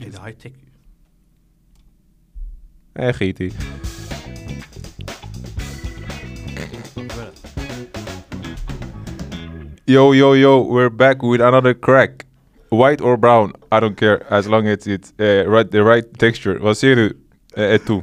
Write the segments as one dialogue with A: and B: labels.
A: high tech ju.
B: Nej, Eh, skit i. Yo, yo, yo, we're back with another crack. White or brown, I don't care as long as it's eh, right, the right texture. Vad säger du? Eh, Etu?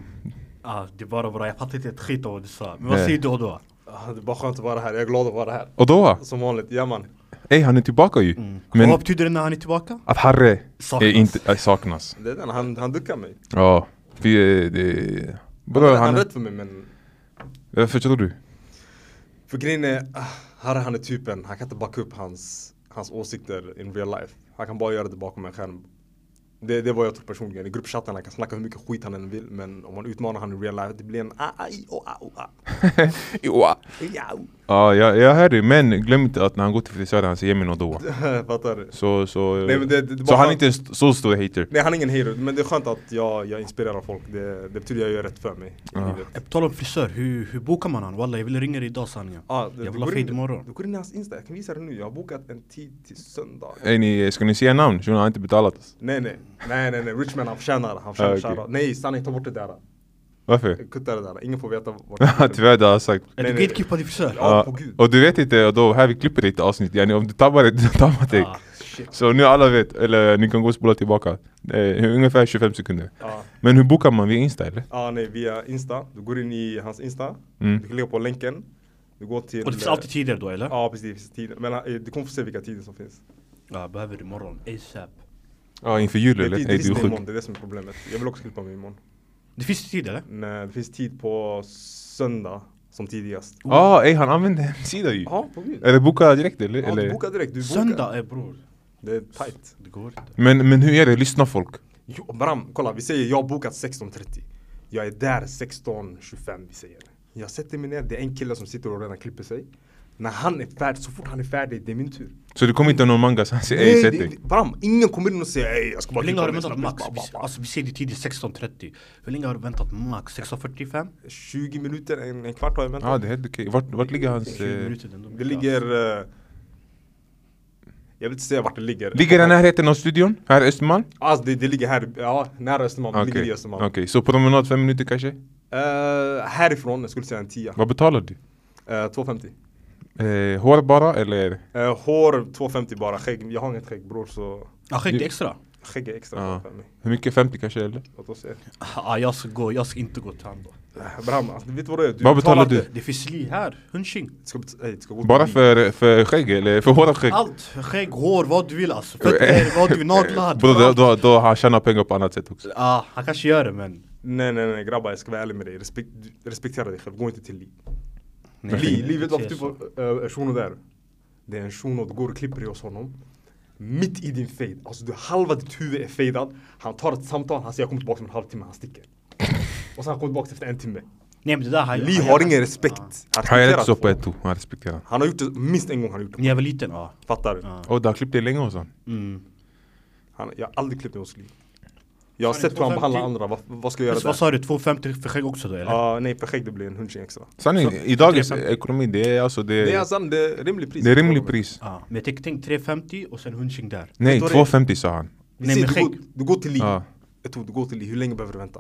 A: Ah, det är bara bra, jag fattar inte ett skit av vad du sa. Men vad
B: Nej.
A: säger du då?
C: Ah, Det är bara skönt att vara här, jag är glad att vara här.
B: Och då?
C: Som vanligt, ja man.
B: Ey, han är tillbaka ju.
C: Mm.
A: Men,
B: Men
A: vad betyder det när han är tillbaka?
B: att Harre
A: Saknas.
B: är inte, eh, saknas.
C: Det är den, han, han duckar mig.
B: Ja, vi... eh, det-
C: Han,
B: Vadå,
C: han, är
B: han...
C: rätt för mig men...
B: eh, Förstår du?
C: För grejen är, ah, här är han är typen, han kan inte backa upp hans, hans åsikter in real life. Han kan bara göra det bakom en skärm. Det, det är vad jag tror personligen. I gruppchatten han kan snacka hur mycket skit han än vill men om man utmanar han i real life det blir en ah, ah, i, oh, ah, oh, ah.
B: Ja,
C: Ja.
B: jag, jag hör dig. Men glöm inte att när han går till frisören, han säger min och då.
C: Fattar du?
B: Så, så,
C: Nej, men det- det- det
B: så
C: bara-
B: han är inte en st- så stor hater.
C: Nej han är ingen hero men det är skönt att jag, jag inspirerar folk. Det, det betyder jag gör rätt för mig i
B: Ja.
C: livet.
A: Eh, På tal om frisör, hur, hur bokar man han? Walla jag vill ringa dig idag sanningen.
C: Ja, det,
A: jag
C: du
A: vill ha
C: går
A: frid
C: in-
A: imorgon.
C: Du går in i hans Insta, jag kan visa dig nu. Jag har bokat en tid till söndag.
B: Ey, ni, ska ni säga namn? Shunon har inte betalat oss.
C: Nej nej, nej nej nej, Richman han förtjänar det. Han förtjänar
B: Ah, okej.
C: shoutout. Nej sanning, ta bort det där.
B: Varför?
C: Kutta det där, ingen får veta vart
B: Tyvärr, det har jag sagt.
A: Är
C: nej,
A: du
C: nej.
A: gatekeeper din frisör?
C: Ja.
B: Ja,
C: på Gud.
B: och du vet inte, och då här vi klipper ditt avsnitt. Yani, om du tappar det, du tappar det.
A: Ah,
C: shit.
B: Så nu alla vet, eller ni kan gå och spola tillbaka. Det är ungefär 25 sekunder.
C: Ja,
B: Men hur bokar man via Insta eller?
C: ah, nej via Insta. Du går in i hans Insta.
B: Mm.
C: Du klickar på länken. Du går till...
A: Och det finns alltid tider då eller?
C: Ja precis, det finns tider. Men eh, du kommer få se vilka tider som finns.
A: Ja, behöver det imorgon. ASAP.
B: Ja, inför jul
C: Det är,
B: eller?
C: tid,
B: Nej,
C: det,
B: du
C: finns
B: är
C: det,
B: sjuk.
C: imorgon, det är det som är problemet. Jag vill också klippa mig imorgon.
A: Det finns tid eller?
C: Nej, det finns tid på söndag som tidigast.
B: Ja, ah, ey, han använder hemsida ju.
C: Ja, på Gud.
B: Är det boka direkt eller?
C: Ja,
B: Eh, eller?
C: du bokar direkt. Du bokar.
A: Söndag är bror.
C: Det är tight.
A: Det går inte.
B: Men, men hur är det? Lyssna folk.
C: Jo, Bram, kolla vi säger jag har bokat 16.30. Jag är där 16.25 vi säger. Jag sätter mig ner, det är en kille som sitter och redan klipper sig. När han är färdig, så fort han är färdig, det är min tur.
B: Så det kommer inte någon manga så han säger ey sätt
C: det-
B: dig.
C: det- Bram, ingen kommer in och säger ey jag ska bara
A: Hur länge har du
C: mig
A: väntat max?
C: snabbt." Ba,
A: Vi,
C: ba, ba.
A: alltså vi ser det tidigt 16.30. Hur länge har du väntat max? 6.45?
C: 20 minuter, en, en kvart har jag väntat.
B: Ja, ah, det är helt okej. Vart, vart ligger hans...
A: 20
B: Eh...
A: minuter, är ändå
C: Det
A: mycket,
C: ligger... eh, Jag vill inte säga vart det ligger.
B: eh, Ligger den i närheten av studion? Här i Östermalm?
C: Alltså det, det ligger här, ja, nära Östermalm. Det ligger i
B: Okej,
C: Östermalm.
B: Okej, så promenad fem minuter kanske?
C: Eh, härifrån, jag skulle säga en tia.
B: Vad betalar du?
C: Eh, 2,50.
B: Eh, hår bara eller?
C: Eh, hår 2,50 bara, skägg. Jag har inget skägg bror så
A: Ja, skägg det är extra.
C: skägg är extra
B: Ja.
C: bra för mig.
B: Hur mycket? 50 kanske eller?
C: Låt oss se.
A: Ja, Ah, jag ska gå, jag ska inte gå till han då.
C: Eh, Bram, alltså, vet du vad det är? Du
B: Vad betalar du?
C: inte.
A: Det finns li här, hunching.
C: Du Ska, bet- nej, du ska gå
B: Bara
C: förbi.
B: för, för skägg eller för hår och skägg?
A: Mm. Allt, skägg, hår, vad du vill
C: Eh,
A: alltså. Fötter, vad du vill, naglar.
B: Bro, då,
A: allt.
B: då, då han tjänar pengar på annat sätt också.
A: Ja, han kanske gör det men.
C: Nej nej nej grabbar, jag ska vara ärlig med dig. Respek du- respektera dig själv, gå inte till Li.
A: Nej,
C: Li,
A: det
C: Li, vet du
A: är
C: varför
A: så.
C: du får eh, shuno där? Det är en shuno, du går och klipper dig hos honom. Mitt i din fade, alltså du halva ditt huvud är fadead. Han tar ett samtal, han säger jag kommer tillbaka om en halvtimme, han sticker. Och sen han kommer tillbaka efter en timme.
A: Nej men det där han
C: Li
A: han-
C: har ingen respekt. Han
B: Han är
C: respekterar
B: rätt så på
C: folk.
B: ett to, han respekterar.
C: Han har gjort det minst en gång han har gjort det.
A: När jag var liten, ja.
C: Fattar du?
A: Ja.
B: Och du har klippt dig länge hos honom?
A: Mm.
C: Han, jag har aldrig klippt mig hos Li. Jag har
A: Fan,
C: sett hur han
A: 250.
C: behandlar andra. Vad, vad ska jag
A: Plus,
C: göra
A: vad
C: där?
A: sa du, 2,50 för skägg också då eller?
C: Ja, nej för skägg det blir en hundring extra.
B: Sanningen, i dagens ekonomi det är alltså
C: Det är
A: Eh,
B: det,
C: alltså det är rimlig pris.
B: det är rimligt pris.
C: Ah.
A: Ja, Men jag tänkte tänk 3,50 och sen hunching där.
B: Nej,
C: Vet du vad det
B: 2,50 sa han.
C: Vi
A: Nej,
C: säger,
A: men
C: du, går,
A: skägg.
C: du går till Li.
B: Ja.
C: Jag tror du går till Li. Hur länge behöver du vänta?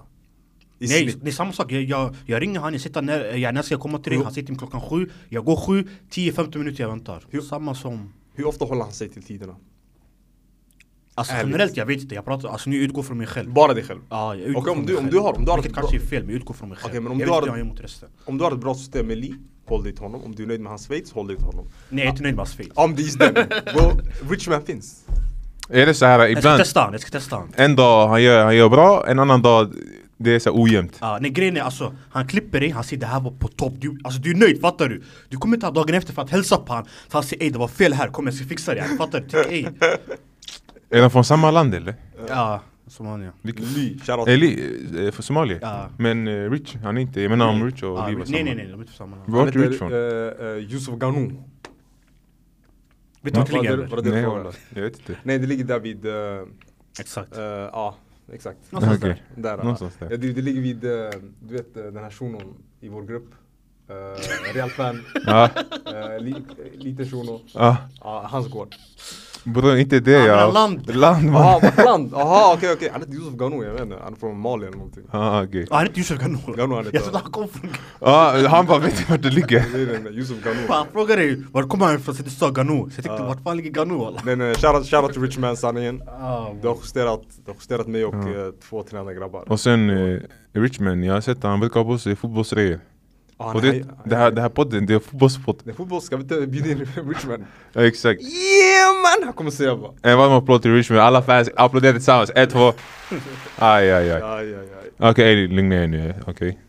C: I
A: Nej,
C: snitt.
A: det är samma sak. Jag, jag, jag ringer han, jag sitter när, jag, när ska jag komma till dig? Han sitter klockan sju, jag går sju, 10-15 minuter jag väntar. Samma som...
C: Hur ofta håller han sig till tiderna?
A: Alltså
C: Ärligt.
A: generellt, jag vet inte. Jag pratar, alltså nu utgår från mig själv.
C: Bara dig själv.
A: Ah, Ja, jag
C: Okej,
A: utgår
C: om
A: från
C: du-
A: mig
C: om
A: själv.
C: du har- om du har
A: Vilket
C: ett
A: kanske är
C: bra-
A: fel, men jag utgår från mig själv.
C: Okej, men om
A: jag
C: du
A: vet
C: har
A: inte
C: ett-
A: hur han gör mot resten.
C: Om du har ett bra system med Li, håll dig till honom. Om du är nöjd med hans face, håll dig till honom.
A: Nej, jag är inte nöjd med hans fel.
C: Om det är just den. Gå, Richman finns.
B: Är det så här
A: Jag ska
B: ibland,
A: testa han, jag ska testa han.
B: en dag han gör, han gör bra, en annan dag det är så här ojämnt.
A: Ja, nej grejen är alltså, han klipper dig, han säger det här var på topp, du, alltså du är nöjd fattar du? Du kommer inte ha dagen efter för att hälsa på han, för han säger ey det var fel här, kom jag ska fixa det, här." fattar du? Tyck, ey.
B: Är de från samma land eller?
A: Ja, Somalia.
B: Vilket-
C: Li, shoutout.
B: Eli, eh, från Somalia?
A: Ja.
B: Men eh, Rich, han är inte, jag menar om Rich och
A: Ja,
B: Lee var
A: nej, nej
B: samma.
A: nej, de är inte från samma land.
B: Vart är
C: Han
B: Rich från?
C: heter, eh, eh, Yusuf Ghanou.
A: Vet du vart det
C: Vad
A: ligger?
C: är det- vad
A: eller?
C: är det
B: Nej,
C: från?
B: walla, jag vet inte.
C: Nej det ligger där vid, eh, eh,
A: Exakt.
C: ja exakt.
A: Någonstans
B: Okej.
A: där.
C: Där, ja.
B: Någonstans där.
C: Ja, det, det ligger vid, eh, du vet eh, den här shunon i vår grupp. Uh, Real fan,
B: Ja,
C: eh, li, eh, liten shuno.
B: ja.
C: Ja, hans gård.
B: Bror inte det
A: Andra
B: ja.
A: land.
B: Land man.
C: Jaha, vårt land! Jaha okej okej, han heter Yusuf Ghanou, jag vet inte, han är från Mali eller någonting
B: Ah, okej.
A: Ah, han heter Yusuf Ghanou.
C: Ghanou, han heter-
A: Jag trodde han kom från...
B: Ah, han bara vet inte vart det ligger.
C: Det är den där Yusuf Ghanou
A: Fan, jag frågade dig var kommer han ifrån? Så du sa Ghanou. Så jag tänkte vart fan ligger Ghanou walla?
C: Men eh, shoutout shout till Richman sanningen
A: Ah,
C: Du har justerat, du har justerat mig och eh, två till andra grabbar
B: Och sen eh, Richmond, jag har sett han brukar ha på sig fotbollströjor.
C: Ah, han
B: Och
C: är-
B: det, det, här, det här podden, det är fotbollspodd.
C: Det är fotboll, ska vi inte bjuda in Richman?
B: Ja, exakt.
C: Yeah man! Han kommer säga bara
B: En varm applåd till Richmond, alla fans applåderar tillsammans. Ett, två. Aj, aj, aj.
C: Aj aj aj
B: Okej, Eddie, lugna er nu. Okej.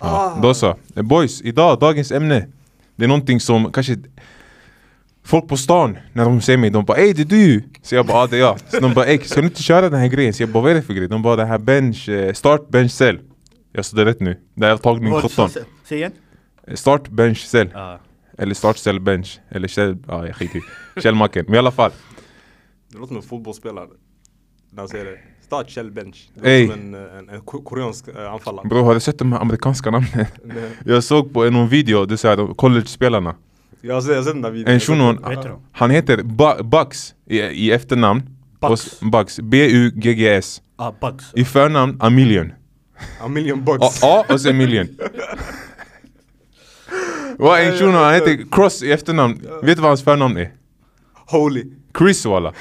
B: Ja,
C: Ah.
B: Då så. Eh, Boys, idag, dagens ämne. Det är någonting som kanske folk på stan, när de ser mig, de bara ey det är du! Så jag bara ah, det är jag. Så de bara ey ska du inte köra den här grejen? Så jag bara vad är det för grej? De bara det här bench, eh, start bench cell. Jag stod rätt nu. Det här är tagning
A: Vad-
B: 17.
A: så- Säg igen.
B: Eh, Start bench cell.
A: Ja.
B: Eller start cell bench. Eller cell, ja jag skiter i. Källmacken. Men i alla fall.
C: Det låter som en fotbollsspelare När han säger det Start Kjell Bench Det
B: Ey.
C: låter som en, eh, en, en ko- koreansk eh, anfallare
B: Bro har du sett de här amerikanska namnen?
C: Nej.
B: Jag såg på en någon video, du sa college-spelarna.
C: Jag har sett jag har sett den där videon
B: En shunon,
A: Vad heter de?
B: han heter Bu- Bugs i, i efternamn.
A: Bugs.
B: Och s- Bugs. B-U-G-G-S.
A: Ah, Bugs.
B: I förnamn, a million.
C: A million bucks
B: A, A och sen million. Och en shunon, han heter Cross i efternamn. Vet du vad hans förnamn är?
C: Holy
B: Chris walla.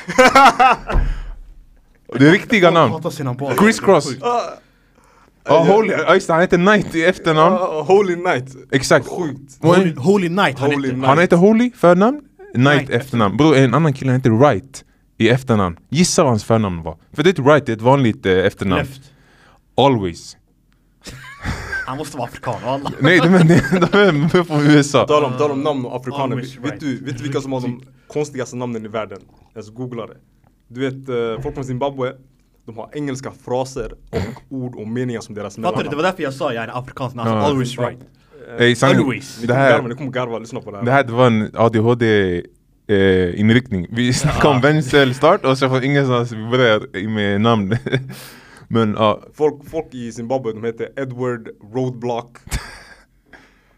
B: Det är riktiga
A: Han
B: namn.
A: hatar sina barn.
B: Chris Cross. Ja, holy, ja, just det, han heter Knight i efternamn.
C: Ah, Holy night
B: Exakt.
C: Sjukt
B: Och en-
A: Holy, Holy Night han
C: Holy
A: heter.
C: Night.
B: Han heter Holy förnamn, Knight
A: Knight,
B: efternamn. Bror en annan kille heter Wright i efternamn. Gissa vad hans förnamn var. För det är ett Wright, det är ett vanligt eh, efternamn.
A: Left.
B: Always.
A: Han måste vara afrikan walla.
B: Nej, de är, de är, de är från USA.
C: Tal om, tal om namn och afrikaner,
A: Always
C: vet,
A: right. Typ.
C: du, vet du vilka som har de konstigaste namnen i världen? Alltså googla det. Du vet, eh, folk från Zimbabwe, de har engelska fraser och ord och meningar som deras
A: Fattar du? Det var
C: mellannamn.
A: därför jag sa jag är afrikansk namn.
B: Ja.
A: Always right.
B: Ey, sanning.
A: Always.
C: Ni
B: Det
C: kommer garva,
B: här,
C: ni kommer garva, lyssna på det här.
B: det här det var en ADHD-inriktning. eh, vi snackade om vänster start och så från ingenstans vi började med namn. Men ja,
C: Folk, folk i Zimbabwe, de heter Edward Roadblock,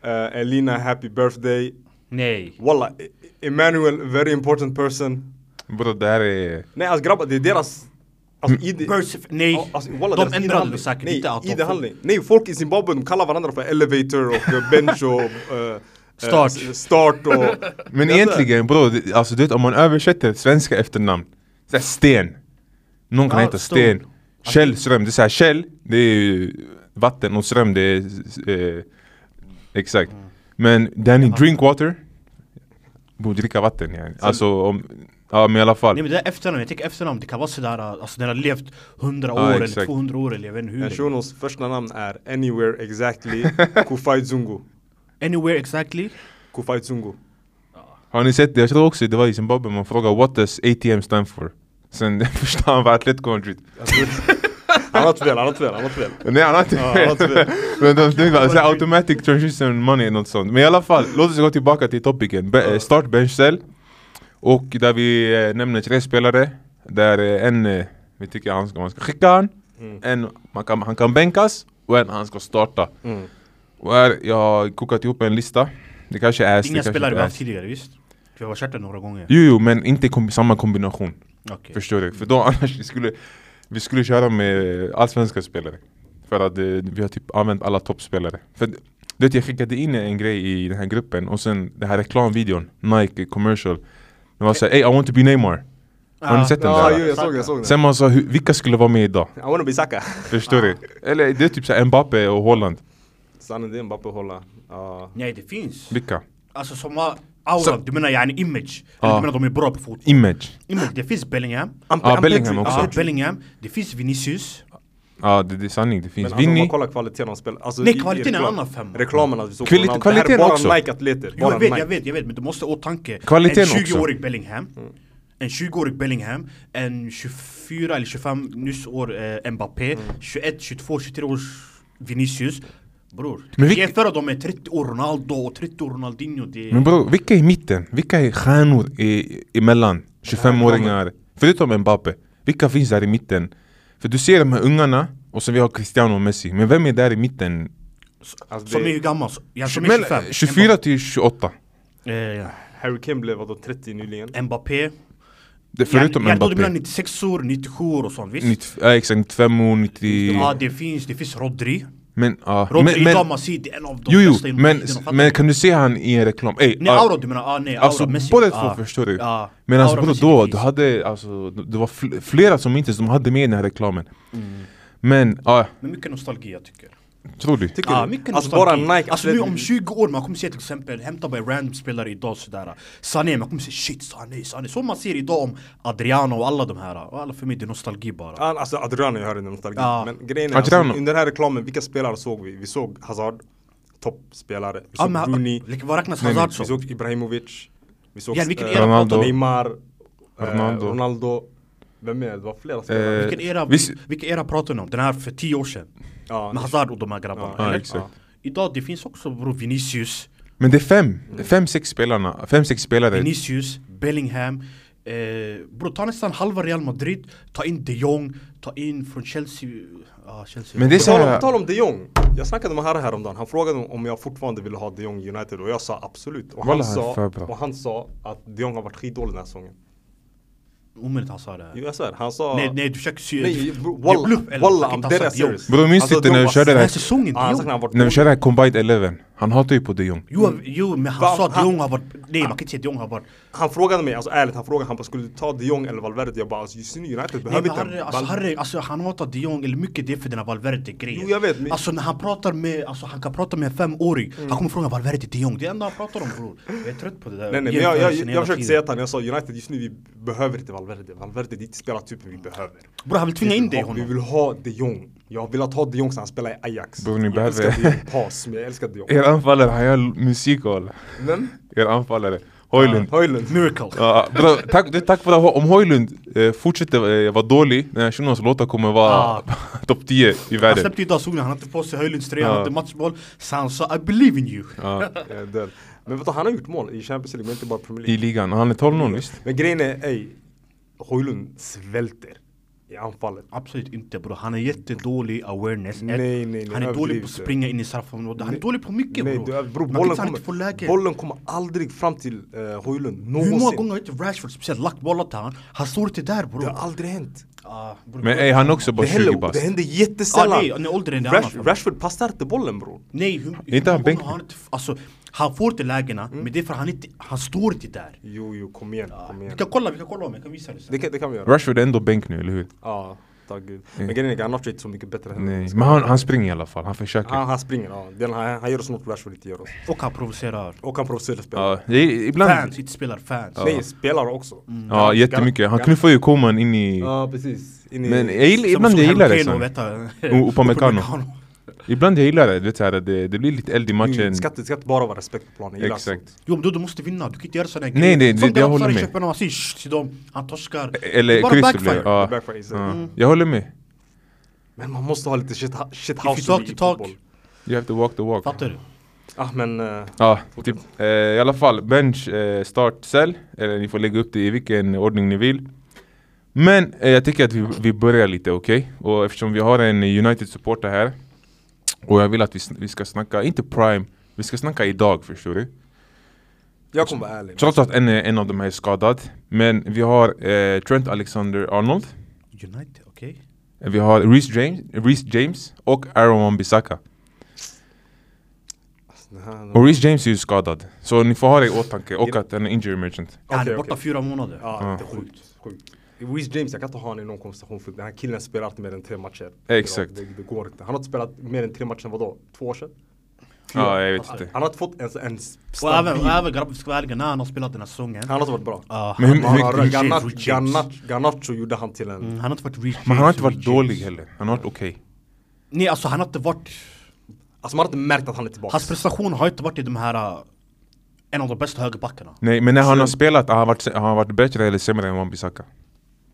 C: eh, Elina Happy Birthday,
A: Nej.
C: Walla, E- Emmanuel Very Important Person.
B: bror det här är...
C: Nej alltså grabbar, det är deras... Alltså, ID,
A: Persif, Mm. nej.
C: Ja, alltså, walla,
A: de
C: deras
A: ändrade
C: ID-handling.
A: det säkert.
C: Nej,
A: inte att de-
C: ID-handling. Nej, folk i Zimbabwe de kallar varandra för elevator och eh, bench och... eh, eh,
A: Start.
C: s- start och...
B: Men
C: Alltså,
B: egentligen bror, det- alltså du vet om man översätter svenska efternamn, såhär Sten. Någon kan
A: Ja,
B: heta
A: Stor. Alltså-
B: Sten. Kjell Ström, det är såhär Kjell, det är ju vatten och Ström det är... Eh, exakt.
A: Mm.
B: Men Danny, drinkwater. Borde dricka vatten yani. Alltså om... Ja men i alla fall.
A: Nej men det är efternamn, jag tänker efternamn, det kan vara sådär, alltså den har levt 100 år
B: Ja,
A: eller
B: exakt.
A: 200 år eller jag vet inte hur
C: eh,
A: länge.
C: Shunos första namn är Anywhere Exactly Kufai Zungu.
A: Anywhere exactly?
C: Kufai Zungu.
B: Har ni sett det? Jag tror också det var i Zimbabwe man frågar what does ATM stand for? Sen förstår han vad Atletico Madrid
C: Alltså, han har fel, han har fel, han har fel.
B: Nej han har inte
C: Ja, han har inte
B: fel.
C: fel.
B: Men de tänkte såhär automatic transition money något sånt. Men i alla fall, låt oss gå tillbaka till topiken. Be- eh, start bench cell. Och där vi eh, nämner tre spelare. Där eh, en, eh, vi tycker han ska, man ska skicka han.
A: Mm.
B: En, man kan, han kan bänkas. Och en, han ska starta.
C: Mm.
B: Och här, jag har kokat ihop en lista. Det kanske är... det
A: Inga
B: kanske
A: spelare vi
B: inte är
A: haft tidigare visst? Vi har kört det några gånger.
B: Jo, jo, men inte kom- samma kombination.
A: Okej.
B: Förstår du? För då annars vi skulle vi skulle köra med allsvenska spelare. För att eh, vi har typ använt alla toppspelare. För d- du vet, jag skickade in en grej i den här gruppen och sen den här reklamvideon, Nike commercial. Den var såhär, hey I want to be Neymar. Har ni sett den
C: Ja,
B: där?
C: jo, jag såg det, jag såg det.
B: Sen man sa, "Hur- vilka skulle vara med idag?
C: I wanna be Saka.
B: Förstår du? Eller det är typ såhär Mbappe och Holland.
C: Sanne, det är Mbappe hålla. Ja.
A: Nej det finns.
B: Vilka?
A: Alltså som har aura,
B: Så-
A: du menar yani image?
B: Ja.
A: Eller du menar de är bra på fotboll?
B: Image.
A: Image, det finns Bellingham,
C: Ampe-
B: Ja,
C: Ampe-
B: Bellingham också.
A: ja, Bellingham, det finns Vinicius.
B: Ja, det, det är sanning. Det
C: Men
B: finns
C: alltså, om man
B: Vinny.
C: kollar kvaliteten av spel. Alltså,
A: Nej,
C: i- i
A: kvaliteten är en
C: reklam-
A: annan femma.
C: Reklamerna vi såg på
B: Kvali-
C: namn,
B: kvaliteten
C: Det här är
B: också.
C: bara Nike-atleter.
A: Jo, jag
C: Bara
A: vet, jag
C: Nike.
A: vet, jag vet, men du måste ha i åtanke
B: Kvaliteten
A: En
B: också. Mm.
A: 20-årig Bellingham En 20-årig Bellingham En 24 eller 25 nyss år eh, Mbappé
B: Mm.
A: 21, 22, 23 års Vinicius Bror, du
B: Men
A: kan
B: vilk-
A: jämföra dem med 30 år Ronaldo och 30 år Ronaldinho det...
B: Men bror, vilka är i mitten? Vilka är stjärnor i, emellan? 25-åringar? Förutom Mbappe. Vilka finns där i mitten? För du ser de här ungarna och så vi har Cristiano och Messi. Men vem är där i mitten?
C: Alltså,
A: Som är
C: det-
A: hur gammal? Så- Ja, som är
B: Mellan
A: 25
B: 24 till 28.
A: Mbappé, eh,
C: Harry Kane blev vadå 30 nyligen?
A: Mbappé
B: Det, förutom
A: jag tror det blir
B: Mbappé.
A: 96 or 97 or och sånt, visst?
B: 90, ja, exakt, 95 och 90...
A: Ja, det finns, det finns Rodri.
B: Men, ja.
A: Rodri
B: men,
A: idag,
B: men,
A: man ser det är en av de
B: jo, jo,
A: bästa genom
B: men,
A: tiden, fattar
B: men
A: du?
B: kan du se han i en reklam? Ey,
A: Nej,
B: ah,
A: Aura du menar, ah, nej, Aura,
B: Alltså
A: Messi.
B: båda två
A: Ah.
B: förstår du.
A: Ja.
B: Men alltså
A: Aura,
B: både
A: Messi,
B: då,
A: precis.
B: du hade, alltså, det var fl- flera som inte ens de hade med i den här reklamen.
A: Mm.
B: Men, ja,
A: Men mycket nostalgi jag tycker.
B: tror du?
C: Tycker
A: Ja,
C: du?
A: mycket
C: Alltså bara
A: nostalgi.
C: Nike
A: Alltså nu
C: Athletic-
A: om 20 år, man kommer se till exempel, hämta bara en random spelare idag sådär. Sané, man kommer se shit Sané, Sané. Som man ser idag om Adriano och alla de här. Och alla för mig, det är nostalgi bara.
C: Ja, Alltså Adriano, jag hörde den nostalgi.
A: Ja.
C: Men grejen är, alltså,
B: Adriano.
C: under den här reklamen, vilka spelare såg vi? Vi såg Hazard, toppspelare. Vi såg Rooney.
A: like, vad räknas
B: Nej, nej,
A: Hazard
C: Vi
A: som?
C: såg Ibrahimovic. Vi såg
A: Ja, vilken
C: eh,
A: era
B: Ronaldo.
A: pratar vi?
C: Neymar. eh,
B: Ronaldo.
C: Ronaldo. Vem mer? Det var flera spelare.
B: Eh,
A: Vilken era,
B: visst-
A: vilken era pratar ni om? Den här för 10 år sedan?
C: Ja,
A: Med Hazard och de här grabbarna,
C: Ja,
A: eller?
B: exakt.
A: Ja. Idag, det finns också bror Vinicius,
B: Men det är fem, fem, sex spelarna, fem, sex spelare.
A: Vinicius, Bellingham eh, Bror ta nästan halva Real Madrid, ta in de Jong, ta in från Chelsea, ah, Chelsea
B: Men det är
C: På
B: så
C: tal om-
B: här,
C: På tal om de Jong. Jag snackade med Harry häromdagen. Han frågade om jag fortfarande ville ha de Jong i United och jag sa absolut. Och han,
B: Wallah, han är
C: sa,
B: för bra.
C: och han sa att de Jong har varit skitdålig den här säsongen.
A: Omöjligt han sa det
C: Jo jag svär, han sa...
A: Nej nej du försöker sy...
C: Nej,
A: det är
C: walla,
A: bluff, eller?
C: walla,
A: Han kan
C: I'm
A: inte ha
C: dead
A: sagt de Jong.
C: serious. Alltså,
B: Bro, minns inte
C: de
B: när vi
C: Jong
B: körde
C: var-
B: det
A: Den
B: här?
A: här säsongen,
C: Ja, han
A: de
C: sa att
A: Jong
C: han har varit
B: när vi
C: dålig.
B: körde den här combined 11, han hatar ju på de Jong.
A: Jo, jo men han
C: Va,
A: sa att
C: han-
A: de Jong har varit... Nej man kan inte säga att de Jong har varit...
C: Han frågade mig, alltså ärligt, han frågade, han bara skulle du ta de Jong eller Valverde? Jag bara alltså just nu United
A: Nej
C: behöver
A: men
C: inte...
A: Harry, alltså,
C: Val-
A: Harry, alltså han hatar de Jong, eller mycket det är för den här Valverde-grejen
C: Jo, jag vet, men- Mm.
A: Alltså när han pratar med, alltså han kan prata med en femåring Han kommer fråga Valverde de Jong, det är det enda han pratar om bror Jag är trött på det där
C: Nej nej, men jag, jag,
A: jämförelsen
C: jag,
A: hela
C: försökte
A: tiden.
C: säga till honom, jag sa United just nu, vi behöver inte Valverde. Valverde det är inte spelartypen vi behöver.
A: Bror han vill tvinga
C: Vi
A: in
C: vill
A: dig i
C: ha-
A: honom
C: Vi vill ha de Jong. Jag har velat ha de Jong sedan han spelade i Ajax.
B: Bror, ni
C: jag
B: behöver-
C: älskar de Jong pass, men jag älskar de Jong.
B: Er anfallare, han gör musik och alla.
C: Vem?
B: Er anfallare, Højlund.
C: Höjlund.
A: Miracle
B: Ja, bro, tack, det är tack vare om Højlund eh, fortsätter eh, vara dålig, den här shunons låtar kommer vara
A: Ah.
B: topp 10 i
A: Han
C: Alltså-
B: världen.
A: släppte idag såg ni, han hade inte på sig Höjlunds tröja, han
B: Ja.
A: hade matchboll Så han sa I believe in you
B: Ja,
C: Jag är död. Men vet du, han har gjort mål i Champions League, men inte bara Premier
B: I
C: League.
B: ligan, han är 12-0 visst?
C: Men grejen är, ey, Höjlund svälter i anfallet.
A: Absolut inte bror, han är jättedålig awareness
C: Nej, nej, nej,
A: Han är dålig
C: överdriv
A: på att
C: inte.
A: springa in i straffområdet, han är dålig på mycket
C: Nej,
A: bror
C: du,
A: Man
C: bro,
A: kan
C: bollen,
A: inte- han inte får
C: kommer,
A: läge
C: bollen kommer aldrig fram till uh, Höjlund någonsin.
A: Hur många gånger har inte Rashford speciellt lagt bollar till han? Han står inte där bror
C: Det har aldrig hänt.
A: Ah, bror.
B: Men ey, han är också
C: Det
B: bara 20
C: händer, det
B: bast.
C: händer
A: ah,
C: jättesällan.
A: nej, nej, åldern är en annan
C: Rash,
A: fråga.
C: Rashford passar inte bollen bror.
A: Nej, hur, hur
B: inte han
A: många
B: bänken?
A: gånger har inte, alltså, han får till lägena,
C: Mm.
A: men det är för han inte, han står inte där.
C: Jo, jo, kom igen, kom
A: Vi
C: igen.
A: kan kolla, vi kan kolla om jag kan visa det sen.
C: Det kan, det kan vi göra.
B: Rashford är ändå bänk nu, eller hur?
C: Ja, tack gud. Men grejen är, han har inte så mycket bättre än
B: Mm. Nej. Men han, han springer i alla fall, han försöker.
C: han, han springer, ja. Den, han, han gör oss något Rashford inte gör oss.
A: Och han provocerar
C: Och han provocerar spelare.
B: Ja, i- ibland,
A: fans, inte spelar fans.
C: Nej, spelare också.
A: Mm.
B: ja jättemycket. Han knuffar ju Koman in i...
C: Ja, precis. In i,
B: Men jag gillar,
A: Som-
B: ibland
A: som
B: jag gillar det
A: Hello
B: sånt.
A: Kelo, vet eh, du.
B: O- Upamecano. Ibland jag gillar det, du vet, så här, det, det blir lite eld i
C: Mm,
B: matchen.
C: det ska, inte- det ska inte bara vara respekt på planen. Jag gillar
B: Exakt.
C: sånt.
A: Jo men då du måste vinna, du kan inte göra sådana
B: Nej, nej, det- jag håller med. Eh,
A: Köpen, man säger "Shh", till dem, han torskar. Det är
B: Eller
A: bara
B: kryss det
A: backfire. Mm.
B: blir. Ja.
C: Det är backfire, exakt.
B: Ja. Jag håller med.
C: Men man måste ha lite shit, shit
A: If you talk to talk,
B: You have to walk the walk.
A: fattar du?
C: Ah, men... eh,
B: Ja, typ, eh, i alla fall. Bench, eh, start, sell. Eller ni får lägga upp det i vilken ordning ni vill. Men eh, jag tycker att vi, vi börjar lite, okej? Och eftersom vi har en United-supporter här och jag vill att vi, sn- vi ska snacka, inte prime, vi ska snacka idag, förstår du?
C: jag kommer vara ärlig.
B: Trots att en, en av dem är skadad. Men vi har eh, Trent Alexander-Arnold,
A: United, okej?
B: vi har Reece James, Reece James och Aaron Wan-Bissaka.
C: Det här-
B: Och Reece James är ju skadad, så ni får ha det i åtanke och att han är injury emergent.
A: Han
C: Okej,
A: är borta
C: okej.
A: fyra månader.
C: Ja, det är sjukt. sjukt. Reece James, jag kan inte ha honom i någon konversation för den här killen spelar alltid mer än tre matcher.
B: Exakt.
C: Det, det går inte. Han har inte spelat mer än tre matcher, vadå? Två år sedan?
B: Ja, jag vet inte.
C: Han har inte fått en, en stabil...
A: Och även, och även grabbar, vi ska vara ärliga, när han har spelat den här säsongen
C: Han har inte varit bra.
A: ah,
B: Men hur-
A: han,
B: hur-
A: har-
B: hur-
A: Reece James,
C: Garnacho,
A: Reece James.
C: Garnacho, Garnacho gjorde han till en...
A: Mm, han har inte varit Reece
B: Men han har inte
A: James,
B: varit
A: Reece James.
B: dålig heller, han har varit okej.
A: Nej alltså han har inte varit
C: Alltså man har inte märkt att han är tillbaka.
A: Hans prestation har inte varit i de här äh, En av de bästa högerbackarna
B: Nej, men när han har spelat, har han varit, se- har han varit bättre eller sämre än Wan-Bissaka?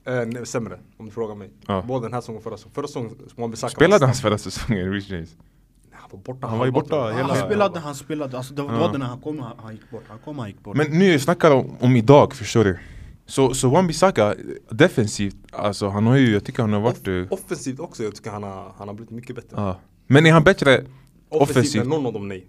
C: Eh, nej, sämre, om du frågar mig.
B: Ja.
C: Både den här säsongen och förra säsongen. Förra säsongen, Wan-Bissaka
B: Spelade
C: var-
B: han förra säsongen, Rich James?
C: Nej, Han var borta.
B: Han var ju borta
A: Han
B: hela-
A: spelade, han spelade, alltså det var, det var det när han kom, han, han gick bort, han kom, han gick bort
B: Men nu snackar jag om, om idag, förstår du? Så, så Wan-Bissaka, eh, defensivt, alltså han har ju, jag tycker han har varit... eh,
C: Off- Offensivt också, jag tycker han har, han har blivit mycket bättre.
B: ja. Men är han bättre
C: Offensivt,
B: offensivt?
C: än någon av dem, nej.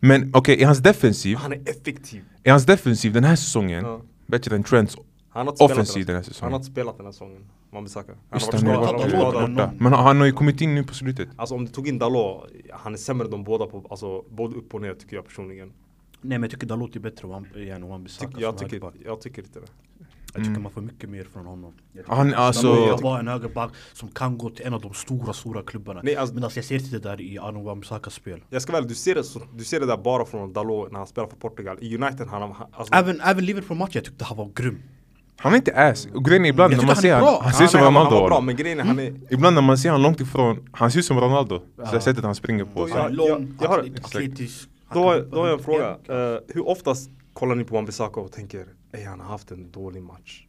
B: Men okej, är hans defensiv,
C: Han är effektiv.
B: är hans defensiv den här säsongen
C: Ja.
B: bättre än Trents
C: Han har inte spelat
B: offensiv den här
C: Han
B: säsongen.
C: har inte spelat den här säsongen. Man besöker. Han
B: Just det,
C: varit
B: han har
A: skadad. Han
B: varit eh,
A: har varit
C: skadad.
A: skadad.
B: borta. Men han har ju kommit in nu på slutet.
C: Alltså om du tog in Dalot, han är sämre än de båda på, alltså både upp och ner tycker jag personligen.
A: Nej men jag tycker Dalot är bättre än Wan-Bissaka.
C: Tyck,
A: som
C: jag,
A: högerback.
C: tycker, Mm. jag tycker inte det.
A: jag tycker man får mycket mer från honom. Jag tycker
B: Han,
A: Dalot
B: alltså,
A: kan vara en högerback som kan gå till en av de stora, stora klubbarna.
C: Nej, alltså-
A: men alltså jag ser inte det där i Aron Wan-Bissakas spel.
C: Jag ska väl, du ser det, så, du ser det där bara från Dalot när han spelar för Portugal. I United han, han alltså,
A: Även, även Liverpool-matchen, jag tyckte han var grym.
B: han är inte ass. Och grejen är ibland
A: Jag
B: när
A: tycker
B: man
A: han
B: ser
A: är
B: han,
A: bra.
B: han ser
C: han,
B: ut som Mm.
C: han, han var
B: Ronaldo.
C: bra
B: eller?
C: men grejen är han är
B: Ibland när man ser han långt ifrån, han ser ut som Ronaldo. Så det sättet han springer på.
C: Ja,
A: Lång,
C: jag- jag har-
A: atlet-
B: exakt.
A: atletisk. Han
C: Då,
A: kan hoppa
C: då har jag en
A: runt.
C: fråga. Eh, hur oftast kollar ni på Wan-Bissaka och tänker ey han har haft en dålig match?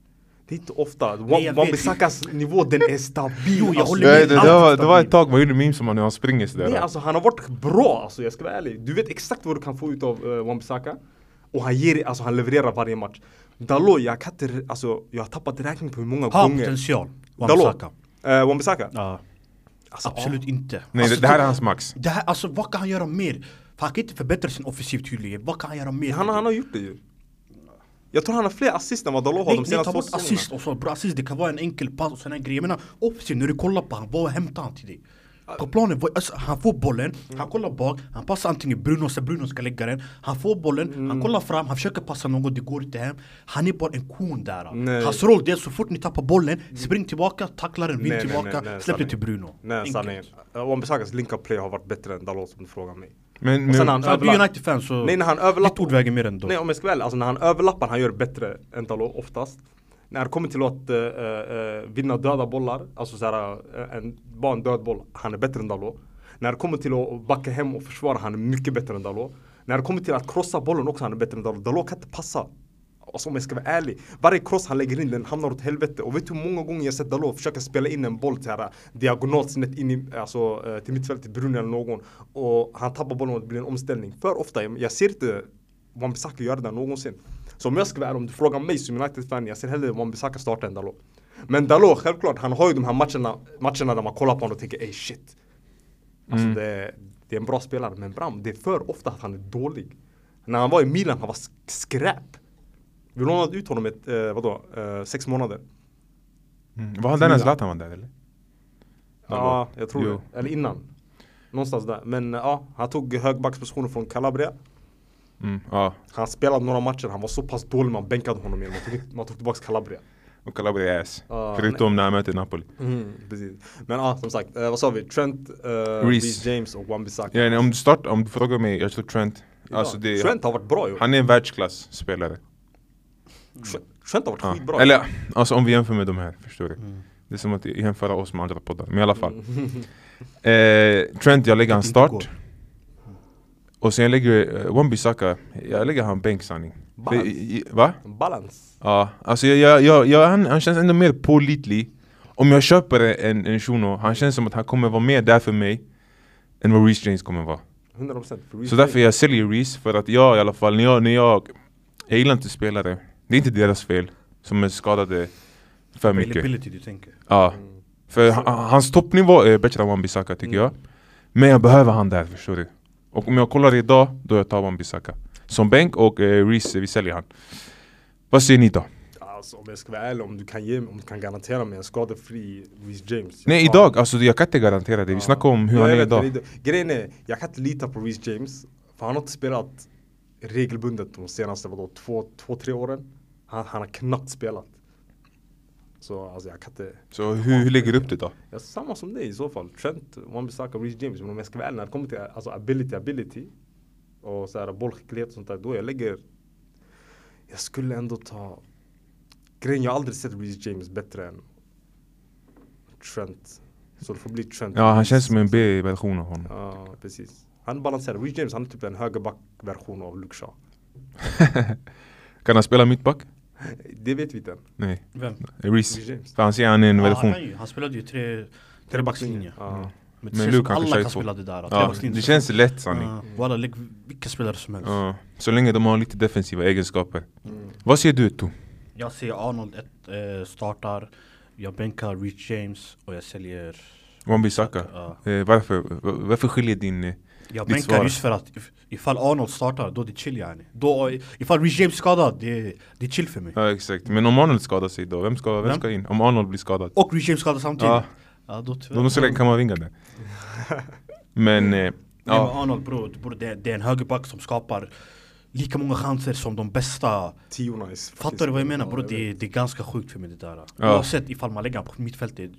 C: Det är inte ofta.
A: Nej, jag
C: Wan-
A: vet.
C: Wan-Bissakas nivå den är stabil. Alltså,
A: Jo, jag håller
B: Jag
A: med.
B: vet inte, det, var, det var ett tag man gjorde memes om honom när han springer
C: Nej,
B: sådär.
C: alltså han har varit bra alltså, jag ska vara ärlig. Du vet exakt vad du kan få ut av uh, Wan-Bissaka. Och han ger, alltså han levererar varje match. Dalot, jag kan inte, alltså jag har tappat räkning på hur många
A: Har han
C: gånger.
A: potential,
C: Dalot?
A: Wan-Bissaka.
C: Eh, Wan-Bissaka?
A: Ja.
C: Alltså,
A: Absolut inte.
B: Nej, det,
A: Alltså,
B: det här
A: så-
B: är hans max.
A: Det här, alltså vad kan han göra mer? För han kan inte förbättra sin offensiv tydligen. Vad kan han göra mer?
C: ja. Han, han har gjort det ju. Jag tror han har fler assist än vad Dalot har
A: nej,
C: de
A: nej,
C: senaste
A: ta
C: två
A: bort
C: säsongerna.
A: assist och så. Bra assist, det kan vara en enkel pass och sådana grejer. Jag menar, offensiv, när du kollar på honom, vad hämtar han till dig? På planen, vad- alltså, han får bollen, han kollar bak, han passar antingen Bruno, så Bruno ska lägga den. Han får bollen,
C: Mm.
A: han kollar fram, han försöker passa någon, det går inte hem. Han är bara en kon där.
C: Nej. Mm.
A: Hans roll det är så fort ni tappar bollen, spring tillbaka, tackla den, vinn
C: Nej, nej,
A: tillbaka,
C: nej,
A: släpp den
C: nej, sanning.
A: till Bruno.
C: Nej,
A: Enkelt.
C: sanningen. Eh, Wan-Bissakas link-up play har varit bättre än Dalot om du frågar mig.
B: Men,
C: Och sen
B: men
C: han-
A: Ja, Alltså, du är
C: Överlapp.
A: United-fan så
C: Nej, när han överlappar-
A: ditt ord väger mer än då.
C: Nej om jag ska väl, alltså när han överlappar han gör det bättre än Dalot oftast. När det kommer till att eh, eh, eh, vinna döda bollar, alltså såhär, eh, en, bara en död boll, han är bättre än Dalot. När det kommer till att backa hem och försvara, han är mycket bättre än Dalot. När det kommer till att krossa bollen också, han är bättre än Dalot. Dalot kan inte passa. Alltså om jag ska vara ärlig. Varje cross han lägger in den hamnar åt helvete. Och vet du hur många gånger jag sett Dalot försöka spela in en boll till här, diagonalt snett in i, alltså, eh, till mittfältet, till Brunn eller någon. Och han tappar bollen och det blir en omställning. För ofta, jag, jag ser inte Wan-Bissaka göra det där någonsin. Så om jag ska vara ärlig, om du frågar mig som United-fan, jag ser hellre Wan-Bissaka starta än Dalot. Men Dalot, självklart, han har ju de här matcherna, matcherna där man kollar på honom och tänker ey shit. Alltså
B: Mm.
C: det, är- det är en bra spelare, men Bram, det är för ofta att han är dålig. När han var i Milan, han var sk- skräp. Vi lånade ut honom ett, eh, vadå, eh, sex månader.
B: mm, var han där när Zlatan var där eller?
C: Ja, jag tror
B: Jo.
C: det. Eller innan. Någonstans där. Men eh, ja, han tog högbackspositionen från Calabria.
B: Mm, ja.
C: Han spelade några matcher, han var så pass dålig man bänkade honom igen. Man tog, man tog tillbaka Calabria.
B: Och Calabria är ass.
C: Ja,
B: Förutom när han möter Napoli.
C: precis. Men ja, som sagt, eh, vad sa vi? Trent, eh, Reece James och Wan-Bissaka.
B: Ja, nej, om, du start, om du frågar mig, jag tror Trent. Alltså
C: Ja,
B: det,
C: Trent har varit bra ju.
B: Han är en världsklassspelare.
C: Tre- Trent har varit
B: Ja.
C: skitbra. Mm.
B: Eller alltså om vi jämför med de här, förstår du? Det är som att jämföra oss med andra poddar, men i alla fall. eh, Trent, jag lägger han
A: går.
B: start. Och sen jag lägger eh, Wan-Bissaka, jag lägger han bänk sanning. För-
C: Balans.
B: i- i- Va?
C: Balans.
B: Ja, alltså jag, jag, jag, jag, han, han känns ändå mer pålitlig. Om jag köper en, en Shuno, han känns som att han kommer vara mer där för mig än vad Reece James kommer vara.
C: 100% för Reece
B: Så därför jag säljer Reese, för att jag i alla fall, när jag, när jag, jag gillar inte spelare, det är inte deras fel som är skadade för mycket.
A: Availability du tänker.
B: Ja.
C: Mm.
B: För han- han- hans toppnivå är bättre än Wan-Bissaka tycker jag. Men jag behöver han där, förstår du? Och om jag kollar idag, då jag tar Wan-Bissaka. Som bänk och eh, Reese, vi säljer han. Vad säger ni då?
C: Alltså om jag ska vara ärlig, om du kan, ge, om du kan garantera mig en skadefri Reece James.
B: Nej
C: Ja.
B: idag, alltså jag kan inte garantera det. Vi snackar om hur
C: Ja,
B: han
C: jag
B: är
C: vet,
B: idag.
C: men idag- Grejen är, jag kan inte lita på Reece James. För han har inte spelat regelbundet de senaste vadå, två, två, tre åren. Han, han har knappt spelat. Så alltså jag kan inte.
B: Så hur, hur lägger du upp det då?
C: Ja, samma som dig i så fall. Trent, Wan-Bissaka, Reece James. Men om jag ska vara ärlig, när det kommer till alltså, ability, ability och så här, bollskicklighet och sånt där. Då jag lägger... Jag skulle ändå ta... Grejen, jag har aldrig sett Reece James bättre än Trent. Så det får bli Trent.
B: Ja han känns som en B-version av honom.
C: Ja, precis. Han balanserar. Reece James, han är typ en högerback-version av Luke Shaw.
B: Kan han spela mittback?
C: Det vet vi inte än.
B: Nej.
A: Vem?
B: Reese.
C: James.
B: För han säger han är en
A: Ja, han,
B: version.
A: kan ju, han spelade ju tre, trebackslinje.
B: Mm.
C: Ja.
A: Men,
B: Men
A: det känns
B: Luke
A: som
B: han kan
A: alla
B: köra
A: kan
B: två.
A: spela det där.
B: Ja,
A: trebackslinje.
B: det känns lätt sanning.
A: Ja, Walla, lägg vilka spelare som helst.
B: Ja, så länge de har lite defensiva egenskaper.
A: Mm.
B: Vad säger du Tor?
A: Jag ser Arnold ett, eh, startar, jag bänkar Reece James och jag säljer
B: Wan-Bissaka. Eh, varför? V- Varför skiljer din... eh,
A: Jag
B: ditt
A: bänkar
B: svar?
A: just för att if- ifall Arnold startar, då är det chill yani. Då, ifall Reece James skadad, det, det är chill för mig.
B: Ja exakt, men om Arnold skadar sig då, vem ska, vem
A: Vem?
B: ska in? Om Arnold blir skadad?
A: Och Reece James skadad samtidigt.
B: Ja.
A: Ja. då
B: Då
A: tyvärr.
B: måste jag Kamavinga där. Men, eh,
A: Nej, men
B: ja.
A: Arnold bror, bror det, det är en högerback som skapar lika många chanser som de bästa.
C: Tio nice.
A: Fattar du vad jag menar bror? Det, det är ganska sjukt för mig det där.
B: Ja.
A: Oavsett ifall man lägger honom på mittfältet.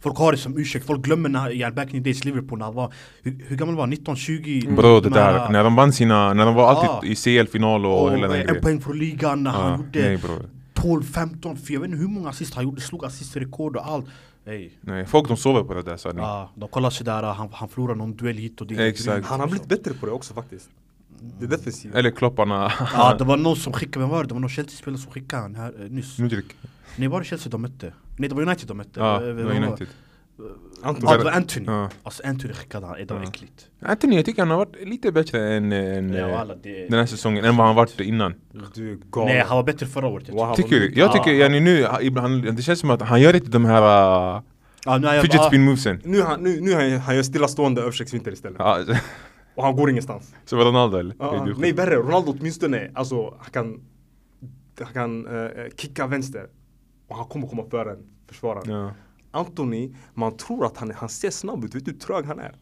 A: Folk har det som ursäkt, folk glömmer när, ja, back in the days Liverpool när han var, hur, hur gammal var han? 19, 20?
B: Bro, det
A: De här-
B: där, när de vann sina, när de var
A: Ah.
B: alltid i CL-final och,
A: Och
B: hela den
A: en
B: grejen.
A: poäng från ligan när
B: Ja,
A: han
B: nej,
A: gjorde
B: bror.
A: 12, 15, för jag vet inte hur många assist han gjorde, slog assistrekord och allt. Ey,
B: Nej, folk de sover på det där sanning.
A: ja, de kollar sådär, han, han förlorar någon duell hit och dit.
B: Exakt.
C: Han har blivit bättre på det också faktiskt. Det är defensivt.
B: Eller klopparna.
A: Ja, Ah, det var någon som skickade, vem var det? Det var någon Chelsea-spelare som skickade han här eh, nyss.
B: Mudrik.
A: Nej var det Chelsea de mötte? Nej det var United de mötte.
B: Ja,
A: Eh,
B: det
A: vem
B: var United.
A: Ja
C: Anton.
A: det var Anthony.
B: Ja.
A: Alltså Anthony skickade han, Eh, det var äckligt.
B: Anthony, jag tycker han har varit lite bättre än, eh, än
A: Ja,
B: eh,
A: alla, det-
B: den här säsongen, än vad han varit innan.
C: Du är galen.
A: Nej han var bättre förra året. jag
C: Wow.
A: tycker.
B: Tycker du? Jag tycker,
A: Ja.
B: yani nu, han- ibland- det känns som att han gör inte de här uh,
A: Ja, nu är jag-
B: fidget
A: ah,
B: spin movesen.
C: Nu, han, nu, nu han, han gör stillastående översiktsvinter istället.
B: Ja,
C: Och han går ingenstans.
B: Som Ronaldo eller?
C: Ja,
B: Är du
C: nej värre, Ronaldo åtminstone, alltså han kan, han kan eh, kicka vänster. Och han kommer komma före en försvarare.
B: Ja.
C: Anthony, man tror att han, han ser snabb ut, vet du hur trög han är?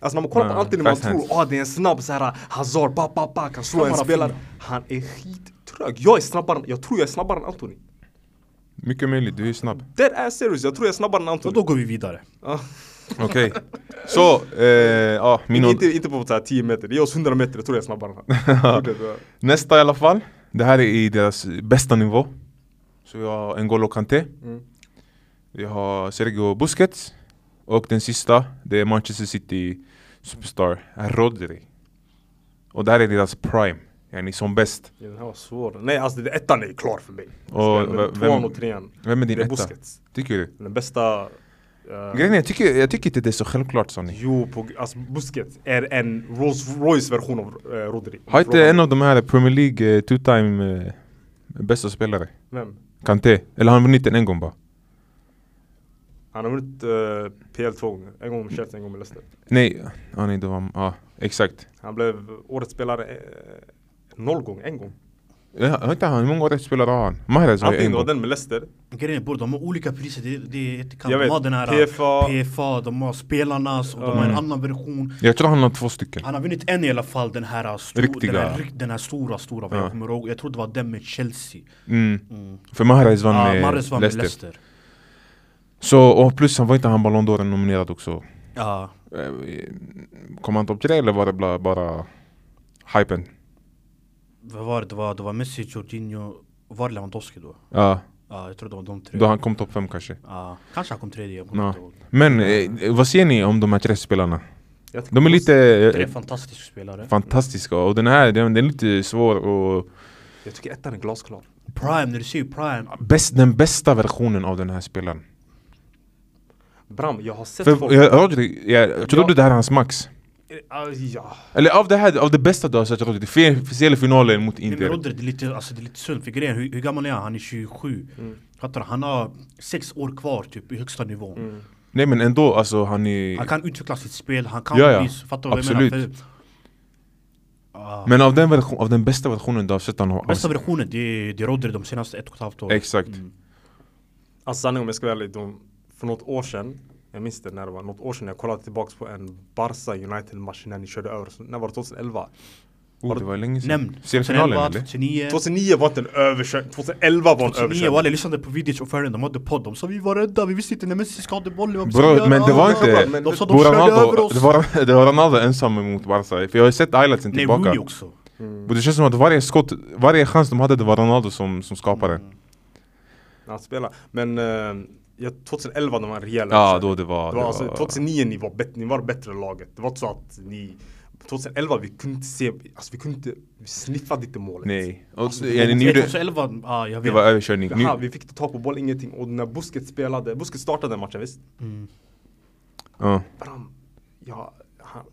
C: Alltså när man kollar
B: Mm. Ja,
C: på Anthony, man
B: fast hands.
C: tror att det är en snabb såhär Hazard, ba, ba, ba, kan slå
A: Snabbare
C: en spelare.
A: fingrar.
C: Han är skittrög. Jag är snabbare, än- jag tror jag är snabbare än Anthony.
B: Mycket möjligt, du är snabb.
C: Dead ass serious, jag tror jag är snabbare än
A: Och
C: Anthony.
A: då går vi vidare.
C: Ja.
B: Okej. Så, eh, ja, min
C: Inte, inte på så här 10 meter, det är oss 100 meter, jag tror jag är snabbare än han. Gjorde det.
B: Nästa i alla fall. Det här är i deras bästa nivå. Så vi har N'Golo Kanté.
C: Mm.
B: Vi har Sergio Busquets. Och den sista, det är Manchester City Superstar Rodri. Och det här är deras prime. Yani som bäst.
C: Ja, Den här var svår. Nej alltså det, ettan är klar för mig.
B: Och
C: Alltså,
B: v-
C: Tvåan
B: vem-
C: och trean.
B: Vem är
C: Det
B: din
C: är
B: etta?
C: Busquets.
B: Tycker du?
C: Den bästa... eh,
B: Grejen är, jag tycker, jag tycker inte det är så självklart Sonny.
C: Jo, på, alltså Busquets är en Rolls Royce version av eh, Rodri.
B: Har inte en av de här Premier League eh, two time eh, bästa spelare?
C: Vem?
B: Kanté? Eller har han vunnit den en gång bara?
C: Han har vunnit eh, PL två gånger. En gång med Chelsea, en gång med Leicester.
B: Nej, ah, nej det var, ah, exakt.
C: Han blev årets spelare eh, noll gånger, en gång.
B: Ja, vänta, hur många år spelar han? Mahrez har ju
C: Antingen
B: en
C: det var
B: gång.
C: den med Leicester.
A: Grejen är bror, de har olika priser, det, det är jättekant.
C: Jag
A: De
C: vet,
A: har den här
C: PFA.
A: PFA de har spelarnas och de
B: Mm.
A: har en annan version.
B: Jag tror han har två stycken.
A: Han har vunnit en i alla fall, den här, stor,
B: Riktiga.
A: Den, här rik- den här stora, stora vad
B: Ja.
A: jag kommer ihåg. Jag tror det var den med Chelsea.
B: Mm. För Mahrez vann
A: Ja,
B: med
A: Ah, Mahrez vann med
B: Leicester.
A: Leicester.
B: Så, och plus han var inte han Ballon d'Or nominerad också.
A: Ja,
B: Eh, Kom han topp tre eller var det bara, bara hypen?
A: vad var det? Det var, det var Messi, Jorginho, var det Lewandowski då?
B: Ja,
A: Ja, jag tror det var de tre.
B: då han kom topp fem kanske.
A: Ja, kanske han kom tredje, jag kommer
B: Ja.
A: inte ihåg.
B: Men eh, vad ser ni om de här tre spelarna?
C: Jag tycker
B: De är lite
A: Tre
B: eh,
A: fantastiska spelare.
B: fantastiska och den här den, den är lite svår och
C: Jag tycker ettan är glasklar.
A: Prime, när du ser Prime.
B: bäst, den bästa versionen av den här spelaren.
C: Bram, jag har sett
B: För
C: folk...
B: eh, Rodri, jag tror
C: Ja.
B: du det här är hans max?
C: Eh, ah, ja.
B: Eller av det här, av det bästa du har sett Rodri, fe- speciellt finalen mot
A: Nej, men
B: Inter.
A: Rodri, det är lite, alltså, det är lite synd för grejen, hur, hur gammal är han? Han är 27. Fattar du? Han har sex år kvar typ i högsta nivån.
B: Nej men ändå, alltså han är...
A: Han kan utveckla sitt spel, han kan
B: Ja, ja.
A: bli, fattar du vad
B: Absolut.
A: jag menar? För
B: Men av den, version, av den bästa versionen du har sett han har...
A: bästa versionen, det är, det är Rodri de senaste ett och ett halvt åren.
B: Exakt.
C: Alltså sanningen om jag ska vara ärlig, de, för något år sedan, jag minns det när det var, något år sedan jag kollade tillbaks på en Barca United-match när ni körde över, så, när var det 2011?
B: Oh, det var länge sedan.
A: Nämn.
B: Semifinalen
A: 2011, 2009.
B: eller?
C: 2009 var inte en överkörning, 2011 var en
A: 2009, walla
C: överkörning.
A: jag lyssnade på Vidic och Ferdinand, de hade podd, de sa vi var rädda, vi visste inte när Messi skadade bollen, vad vi
B: Bro,
A: skulle göra."
B: men det var inte-
A: De sa de
B: Det
A: körde
B: var
A: över
B: Ronaldo,
A: oss!
B: det var, det var Ronaldo ensam emot Barca, för jag har sett highlightsen
A: Nej,
B: tillbaka.
A: Rooney också.
B: Och det känns som att varje skott, varje chans de hade det var Ronaldo som, som skapade.
C: När han spelade. Men eh, ja, 2011 de var en rejäl
B: Ja,
C: överkörning.
B: då det var...
C: det var alltså, 2009 ni var, bet- ni var bättre än laget. Det var inte så att ni 2011 vi kunde inte se, alltså vi kunde inte sniffa lite målet.
B: Nej. Och,
C: Alltså,
B: ja, ni
A: Nej,
B: gjorde,
A: 2011, ja jag
B: det
A: vet.
B: var överkörning.
C: Det
B: Ni,
C: här, vi fick inte tag på boll, ingenting. Och när Busquets spelade, Busquets startade den matchen visst?
B: ja.
C: Bram, ja, han,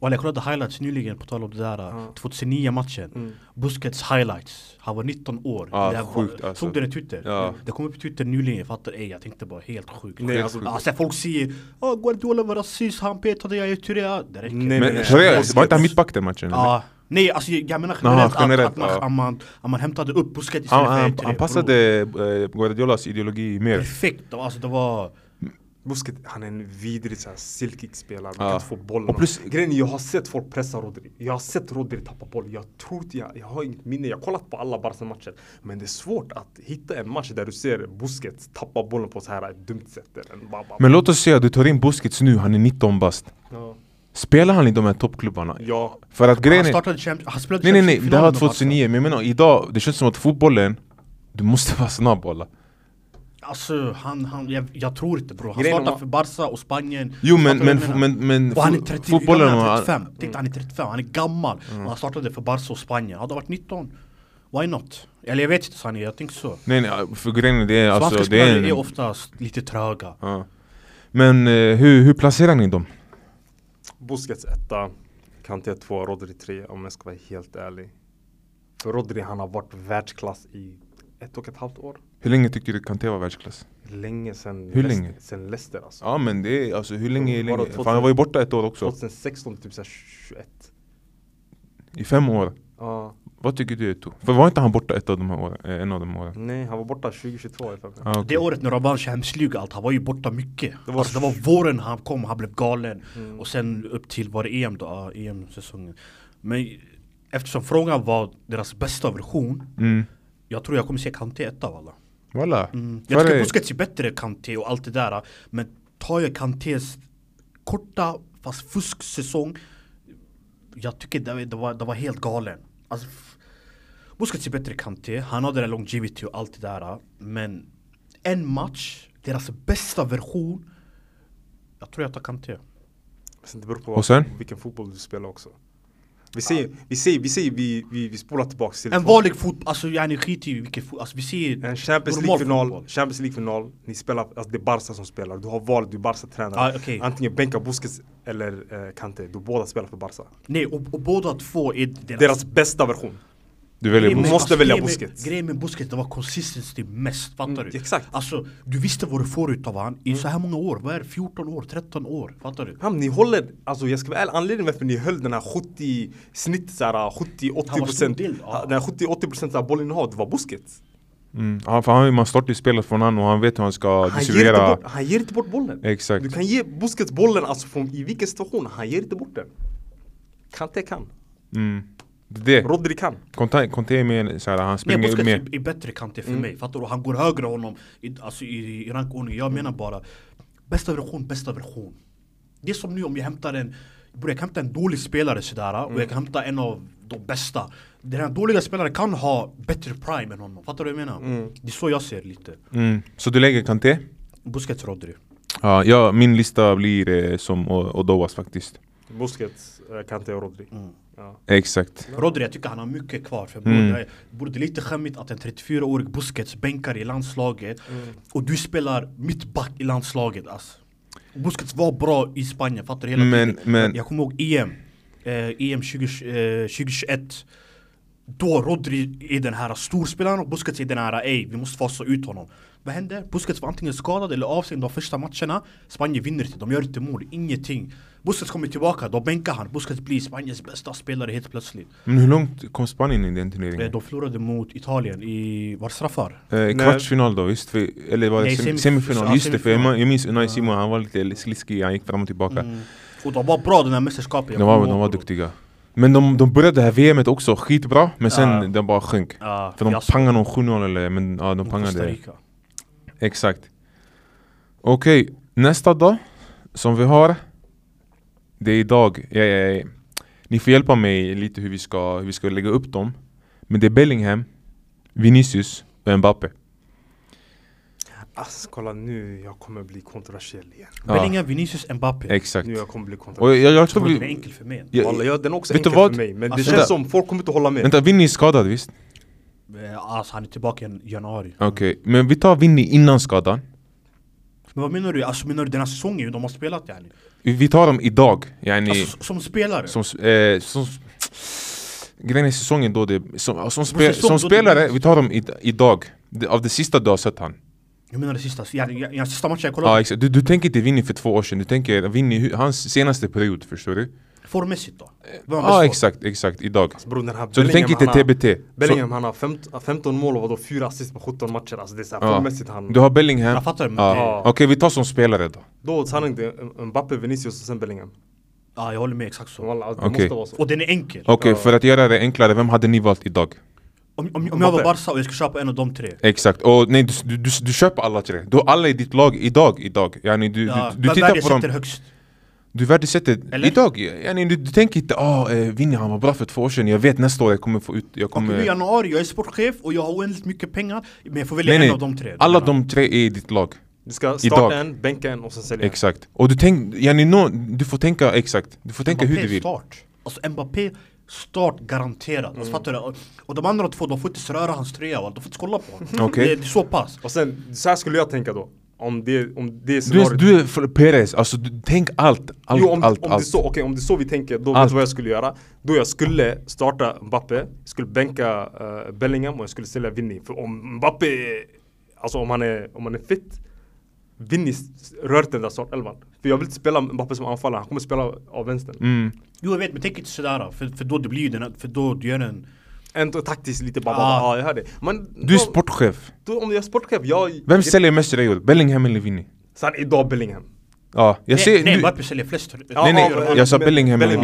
A: Walla jag kollade highlights nyligen på tal om det där
C: Ja.
A: 2009-matchen. Buskets highlights. Han var 19 år.
B: Ja,
A: Det här var-
B: sjukt, alltså.
A: Såg du det på Twitter?
B: Ja.
A: Det kom upp på Twitter nyligen, fattar ej. Jag tänkte bara helt sjukt.
C: Nej,
A: Helt
C: alltså-
A: sjukt. Alltså, folk säger oh, Guardiola var rasist, han petade, jag är Tyrea. Det räcker.
C: Nej,
B: Men
C: nej.
B: Torreira, var inte han mittback den matchen? eller?
A: Ja. Nej, alltså jag menar generellt,
B: generellt,
A: att, att, man,
B: ja.
A: att, man, att man hämtade upp Busquets
B: Han,
A: istället för
B: han,
A: Eritrea,
B: han
A: bror.
B: passade eh, Guardiolas ideologi mer.
A: Perfekt, det var- alltså det var...
C: Busquets, han är en vidrig så här, silkig spelare.
B: Ja.
C: Man kan inte få bollen.
B: Och plus-
C: Grejen är, jag har sett folk pressa Rodri. Jag har sett Rodri tappa boll. Jag tror inte, jag, jag har inget minne. Jag har kollat på alla Barca-matcher. Men det är svårt att hitta en match där du ser Busquets tappa bollen på så här ett dumt sätt. Eller en bara, bara,
B: Men låt oss säga att du tar in Busquets nu, han är 19 bast.
C: ja.
B: Spelar han i de här toppklubbarna?
C: ja.
B: För att grejen
A: Han
B: är...
A: startade Champions... Han spelade
B: Nej nej nej,
A: Champions
B: det här var
A: finalen alltså. och
B: 2009, men jag menar idag, det känns som att fotbollen, du måste vara snabb alla.
A: Barca. Alltså han, han, jag, jag tror inte bror. Han
C: Grejen om
A: startade
C: man-
A: för Barca och Spanien.
B: Jo
A: Fattar
B: men,
A: du vad
B: men,
A: jag menar?
B: men, men
A: och han är
B: fo-
A: 30,
B: fotbollen... Mm.
A: fotbollen han är
B: har-
A: 35. Titta han är 35, han är gammal. Och han startade för Barca och Spanien. Hade han varit 19, why not? Eller jag vet inte Sanne, jag tänker så.
B: Nej nej, för grejen är det är alltså...
A: Svenska
B: Det är
A: spelare är
B: en,
A: oftast lite tröga.
B: ja. Men eh, hur, hur placerar ni dem?
C: Busquets etta, Kanté två, Rodri tre om jag ska vara helt ärlig. För Rodri han har varit världsklass i ett och ett halvt år.
B: Hur länge tycker du Kanté var världsklass?
C: Länge sen
B: Hur länge?
C: Sen Leicester alltså.
B: Ja men det är alltså hur länge är
C: Vadå,
B: länge?
C: 2000?
B: Fan han var ju borta ett år också.
C: 2016 typ såhär 21.
B: I fem år.
C: Ja.
B: Vad tycker du Eto? För var inte han borta ett av de här åren? Eh, en av de åren?
C: Nej, han var borta 2022 har jag för mig.
B: Ah,
A: Det året när han vann Champions League allt, han var ju borta mycket.
C: Det
A: Det
C: var-
A: var, alltså, det var våren han kom, han blev galen. Och sen upp till, var det EM då? Ja, EM-säsongen. Men eftersom frågan var deras bästa version,
B: Mm.
A: jag tror jag kommer se Kanté etta av alla.
B: Voilà.
A: Jag
B: För
A: tycker
B: det-
A: Busquets är bättre än Kanté och allt det där. Men tar jag Kantés korta, fast fusksäsong, jag tycker det, det, var, det var helt galen. Alltså, f- Busquets är bättre än Kanté, han har den där longevity och allt det där. Men en match, deras bästa version, jag tror jag tar Kanté.
C: Sen det beror på
B: Och sen?
C: vilken fotboll du spelar också. Vi säger, vi säger, vi säger, vi, vi, vi spolar tillbaks till
A: En vanlig fotboll, alltså yani skit i vilken fotboll, alltså vi ser
C: en Champions
A: normal
C: League-final,
A: fotboll.
C: Champions League-final, ni spelar, alltså det är Barca som spelar, du har valet, du är Barca-tränare.
A: Ah, okej.
C: Antingen bänka Busquets eller eh, Kante, du båda spelar för Barca.
A: Nej, och, och båda två är deras,
C: Deras bästa version.
B: Du väljer
A: Grejen med-
B: Busquets.
C: måste välja
A: grejen med-
C: Busquets.
A: Grejen med Busquets, det var consistency mest, fattar
C: Mm,
A: du?
C: exakt.
A: Alltså, du visste vad du får utav han i så här många år, vad är det? 14 år, 13 år, fattar du?
C: Ja, men ni håller, alltså jag ska vara ärlig, anledningen varför ni höll den här 70, snitt såhär 70-80
A: Han var stor
C: procent,
A: del, ja.
C: den här 70-80 procent av bollinnehav, det var Busquets.
B: Mm. Ja, för han, man startar ju spelet från han och han vet hur han ska
C: Han ger, inte
B: distribuera.
C: bort, han ger inte bort bollen.
B: Exakt.
C: Du kan ge Busquets bollen alltså från, i vilken situation, han ger inte bort den. Kante kan,
B: Mm. Det är det.
C: Rodri kan.
B: Conte- Conte är mer såhär, han
A: Nej,
B: springer
A: Busquets
B: mer.
A: är, är bättre kantig för
C: Mm.
A: mig, fattar du? Och Han går högre honom, i, alltså i, i rankordning. Jag menar bara, bästa version, bästa version. Det är som nu om jag hämtar en, bror jag kan hämta en dålig spelare sådär
C: Mm.
A: och jag kan hämta en av de bästa. Den här dåliga spelaren kan ha bättre prime än honom, fattar du vad jag menar?
C: Mm.
A: Det är så jag ser lite.
B: Mm. Så du lägger Kanté?
A: Busquets, Rodri.
B: Ja, ja, min lista blir eh, som O- Odoas faktiskt.
C: Busquets, eh, Kante och Rodri. Ja.
B: Exakt.
A: Rodri, jag tycker han har mycket kvar för
B: Mm.
A: bror, det borde det är lite skämmigt att en 34-årig Busquets bänkar i landslaget och du spelar mittback i landslaget ass. Busquets var bra i Spanien, fattar du? Hela
B: Men-
A: tiden.
B: men-
A: Jag kommer ihåg EM, eh, EM 20, eh, 2021 då Rodri är den här storspelaren och Busquets är den här ej, vi måste fasa ut honom. Vad hände? Busquets var antingen skadad eller avstängd de första matcherna. Spanien vinner inte, de gör inte mål, ingenting. Busquets kommer tillbaka, då bänkar han. Busquets blir Spaniens bästa spelare helt plötsligt.
B: Men hur långt kom Spanien i den
A: Eh,
B: turneringen?
A: De förlorade mot Italien i... Var det straffar?
B: Eh,
C: Nej.
B: kvartsfinal då, visst? För, eller var det
A: Nej,
B: sem-
A: semif-
B: semifinal?
A: ja,
B: Just det, för jag
A: semifinal. Mm.
B: jag minns Unai Simon, han var lite sliskig, han gick fram och tillbaka.
A: Och de var bra den här mästerskapet. jag
B: De var,
A: kommer
B: de var
A: ihåg.
B: duktiga. Men de, de började det här VMet också skitbra, men sen
A: Ja.
B: den bara sjönk.
A: Ja,
B: För de
A: fiasko
B: pangade någon 7-0 eller, men ja de
A: mot Costa
B: pangade.
A: Rica.
B: Exakt. Okej, nästa dag som vi har. Det är idag. Jag, jag, jag, ni får hjälpa mig lite hur vi, ska, hur vi ska lägga upp dem. Men det är Bellingham, Vinicius och Mbappe.
C: Alltså kolla nu, jag kommer bli kontroversiell igen.
B: Ja.
A: Bellingham, Vinicius, Mbappe.
B: Exakt.
C: Nu jag kommer bli kontroversiell.
B: Och jag, jag, jag tror
A: Tror du det är
B: vi...
A: enkel för mig?
C: Walla,
B: Jag,
C: jag, den är också
B: eh, Vet du
C: enkel
B: vad?
C: för mig, men det
A: Alltså,
C: känns
B: vänta.
C: som folk kommer inte hålla med.
B: vänta, Vinny är skadad visst?
A: Eh, Alltså han är tillbaka i januari.
B: Okej, men vi tar Vinny innan skadan.
A: Men vad menar du? Alltså menar du den här säsongen de har spelat yani?
B: Vi tar dem idag, yani,
A: Alltså, s- som spelare?
B: som, s- eh, som, s- grejen är säsongen då det, som, som, spe,
A: säsong
B: som
A: då det-
B: spelare, vi tar dem i, idag, Det- av det sista du har sett han.
A: Jag menar det sista, yani, yani, yani, sista matchen jag kollade
B: Ja, exakt. Du, du tänker inte Vinny för två år sedan, du tänker Vinny, hu- hans senaste period, förstår du?
A: Formmässigt då? Vem var
B: Ja,
A: bäst då?
B: exakt, exakt, idag.
A: Alltså,
C: Bror den här
B: Så du
C: Bellingham,
B: tänker
C: han har-
B: inte TBT?
C: Bellingham han har femt- 15 mål och vadå 4 assist på 17 matcher. Alltså det är såhär
B: Ja.
C: formmässigt han...
B: Du har Bellingham?
A: Jag fattar, men
B: Ja.
A: det-
B: Okej, vi tar som spelare då.
C: Då sanning det är Mbappe, Vinicius och sen Bellingham.
A: Ja jag håller med exakt så
C: Wallah, alltså, det
B: Okej.
C: måste vara så.
A: Och den är enkel
B: Okej, för att göra det enklare, vem hade ni valt idag?
A: om, om, om jag var
C: Mbappé.
A: Barca och jag skulle köpa en av de tre
B: Exakt, och nej du, du, du, du köper alla tre. Du har alla i ditt lag idag, idag. Yani, du,
A: ja,
B: du, du
A: vem
B: tittar på
A: värdesätter
B: dem,
A: högst?
B: du värdesätter
A: Eller?
B: idag. Yani, du, du tänker inte ah, eh, Vinny han var bra för två år sedan, jag vet nästa år jag kommer få ut, jag
A: Okej,
B: kommer...
A: nu är januari, jag är sportchef och jag har oändligt mycket pengar Men jag får välja
B: nej
A: en
B: nej,
A: av de tre
B: alla de tre är i ditt lag.
C: Du ska starta
B: Idag.
C: en, bänka en och sen sälja en.
B: Exakt. Och du tänk, yani, no, du får tänka exakt, du får tänka hur du
A: Mbappé
B: vill.
A: start Alltså Mbappé start garanterat alltså, fattar du? Och- Och de andra två, de får inte ens röra hans tröja walla. de får inte ens kolla på honom
B: Okej.
A: det, det är så pass
C: Och sen, så här skulle jag tänka då. Om det, om det
B: Du,
C: scenariot.
B: är- du är för Perez, alltså du, tänk allt, allt,
C: jo, om,
B: allt,
C: om, Det
B: allt.
C: så, okej, om det är så vi tänker, då vet
B: Allt.
C: du vad jag skulle göra? Då jag skulle starta Mbappe, skulle bänka eh, Bellingham och jag skulle sälja Vinny. För om Mbappe, är- alltså om han är, om han är fit, Vinny s- rör inte den där startelvan. För jag vill inte spela Mbappe som anfallare, han kommer spela av vänstern.
B: Mm.
A: Jo jag vet, men tänk inte sådär för, för då det blir ju den här- för då du gör en
C: Ändå taktiskt lite bara,
A: Ah.
C: ah. ja jag hör det. Men
B: Du är
C: då-
B: sportchef.
C: då, om jag är sportchef, jag...
B: Vem säljer mest tröjor? Bellingham eller Vinny?
C: Sen idag Bellingham.
B: Ja, jag
A: Nej,
B: ser...
A: nej
B: nu-
A: Mbappé säljer flest tröjor.
C: Ja,
B: Nej, nej,
C: ja, men-
B: jag sa
C: men-
B: Bellingham eller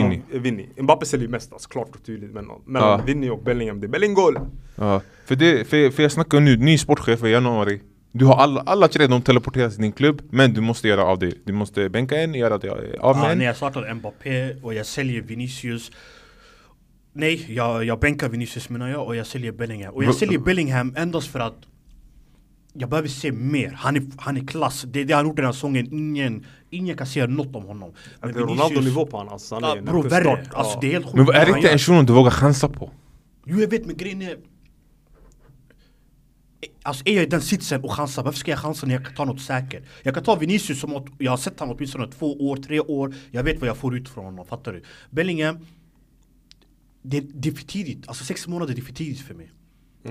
C: Vinny. Mbappé säljer ju mest, alltså, klart och tydligt. Men mellan
B: Ja.
C: Vinny och Bellingham, det är Bellingol.
B: Ja, för, det, för, för jag snackar nu, ny sportchef i januari Du har alla, alla tre, de teleporteras till din klubb Men du måste göra av dig Du måste bänka en, göra dig av med
A: Ah,
B: en
A: när jag startar Mbappé och jag säljer Vinicius Nej, jag, jag bänkar Vinicius menar jag och jag säljer Bellingham Och jag
B: Va-
A: säljer Bellingham endast för att jag behöver se mer, han är, han är klass, det är det han gjort den här säsongen, ingen, ingen kan säga något om honom
C: Det
A: Men
C: är Ronaldo-nivå på honom alltså. Han
A: ja,
C: är
A: bro,
C: en
A: värre,
C: start-
A: alltså
C: ja.
A: det är helt sjukt
B: Men vad är det
A: vad
B: inte
A: han
B: en
A: gör.
B: shuno du vågar chansa på?
A: Jo jag vet men grejen är Alltså är jag i den sitsen och chansar, varför ska jag chansa när jag kan ta något säkert? Jag kan ta Vinicius som åt, jag har sett honom åtminstone två år, tre år Jag vet vad jag får ut från honom, fattar du? Bellingham det, det är för tidigt, alltså sex månader det är för tidigt för mig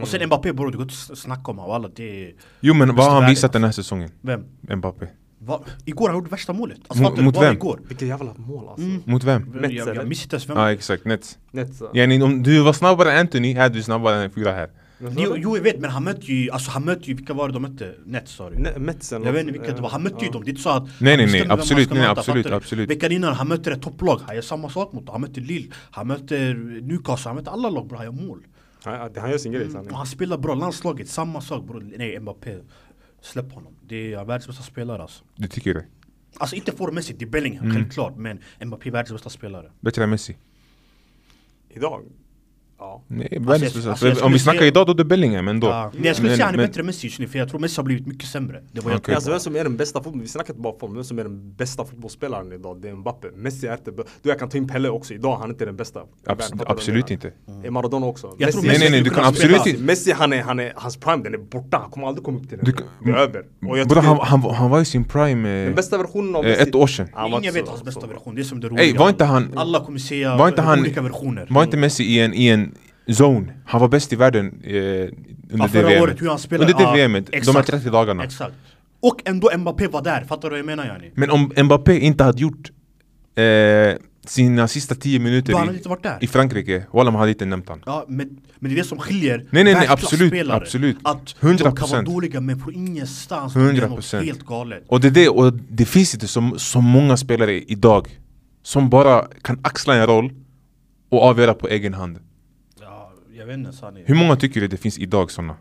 A: Och sen Mbappé bror, det går inte att s- snacka om honom, alla det är...
B: Mm. Jo men vad har han
A: Värre.
B: visat den här säsongen?
A: Vem?
B: Mbappé
A: Va? Igår han gjorde värsta målet! Alltså,
B: Mot-
A: fattar du?
B: mot
A: Bara
B: vem?
A: Igår.
C: Vilket jävla mål alltså.
A: Mm.
B: Mot vem?
A: Jag, jag,
C: eller?
A: jag missade inte ens vem
B: Ja ah, exakt, Nets
C: Nät, så.
B: yani, om du var snabbare än Anthony, här du är snabbare än fyra här
A: Jo, jo jag vet men han mötte ju, alltså han mötte ju, vilka var det de mötte? Nets sa du?
C: Nä- Mets eller
A: Jag vet
C: något.
A: inte vilka det var,
C: alltså.
A: han
C: Ja.
A: mötte ju dem, det är inte så att
B: nej,
A: han
B: nej,
A: bestämde vem han
B: absolut,
A: ska
B: nej, nej,
A: möta,
B: absolut,
A: fattar du?
B: absolut.
A: Veckan innan han mötte ett topplag, han gör samma sak mot dem Han mötte Lille, han mötte Newcastle, han mötte alla lag bra, han gör mål
C: Ja, det- Han gör sin grej sanning.
A: Och han spelar bra, landslaget, samma sak bro. Nej Mbappé, släpp honom Det är världens bästa spelare alltså
B: Du tycker det?
A: Alltså inte formmässigt, det är Bellingham
B: Mm.
A: självklart Men Mbappé är världens bästa spelare
B: Bättre än Messi?
C: Idag? Ja.
B: Nej,
A: jag-
B: världens bästa.
A: alltså, jag
B: För Om
A: skulle
B: vi
A: säga-
B: snackar idag då är det Bellingham ändå
A: Ja. Ah, Nej, Jag skulle
B: Men-
A: säga han är
B: men-
A: bättre än Messi just nu för jag tror Messi har blivit mycket sämre Det var jag
B: Okej.
A: tror
C: Alltså vem som är den bästa fotboll, vi snackar inte bara om vem som är den bästa fotbollsspelaren idag, det är Mbappe. Messi är inte bä- Du jag kan ta in Pelle också, idag han är inte den bästa.
B: Abs-
C: Fattar du vad jag
B: absolut
C: menar? Mm.
B: inte.
C: Är Maradona också?
A: Jag tror
C: Messi-
A: Messi
B: Nej, nej, nej,
A: skulle
B: du kan
A: kunna spela.
B: absolut inte-
C: Messi han är, han är, hans prime den är borta, han kommer aldrig komma upp till den.
B: Du kan-
C: det är över. Och jag
B: Bror,
C: tycker
B: han, han, var- han var i sin prime eh,
C: den bästa versionen av
B: eh,
C: Messi. alltså-
B: ett år sedan.
C: han var
A: Ingen
C: inte
A: vet
C: så-
A: hans
C: så-
A: bästa version, det är som det roliga
B: Ey, var inte han-
A: Alla kommer säga
B: Var inte han-
A: olika versioner
B: Var inte Messi i en, i en zone? Han var bäst i världen eh,
A: Ja,
B: under det
A: förra
B: VMet.
A: året, hur han spelade.
B: Under det
A: Ja,
B: VMet, de här
A: exakt.
B: 30 dagarna.
A: Exakt. Och ändå Mbappé var där, fattar du vad jag menar yani?
B: Men om Mbappé inte hade gjort eh, sina sista 10 minuter
A: Då hade han
B: i,
A: inte varit där.
B: i Frankrike, walla man hade inte nämnt han.
A: Ja, men, men det är det som skiljer
B: nej, nej,
A: världsklassspelare.
B: absolut, absolut.
A: Att
B: 100%.
A: de kan vara dåliga men från ingenstans de gör något
B: 100%.
A: helt galet
B: Och det, är det, och det finns inte så, så många spelare idag som bara kan axla en roll och avgöra på egen hand.
A: ja, Jag vet inte sanningen
B: Hur många tycker du det finns idag sådana?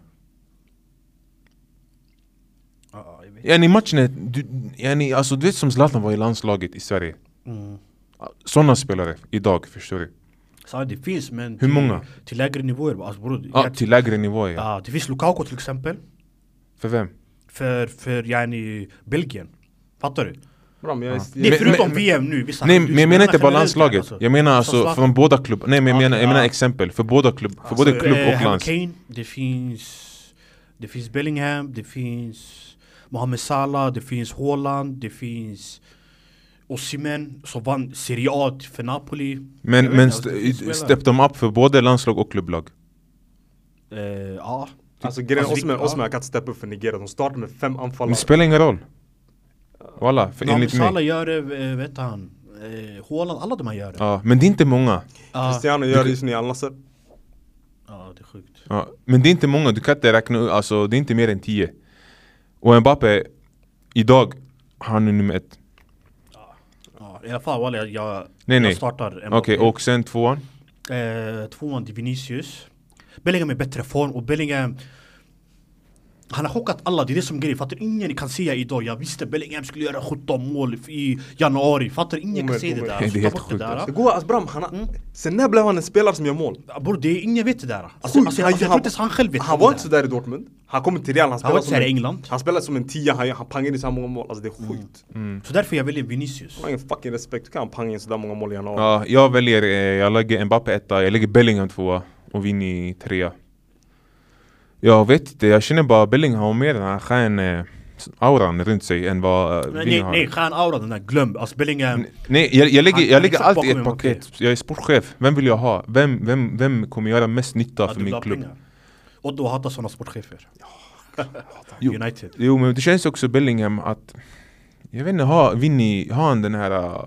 A: ja, jag vet.
B: Yani matchen är, du, yani, alltså, du vet som Zlatan var i landslaget i Sverige.
A: Mm.
B: Sådana spelare idag, förstår du?
A: Sanningen, det finns men
B: Hur många?
A: Till, till lägre nivåer alltså, bror,
B: Ja,
A: jag-
B: till lägre nivåer ja.
A: ja, Det finns Lukaku till exempel
B: För vem?
A: För, för yani, Belgien Fattar du?
C: Bra, men jag är-
A: Det är
B: Men-
A: förutom
B: men-
A: VM nu vissa
B: Nej
A: du
B: men jag
A: spelar
B: menar inte bara
A: generellt,
B: landslaget, jag menar
A: Som
B: alltså
A: Zlatan.
B: från båda klubbar, nej men jag
A: Ja,
B: menar, jag
A: ja.
B: menar exempel, för båda klubb, för både
A: Eh,
B: klubb och
A: Harry
B: lands
A: Kane, det finns, det finns Bellingham, det finns Mohamed Salah, det finns Haaland, det finns Osimhen som vann Serie A för Napoli.
B: Men,
A: Jag vet
B: men
A: inte, alltså,
B: st-
A: det finns spelare.
B: step de upp för både landslag och klubblag?
A: Eh, ja.
C: Alltså grejen är
A: Alltså, vi-
C: Osman,
A: ja.
C: Osman har kan inte steppa upp för Nigeria. De startar med fem
B: Det
C: anfallare.
B: spelar ingen roll. Walla, för
A: Mohamed
B: enligt mig.
A: Salah gör det, eh, vet han. Eh, Haaland, alla de här gör det.
B: Ja, men det är inte många.
A: Ja,
C: Cristiano gör det just nu i Al-Nassr.
A: ja det är sjukt.
B: Ja, men det är inte många, du kan inte räkna ut, alltså det är inte mer än tio. Och Mbappe, idag, han är nummer ett.
A: Ja, I alla fall Walla, jag, jag,
B: Nej,
A: jag
B: nej.
A: startar Mbappé.
B: Okej, och sen tvåan?
A: Eh, tvåan till Vinicius. Bellingham är i bättre form och Bellingham han har chockat alla, det är det som är grejen. Fattar ingen kan säga idag, jag visste Bellingham skulle göra 17 mål i januari. Fattar ingen kan
C: Omöjligt,
A: säga det där.
C: omöjligt.
B: Det är
A: Ta
B: helt
A: bort
B: sjukt,
A: där.
B: alltså.
C: Det går alltså Bram, han har,
A: Mm.
C: sen när blev han en spelare som gör mål?
A: Bror, det är ingen vet det där. Alltså, alltså,
C: Sjukt,
A: alltså, jag tror inte ens han själv vet
C: Han
A: om
C: var
A: det
C: inte
A: där.
C: sådär i Dortmund. Han kommer till Real, han
A: Han var
C: spelade
A: inte
C: som
A: såhär i
C: en,
A: England. Mm.
C: han spelade som en tia, han, han pangade in så här många mål. Alltså det är sjukt.
A: Så därför jag väljer Vinicius.
C: Han har ingen fucking respekt, hur kan han panga in sådär många mål i januari?
B: Ja, jag väljer, eh, jag lägger Mbappe etta, jag lägger Bellingham tvåa och Vinny trea. Jag vet inte, jag känner bara Bellingham har mer den här skön eh, auran runt sig än vad eh,
A: Nej,
B: Vinny
A: nej,
B: har.
A: nej, Khan Aura, den där, glöm. Alltså Bellingham.
B: Nej, jag, jag lägger,
A: Han-
B: jag
A: han
B: lägger
A: är
B: allt i
A: bakom
B: ett
A: Mbappé.
B: paket. Jag är sportchef, vem vill jag ha? Vem, vem, vem kommer göra mest nytta
A: Ja,
B: för
A: du vill
B: Alltså, min
A: ha
B: klubb?
A: pengar. Och då hatar sådana sportchefer.
B: Jo.
A: United.
B: Jo men det känns också Bellingham att Jag vet inte, har Vinny, har han den här eh,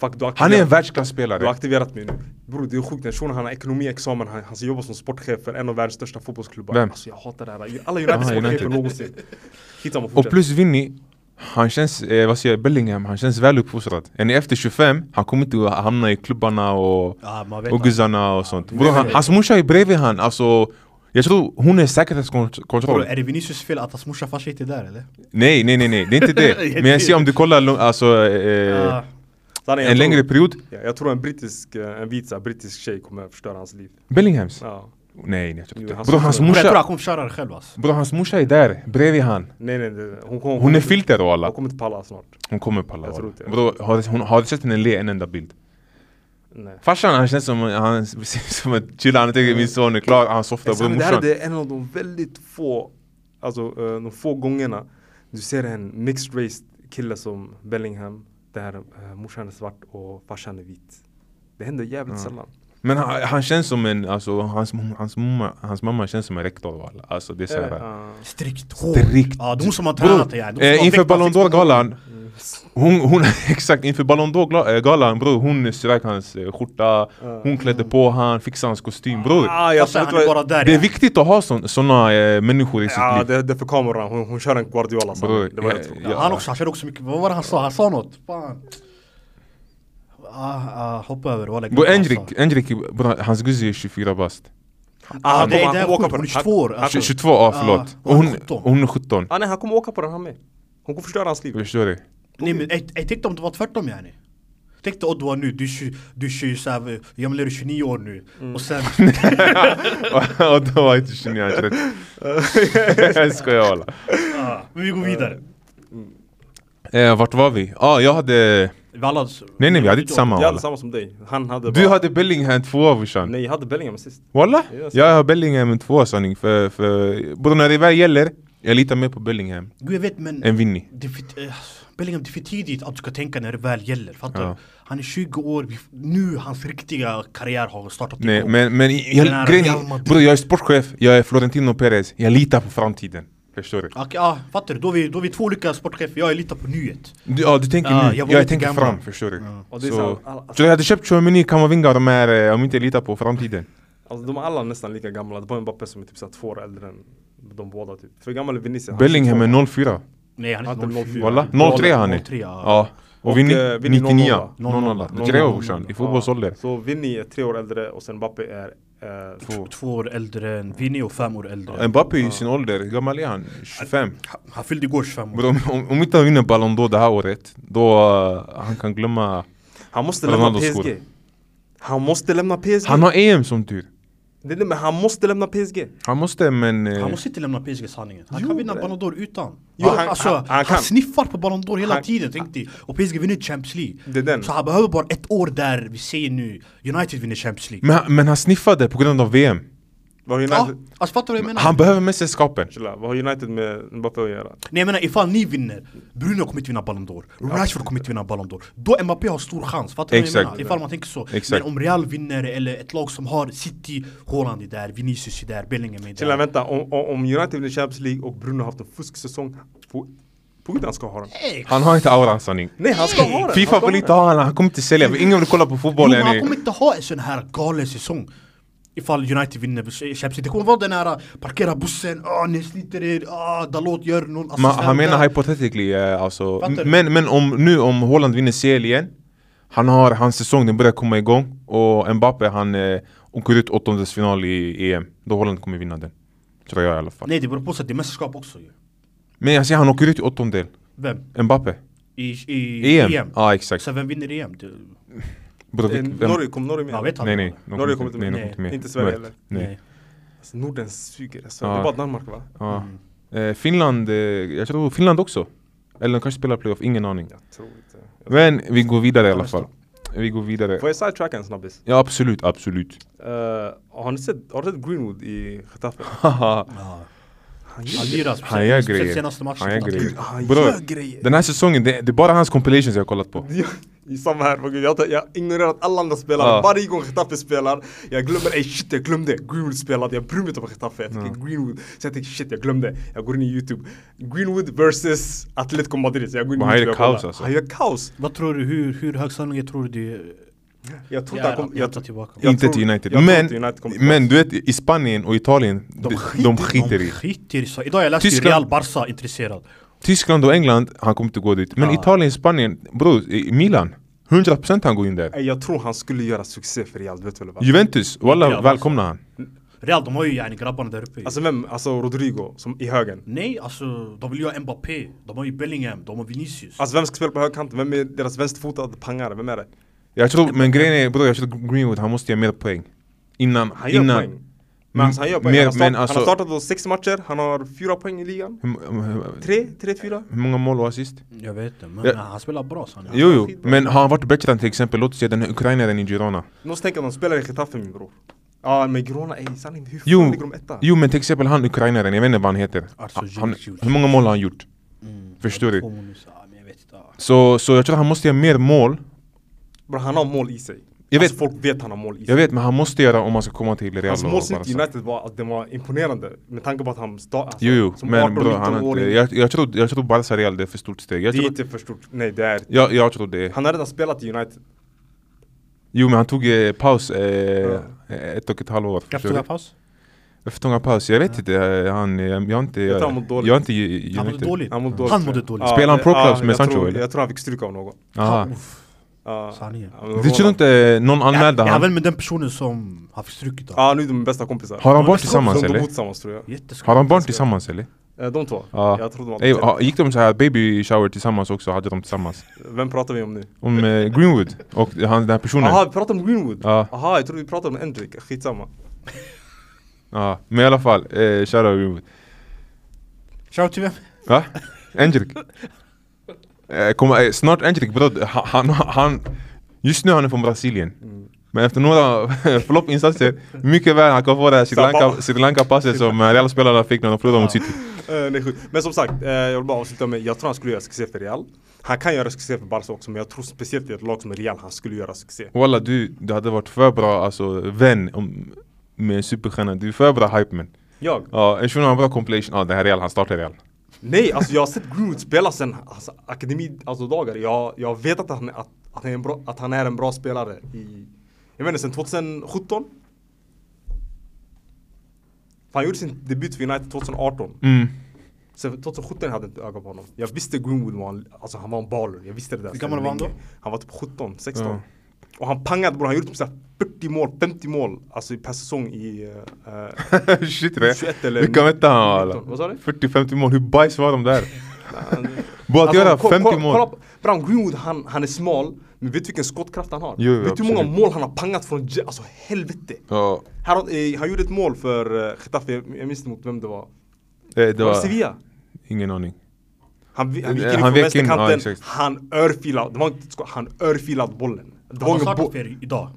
C: Fuck, du har
B: Han är en
C: aktiverat- Du har
B: världsklasspelare
C: aktiverat mig nu. Bror det är sjukt, den shunon han har ekonomiexamen, han, han jobbar som sportchef för en av världens största fotbollsklubbar.
B: Vem?
C: Alltså jag hatar det här. Alla
B: Aha,
C: United-sportchefer
B: United.
C: någonsin. Skitsamma,
B: Och
C: fortsätt.
B: plus Vinny Han känns, eh, vad säger jag, Bellingham, han känns väl uppfostrad Än efter 25, han kommer inte att hamna i klubbarna och,
A: Ja, man vet
B: och guzzarna och sånt
A: men-
B: Bror, han, hans morsa är bredvid han, alltså Jag tror hon är
A: Bror,
B: säkerhetskontroll
A: är det Vinicius fel att hans morsa och farsa inte är där eller?
B: Nej nej nej nej, det är inte det Men jag ser om du kollar, lång- alltså eh,
A: Ja.
C: Sanna, jag
B: En
C: tror-
B: längre period
C: Ja, jag tror en brittisk, eh, en vit så här, brittisk tjej kommer förstöra hans liv.
B: Bellinghams
C: Ja.
B: Nej, nej jag tror
C: Jo,
B: inte
C: han
B: Bror, hans
C: sa-
A: Bror, jag tror han
B: morsa,
A: kommer köra det själv alltså.
B: bror, hans morsa är där, bredvid han
C: Nej nej, nej. Hon, hon,
B: Hon är filter och alla
C: Hon kommer inte palla snart.
B: Hon kommer palla
C: Jag tror
B: Walla.
C: inte det.
B: Bro, har, du- hon, har du sett henne le en enda bild?
C: Nej.
B: Farsan han känns som, han ser som en chilla, han tänker min son är klar, han softar bror
C: det här är
B: morsan
C: det en av de väldigt få, alltså eh, de få gångerna du ser en mixed race kille som Bellingham där eh, morsan är svart och farsan är vit. Det händer jävligt sällan.
B: Men han, han känns som en, alltså hans, mom- hans, mamma, hans mamma känns som en rektor walla Alltså det är
C: Eh,
B: såhär
C: eh,
A: Strikt
B: Strikt.
A: Ja, de som har tränat det ja.
B: Bror,
A: De som har
B: eh, inför
A: väckt
B: Ballon
A: hans-
B: d'Or-galan hon, hon, exakt, inför Ballon d'Or-galan bror, hon strök hans eh, skjorta, hon klädde på han, fixade hans kostym bror
C: ah, jag
A: Alltså,
C: tror
A: han
C: att
A: är
C: det
A: bara
C: var...
A: där
B: Det är
A: ja.
B: viktigt att ha sådana eh, människor i sitt
C: Ja,
B: liv Eh,
C: det, det är för kameran. Hon, hon kör en Guardiola. Sanna.
B: Bror,
C: det var
B: jag-
C: jag, tror.
B: jag-
A: Ja, Han också, han körde också mycket, vad var det han sa? Han sa något, fan ah, ah, Hoppa över, walla
B: Bror Endrik, Endrik, bror, hans guzzi är 24 bast
C: Ah,
A: ah,
C: han
A: Det
C: kommer-
A: är det
C: han
A: är
C: kommer åka
A: sjukt,
C: på
A: hon är 22 år
C: den.
A: alltså.
B: 22, ja förlåt.
A: Ah,
B: och hon,
A: 17.
B: hon är 17.
C: Ah, nej, han kommer åka på den han med. Hon kommer förstöra hans liv.
B: Jag förstår dig.
A: Nej men ey, ey, tänk dig om det var tvärtom yani Tänk dig Oddvar nu, du är tju- du är tju- så här, jag menar du är 29 år nu och sen
B: Mm. och då var jag inte 29, jag är 30. Jag skojar walla.
A: ah, Men vi går vidare
B: Eh, vart var vi? ah, jag hade...
A: Vi alla,
B: Nej nej vi hade inte samma
C: Jag hade
B: walla.
C: samma som dig. Han hade
B: Du
C: bara...
B: hade Bellingham tvåa brorsan.
C: Nej, jag hade Bellingham sist.
B: Walla?
C: Yes.
B: Jag har Bellingham tvåa sanning. För, för... Bror när det väl gäller, jag litar mer på Bellingham
A: Gud jag vet men
B: än Vinny.
A: det är för, eh, Bellingham, det är för tidigt att du ska tänka när det väl gäller, fattar du?
B: Ja.
A: Han är 20 år, vi f- nu hans riktiga karriär har startat
B: Nej
A: igång.
B: men, men i-
A: Den här
B: jag, grejen
A: Real
B: är,
A: Madrid.
B: bror jag är sportchef, jag är Florentino Perez. Jag litar på framtiden. Förstår du?
A: Okej, ja, fattar du? Då är vi, då är vi två olika sportchefer, jag är lite på nyhet.
B: Du, ja, du tänker
A: Ja,
B: nu,
A: jag
B: jag,
A: var lite
B: tänker
A: gammal.
B: fram, förstår du?
C: Och det är
B: Så,
C: så här, alla-
B: så jag hade köpt Chouamini, Kamavinga och de här, eh, om inte litar på framtiden.
C: Alltså de är alla nästan lika gamla. Det var Mbappé som är typ såhär två år äldre än de båda typ. För gammal är Vinicius. han är
B: Bellingham
C: 22.
B: är 04,
A: Nej, han är
C: Han är
A: inte 04.
B: walla. 03 han är.
A: 03, ja.
B: Ja. Och,
C: Och,
B: Vinny,
C: eh, Vinny
B: 99,
A: 00.
B: 00.
A: 00.
B: Tre år brorsan, i
C: Ja.
B: fotbollsålder.
C: Så Vinny är tre år äldre och sen Mbappé är... Eh,
A: T- Två år äldre än Vinny och fem år äldre.
B: Mbappé i sin ålder, hur gammal är han? 25?
A: Han- Han fyllde igår 25 år.
B: Bro, om, om, om inte han vinner Ballon d'Or det här året, då eh, han kan glömma...
C: han måste lämna
B: Ronaldos
C: PSG.
B: skor.
C: Han måste lämna PSG.
B: Han har EM som tur.
C: Det är det, men han måste lämna PSG.
B: Han måste men... eh,
A: Han måste inte lämna PSG sanningen. Han
C: Jo,
A: kan vinna
C: bre.
A: Ballon d'Or utan.
C: Jo,
A: han,
C: han-
A: alltså, han,
C: han- han kan.
A: sniffar på Ballon d'Or hela
C: Han-
A: tiden, tänk dig. Och PSG vinner Champions League.
C: Det är den.
A: Så han behöver bara ett år där, vi säger nu, United vinner Champions League.
B: Men, han- men han sniffade på grund av VM.
C: Vad har
A: Ja,
C: United...
A: alltså fattar du vad jag menar?
B: Han behöver mästerskapen.
C: Chilla, vad har United med Mbappé att göra?
A: Nej jag menar ifall ni vinner, Bruno kommer inte vinna Ballon d'Or, Rashford kommer inte vinna Ballon d'Or Då Mbappé har stor chans, fattar du vad jag
B: Exakt.
A: menar? Ifall man tänker så
B: Exakt.
A: Men om Real vinner eller ett lag som har City, Haaland är där, Vinicius är där, Bellingham är
C: Chilla,
A: där
C: vänta. Om, om om United vinner Champions League och Bruno har haft en fusksäsong, på, på gud han ska ha den.
A: Ex.
B: Han har inte auran sanning.
C: Nej, han ska ha den!
B: Fifa
C: Han ska
B: vill
C: ha
B: inte ha honom, han kommer inte sälja. Ingen vill kolla på
A: Jo,
B: fotboll
A: men han
B: yani.
A: kommer inte ha en sån här galen säsong Ifall United vinner Champions League, det kommer vara den här äh, parkera bussen, ah ni sliter er, ah Dalot gör någon
B: Man,
A: assistent
B: han menar
A: där.
B: hypotetically eh, alltså.
A: Fattar du?
B: Men, men om, nu om Holland vinner CL igen. Han har, hans säsong den börjar komma igång. Och Mbappe han eh, åker ut åttondelsfinal i EM. Då Holland kommer vinna den. Tror jag i alla fall.
A: Nej det beror på sig att det är mästerskap också ju
B: Men jag säger han åker ut i åttondel.
A: Vem?
B: Mbappe.
A: I, i
B: EM.
A: EM?
B: Ja ah, exakt.
A: Så vem vinner EM? Det,
B: Bro,
C: den.
B: vil-
C: Eh,
B: vem-
C: Norge, kom Norge med?
A: jag vet
B: Nej
A: aldrig.
B: nej. de
C: Norge kommer inte
B: nej,
C: med.
B: de kommer
A: Nej,
B: med.
C: inte Sverige
B: Mörkt.
C: heller.
B: Nej.
C: Alltså, Norden suger. Alltså.
B: Ja.
C: Det är bara Danmark va?
B: Ja.
C: Mm.
B: Eh, Finland, eh, jag tror Finland också. Eller de kanske spelar playoff, ingen aning.
C: Jag tror inte.
B: Men vi går vidare i alla fall. Vi går vidare.
C: Får jag sidetracka en snabbis?
B: Ja absolut, absolut.
C: Eh, har, ni sett, har du sett Greenwood i Getafe?
B: Haha.
A: Ja. Han
C: Han gör
A: lirar
B: Han gör
A: speciellt speciellt
B: grejer.
A: senaste matchen.
B: Han gör
A: Gud,
B: grejer.
C: han
B: Bror,
C: gör grejer.
B: den här säsongen, det, det är bara hans compilations jag har kollat på.
C: Ja, I samma här, för gud, jag, tar- jag har ignorerat alla andra spelare.
B: Ja.
C: Varje gång Getafe spelar, jag glömmer, ey shit jag glömde, Greenwood spelade, jag bryr mig inte om Getafe, jag tycker Greenwood. Så jag tänker shit jag glömde, jag går in i YouTube. Greenwood versus Atletico Madrid. Så jag går in i
B: Men han
C: YouTube
B: gör
C: och kollar.
B: kaos, alltså.
C: Han gör kaos!
A: Vad tror du, hur, hur hög sannolikhet tror du det
C: Jag
A: det
C: tror inte
A: är
C: han
A: att
C: kommer...
A: hämta
C: Jag,
A: tillbaka?
C: Jag
B: inte
C: tror-
B: till United.
C: jag tror
B: Men,
C: inte United kommer
B: men
C: tillbaka.
B: du vet, i Spanien och Italien, de,
A: skiter-
B: de skiter i.
A: De skiter i så. Idag jag läste ju
B: Tyskland-
A: Real Barca intresserad.
B: Tyskland och England, han kommer inte gå dit. Men
A: Ja.
B: Italien, Spanien, bror, i- i Milan. 100% han går in där.
C: ey, jag tror han skulle göra succé för Real, du vet väl vad?
B: Juventus,
A: Ja,
B: walla
A: alltså.
B: välkomna han.
A: Real, de har ju yani grabbarna där uppe.
C: Alltså vem? Alltså Rodrigo, som i högen.
A: Nej, alltså de vill ju ha Mbappé. De har ju Bellingham, de har Vinicius.
C: Alltså vem ska spela på högerkanten? Vem är deras vänsterfotade pangare? Vem är det?
B: Jag tror, men grejen är bror, jag tror Greenwood, han måste göra mer poäng. Innan,
C: Han gör
B: innan.
C: poäng. Men alltså, han gör poäng.
B: Mer,
C: han, har start,
B: men alltså,
C: han har startat då sex matcher, han har fyra poäng i ligan.
B: hur, hur-
C: Tre, tre, fyra.
B: hur många mål och assist?
A: Jag vet inte, men
B: Ja.
A: han spelar bra sa han.
B: Jo, jo, men har han varit bättre än till exempel, låt oss säga den här ukrainaren i Girona.
C: Du måste tänka att de spelar i Getafe min bror. Ja men Girona, ey sanning, hur fan
B: Jo,
C: ligger de etta?
B: jo, men till exempel han ukrainaren, jag vet inte vad han heter.
A: Arthur
B: Han,
A: Zivkovic.
B: hur många mål har han gjort? Förstår du?
A: Två minus, ja, men jag vet inte. ja.
B: Så, så jag tror han måste göra mer mål.
C: Bror han har mål i sig.
B: Jag
C: alltså
B: vet.
C: folk vet han har mål i sig.
B: Jag vet, men han måste göra om han ska komma till Real
C: Hans
B: och
C: målsnitt i
B: Barca.
C: United var, alltså, den var imponerande. Med tanke på att han stod, alltså,
B: Jo, jo,
C: som
B: men bror, han
C: 18-19
B: har inte,
C: åring.
B: jag, jag tror, jag tror Barca Real, det är för stort steg. Jag
C: Det är
B: tror,
C: inte för stort. Nej det är
B: jag, jag tror det.
C: Han har redan spelat i United.
B: Jo, men han tog eh, paus eh,
C: Ja.
B: ett och ett halvår.
A: Efter
B: förstår du?
A: det paus?
B: Efter långa paus, jag vet inte, eh, han, eh, jag har inte,
C: Jag tror
B: jag,
C: han mår
B: jag
C: dåligt.
B: har inte ju-
A: Han mådde
B: United.
A: dåligt.
C: Han mådde dåligt.
A: Han mådde dåligt.
C: Ja,
B: Spelar han
C: det-
B: pro clubs
C: ja,
B: med
C: jag
B: Sancho,
C: tror,
B: eller?
C: Jag tror han fick stryk av någon.
B: Aha.
A: Uff,
C: Ja.
A: sanningen.
C: Ja,
B: Du
C: men
B: tror
C: Roland-
B: inte eh, någon anmälde
A: Jag är väl
B: han?
A: med den personen som har fått stryk idag.
C: Ja, nu är de bästa kompisar.
B: Har de
A: Ja, det
B: barn
A: tror jag.
B: tillsammans
C: de bor
B: eller?
C: tillsammans tror jag.
A: Jätteskumt.
B: Har de barn tillsammans eller?
C: Eh, De två.
B: Ja.
C: Jag trodde de
B: Ey, ah.
C: hade
B: ha- gick de så här baby shower tillsammans också? Hade de tillsammans?
C: Vem pratar vi om nu?
B: Om eh, Greenwood och han, den här personen?
C: Jaha, vi pratar om Greenwood?
B: Ja.
C: Aha, jag trodde vi pratade om Endrick. Skitsamma.
B: Ja, men i alla fall, eh, shoutout Greenwood.
A: Shoutout till vem?
B: Va? Angelic? Eh, kom, eh, snart Angelic bror, han, han, han... Just nu han är från Brasilien.
C: Mm.
B: Men efter några floppinsatser, mycket väl han kan få det här Sri Lanka-
C: Sabah.
B: Sri Lanka-passet som eh, Real-spelarna fick när de förlorade mot City.
C: Eh, nej, skit. Men som sagt, eh, jag vill bara avsluta med, jag tror han skulle göra succé för Real. Han kan göra succé för Barca också, men jag tror speciellt i ett lag som Real, han skulle göra succé.
B: Walla du, du hade varit för bra alltså, vän om, med en superstjärna. Du är för bra hype man.
C: Jag?
B: Ja, en shuno har en bra compilation. Ja, det här är Real, han startar Real.
C: Nej, alltså jag har sett Greenwood spela sen alltså, akademi, alltså dagar. Jag, jag vet att han, att, att, han är en bra, att han är en bra spelare i, jag vet inte, sen 2017? För han gjorde sin debut för United 2018.
B: Mm.
C: Sen 2017 hade jag inte öga på honom. Jag visste Greenwood var en, alltså han var en baller. Jag visste det där.
A: Hur gammal
C: sedan
A: var han då?
C: länge. Han var typ 17, 16.
B: Ja.
C: Och han pangade bror. Han gjorde typ såhär 40 mål, 50 mål. Alltså i- per säsong i... eh, eh,
B: Shit det.
C: 21 eller
B: Hur kan vi inte ha alla?
C: 19? Vad sa du?
B: 40-50 mål, hur bajs var de där? Bara att
C: alltså,
B: göra
C: ko-
B: 50
C: ko- kolla
B: mål.
C: på- Bram Greenwood han, han är smal. Men vet du vilken skottkraft han har?
B: Jo, jo,
C: vet du hur många
B: absolut.
C: mål han har pangat från... j- Alltså helvete.
B: Ja,
C: Här, eh, han gjorde ett mål för eh, Getafe. Jag jag minns inte mot vem det var.
B: eh, det
C: Det var
B: var...
C: Sevilla.
B: Ingen aning.
C: Han, vi- han gick
B: Eh,
C: in
B: han
C: från
B: vek in, ja,
C: vänsterkanten,
B: exakt.
C: han örfilade, det var inte ett skott, han örfilade bollen.
A: Han
C: Det var
A: har
C: ingen
A: startat
C: boll.
A: för idag.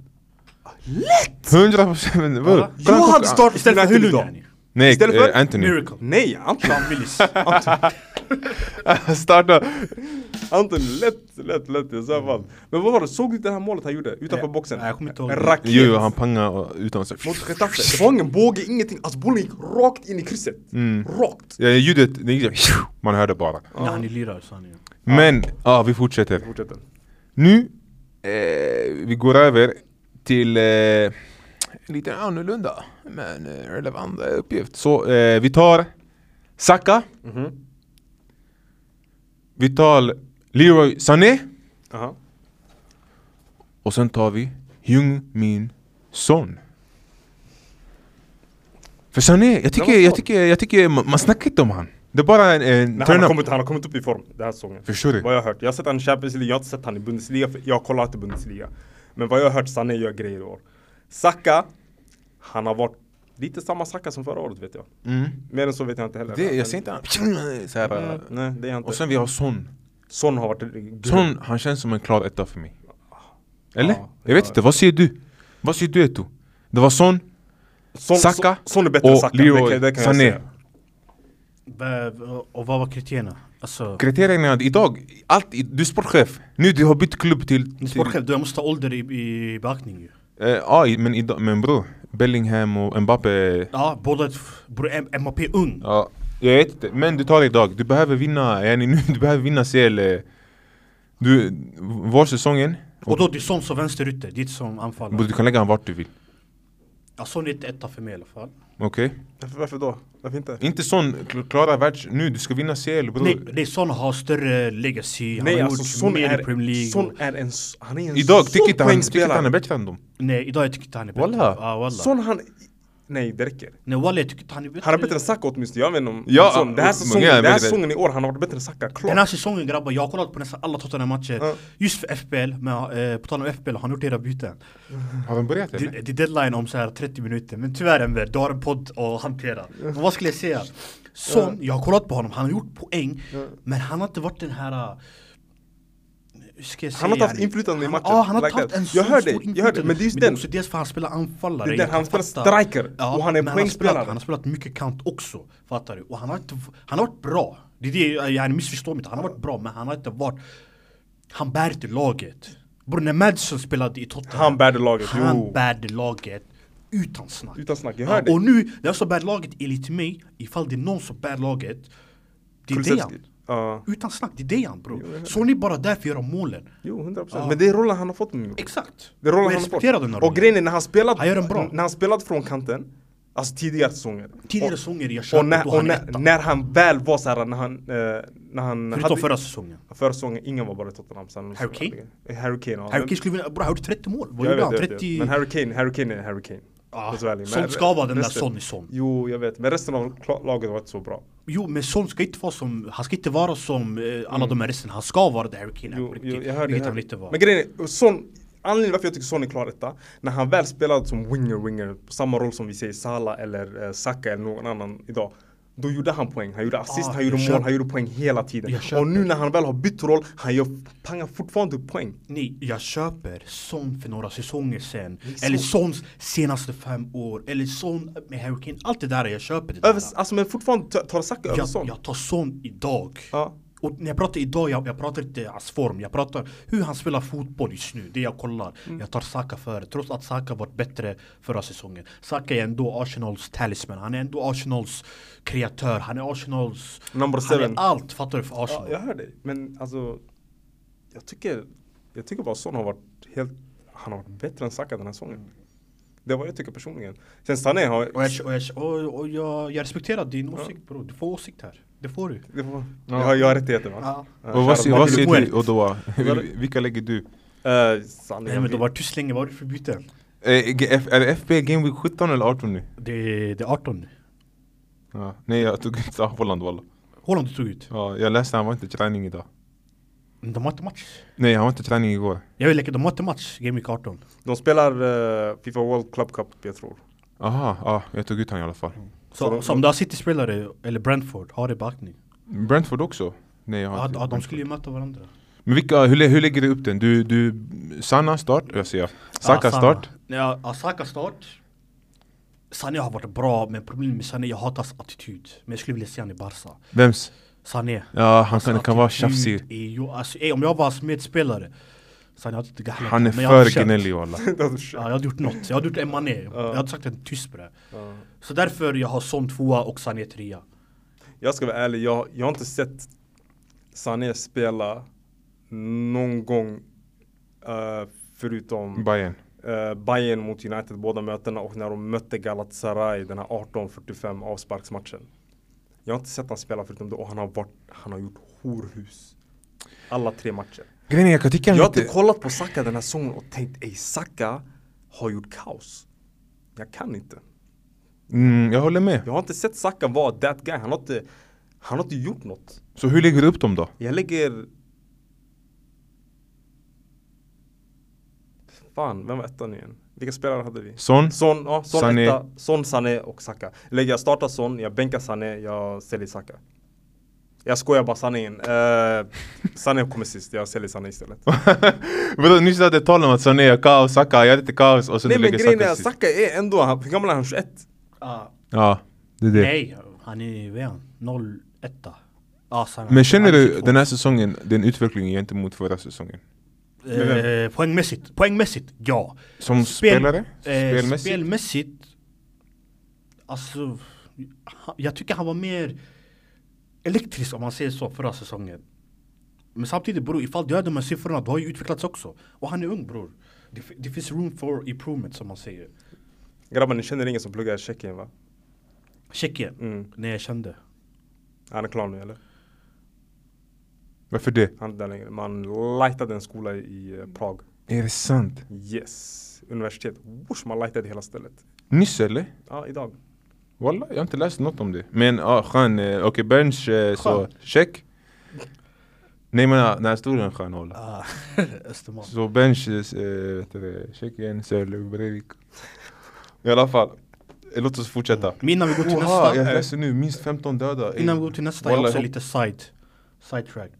C: Lätt!
B: 100 procent.
A: Ja.
C: Jag hade startat
A: Istället för
C: United
A: Hulun
C: idag.
A: yani.
B: Nej,
C: Istället för
B: eh, Anthony.
A: Miracle.
C: Nej, Anton.
A: Fan Willis.
B: Starta.
C: Anton, lätt, lätt, lätt i så här fall. Men vad var det, såg du inte det här målet han gjorde utanför
A: Nej,
C: boxen?
A: nej, jag kommer inte ihåg
C: en
A: det.
C: raket.
B: Jo, jo, han pangade utan sig.
C: Mot Getafe. Det var ingen båge, ingenting. Alltså bollen gick rakt in i krysset.
B: Mm.
C: Rakt.
B: Ja, ljudet, det gick så- man hörde bara.
A: Nej, han är lirare sa han ju.
B: Men, ja vi fortsätter.
C: Fortsätter.
B: Nu, eh, vi går över till eh, en lite annorlunda men eh, relevant eh, uppgift. Så eh, vi tar Saka.
C: Mhm.
B: Vi tar Leroy Sané.
C: Aha.
B: Och sen tar vi Jung Min Son. För Sané, jag tycker,
C: var
B: jag
C: svår.
B: tycker, jag tycker ma- man snackar inte om han. Det är bara en, en
C: Nej, han,
B: turn
C: har
B: up.
C: kommit, han har kommit upp i form den här säsongen.
B: Förstår du?
C: Vad jag har hört. Jag har sett han i Champions League, jag har inte sett han i Bundesliga. För jag kollar inte Bundesliga. Men vad jag har hört, Sané gör grejer i år. Saka, han har varit lite samma Saka som förra året vet jag.
B: Mm.
C: Mer än så vet jag inte heller.
B: Det, jag ser inte han så här,
C: Mm, Nej, det är han inte.
B: Och sen vi har Son.
C: Son har varit grym.
B: Son, han känns som en klar etta för mig. Eller?
C: Ja,
B: jag vet inte, vad säger du? Vad säger du Eto? Det var Son
C: Son,
B: Saka
C: Son, son är bättre än
B: och
C: Saka.
B: Leroy
C: det kan, det kan jag
B: Sané.
C: säga.
A: Va- Och vad var kriterierna? Alltså,
B: Kriterierna idag, allt, i- du är sportchef. Nu du har bytt klubb till... till
A: sportchef, du jag måste ta ålder i, i beaktning ju.
B: eh, ja, i- men, idag, men bror, Bellingham och Mbappe.
A: Ja, båda, f- bror M- MAP är ung.
B: Ja, jag vet inte. Men du tar det idag. Du behöver vinna, yani, nu, du behöver vinna CL. eh, Du, vårsäsongen.
A: Och då det är som som vänsterytter, det är inte som anfallare.
B: Bror, du kan lägga han vart du vill.
A: Ja, Son är inte etta för mig i alla fall.
B: Okej?
C: Varför, varför då? Varför inte?
B: Inte sån kl- klara världs... Nu, du ska vinna CL bror.
A: Nej, nej Son har större legacy, han
C: Nej
A: har
C: alltså
A: gjort
C: Son
A: mer
C: är,
A: i Premier League.
C: son är en... s- Han är en
B: Idag
C: sån
B: tycker inte han, tycker inte
C: poängspelare.
B: han är bättre än dem.
A: Nej, idag jag tycker inte han är bättre.
B: Walla.
A: Ja, walla.
C: Son han... Nej det räcker.
A: Nej, walla jag tycker inte han är bättre.
C: Han är bättre än Saka åtminstone. Jag vet inte om...
B: Ja,
C: son. Den här
B: men-
C: säsongen,
B: ja, jag
C: den här
B: vet det.
C: säsongen i år, han har varit bättre än Saka.
A: Den här
C: Klart.
A: säsongen grabbar, jag har kollat på nästan alla Tottenham-matcher
C: Ja.
A: just för FPL, men eh, på tal om FPL har han gjort era byten.
B: Har de börjat eller?
A: Det, det är deadline om så här 30 minuter, men tyvärr Enver, du har en podd att hantera. Men vad skulle jag säga? Son, jag har kollat på honom, han har gjort poäng, men han har inte varit den här... eh, Hur ska jag säga?
C: Han har inte haft inflytande i
A: Han-
C: matchen.
A: Ja, han har
C: Like
A: inte haft
C: that.
A: en
C: Jag hör
A: så
C: dig,
A: stor
C: jag hör dig,
A: inflytande.
C: men det är just
A: det är
C: den.
A: också dels för han spelar anfallare.
C: Det är
A: jag
C: den, han
A: kan
C: spelar
A: fatta.
C: striker,
A: Ja,
C: och han är
A: men Han
C: poängspelare.
A: har, spelat, han har spelat mycket kant också, fattar du? Och han har, inte, han har varit bra. Det är det, jag missförstår mig inte. Han har varit bra, men han har inte varit... Han bär inte laget. Bror, när Madison spelade i Tottenham.
C: Han bärde laget,
A: Han
C: jo.
A: bärde laget utan snack.
C: Utan snack, jag
A: Ja,
C: hör dig.
A: Och nu, den som bär laget enligt mig, ifall det är någon som bär laget, det är
C: Kulusevski.
A: Dejan.
C: Ja.
A: Utan snack, det är Dejan bror. Så ni bara där för att göra målen.
C: Jo, 100 procent. Men det är rollen han har fått nu.
A: Exakt.
C: Det är rollen
A: Och
C: han
A: jag
C: har
A: respekterar den här
C: fått.
A: rollen.
C: Och grejen är när han spelat,
A: Han gör den bra.
C: när han spelat från kanten, alltså tidigare säsonger.
A: Tidigare
C: Och-
A: säsonger jag
C: Och,
A: köpte
C: när,
A: då
C: och
A: han är
C: när,
A: etta.
C: när han väl var såhär, när han... Eh, när han
A: Förutom förra säsongen.
C: förra säsongen, ingen var bara i Tottenham. Sen,
A: Harry Kane?
C: Eh, Harry Kane, ja.
A: Harry Kane skulle vinna, bror han gjorde 30 mål. Vad
C: Jag
A: gjorde
C: vet,
A: han?
C: jag vet, jag vet.
A: 30...
C: Men Harry Kane, Harry Kane är Harry Kane.
A: Ah,
C: Jag ska vara ärlig.
A: Son
C: Men
A: ska vara den där
C: resten-
A: Son i Son.
C: Jo, jag vet. Men resten av kla- laget var inte så bra.
A: Jo men Son ska inte vara som, han ska inte vara som eh, alla de här resten. Han ska vara det Harry Kane är
C: Mm. Jo,
A: på riktigt.
C: jo, jag hörde.
A: vilket
C: Jag
A: han inte
C: hörde.
A: var.
C: Men grejen är, Son, anledningen varför jag tycker Son är klar etta, när han väl spelade som winger-winger, samma roll som vi säger Salah eller eh, Saka eller någon annan idag. Då gjorde han poäng, han gjorde assist,
A: Ah,
C: han gjorde
A: jag
C: mål,
A: köper.
C: han gjorde poäng hela tiden.
A: Jag köper.
C: Och nu när han väl har bytt roll, han gör, pangar fortfarande upp poäng.
A: Nej, jag köper Son för några säsonger sen.
C: Son.
A: Eller Sons senaste fem år. Eller Son med Harry Kane. Allt det där, jag köper det där.
C: Över, alltså men fortfarande t- tar Saka över Son.
A: jag, jag tar Son idag.
C: Ja.
A: Och när jag pratar idag, jag, jag pratar inte hans form. Jag pratar hur han spelar fotboll just nu. Det jag kollar.
C: Mm.
A: Jag tar Saka före. Trots att Saka varit bättre förra säsongen. Saka är ändå Arsenals talisman. Han är ändå Arsenals kreatör. Han är Arsenals...
C: Number
A: han är
C: seven.
A: allt, fattar du, för
C: Ja,
A: Arsenal.
C: jag hör dig. Men alltså, jag tycker, jag tycker bara Son har varit helt, han har varit bättre än Saka den här säsongen. Det är vad jag tycker personligen. Sen Sané har...
A: Och, jag, och, jag, och, och jag, jag respekterar din åsikt bror. Du får åsikt här. Det får du.
C: Det var, jag, har- jag har rättigheter va? Eh,
A: Ja.
C: Ja,
B: Och vad,
C: shout
B: ser-
C: out.
B: vad
A: Michael
B: ser du
A: Owen.
B: Odoa?
C: Vad är det?
B: Vilka lägger du?
C: Eh, Sané,
A: Nej
C: jag
A: men
C: vet.
A: de var tyst länge, vad har du för byten?
B: Eh, G- F- är det FB Game Week 17 eller 18 nu?
A: Det är, det är 18 nu.
B: Ja. Nej jag tog inte Holland walla.
A: Holland du tog ut.
B: Ja, jag läste han var inte träning idag.
A: Men De har inte match.
B: Nej han var inte träning igår.
A: Jag vill leka, de har inte match, Game Week 18.
C: de spelar eh, Fifa World Club Cup, jag tror.
B: Aha, ja, jag tog ut han i alla fall.
A: Så,
C: de-
A: så om du har City-spelare eller Brentford, ha det i beaktning.
B: Brentford också? Nej jag har
A: Ja,
B: inte-
A: ja, de skulle ju möta varandra.
B: Men vilka, hur, lä- hur lägger du upp den? Du, du, Sanna start, jag ser. Saka
A: Ah, Sanna.
B: start.
A: Ja, Asaka start. Sané har varit bra, men problemet med Sané, jag hatar hans attityd. Men jag skulle vilja se han i Barca.
B: Vems?
A: Sané.
B: Ja, han kan,
A: Hans
B: kan vara
A: attityd
B: tjafsig.
A: är ju- alltså, ey, om jag var hans medspelare, Sané hade inte gahlat.
B: Han är
A: men jag hade
B: för
A: känt.
B: gnällig walla.
A: Ja, jag hade gjort något. Jag hade gjort en mané. Jag hade sagt en tyst på det. Så därför jag har Son tvåa och Sané trea.
C: Jag ska vara ärlig, jag, jag har inte sett Sané spela någon gång eh, förutom
B: Bayern.
C: eh, Bayern mot United båda mötena och när de mötte Galatasaray den här 18-45 avsparksmatchen. Jag har inte sett han spela förutom det och han har, varit, han har gjort horhus. Alla tre matcher.
B: Grejen är, jag kan tycka
C: Jag
B: han
C: har inte
B: lite...
C: kollat på Saka den här säsongen och tänkt ej Saka har gjort kaos. Jag kan inte.
B: Mm, jag håller med.
C: Jag har inte sett Saka vara that guy. Han har inte, han har inte gjort något.
B: Så hur lägger du upp dem då?
C: Jag lägger... Fan, vem var ettan igen? Vilka spelare hade vi?
B: Son?
C: Son, ja, son,
B: Sané.
C: Etta, son, Sané och Saka. Eller jag startar Son, jag bänkar Sané, jag säljer Saka. Jag skojar bara Sané in. Eh, Sané kommer sist, jag säljer Sané istället.
B: Vadå, nyss hade jag talat om att Sané är kaos, Saka, jag är lite kaos och sen
C: Nej
B: du
C: men
B: lägger
C: grejen
B: Saka
C: är,
B: sist.
C: Saka är ändå, han, hur gammal är han? 21?
B: Ja, det är det.
A: Nej, han är, vad är han? 01. Ja, Sané.
B: Men känner
A: Han är
B: du
A: 22.
B: den här säsongen, den utvecklingen gentemot förra säsongen?
A: Eh, poängmässigt, poängmässigt, ja.
B: Som spelare?
A: Eh,
B: Spelmässigt?
A: spelmässigt? Alltså, ha- jag tycker han var mer elektrisk om man säger så förra säsongen. Men samtidigt bror, ifall du gör de här siffrorna, du har ju utvecklats också. Och han är ung bror. Det, fi- det finns room for improvement som man säger.
C: Grabbar ni känner ingen som pluggar i Tjeckien va?
A: Tjeckien,
C: Mm.
A: när jag kände.
C: Han är klar nu eller?
B: Varför det?
C: Han är inte där längre. Man lightade en skola i eh, Prag.
B: Är det sant?
C: Yes. Universitet. Whoosh, man lightade hela stället.
B: Nyss eller?
C: Ja, idag.
B: Walla, jag har inte läst något om det. Men ja, ah, skön. eh, Okej, Berns, eh, så
A: Skön.
B: check. Nej men ah, den här historien skön walla.
A: Ah, Östermalm.
B: Så Berns, eh, vet du det, Tjeckien, Sölve, Breivik. I alla fall, eh, låt oss fortsätta.
A: Men innan vi går till
B: Oha, jag
A: nästa.
B: läser nu, minst 15 döda.
A: Innan vi går till nästa, jag har
B: Walla,
A: också lite side, side track.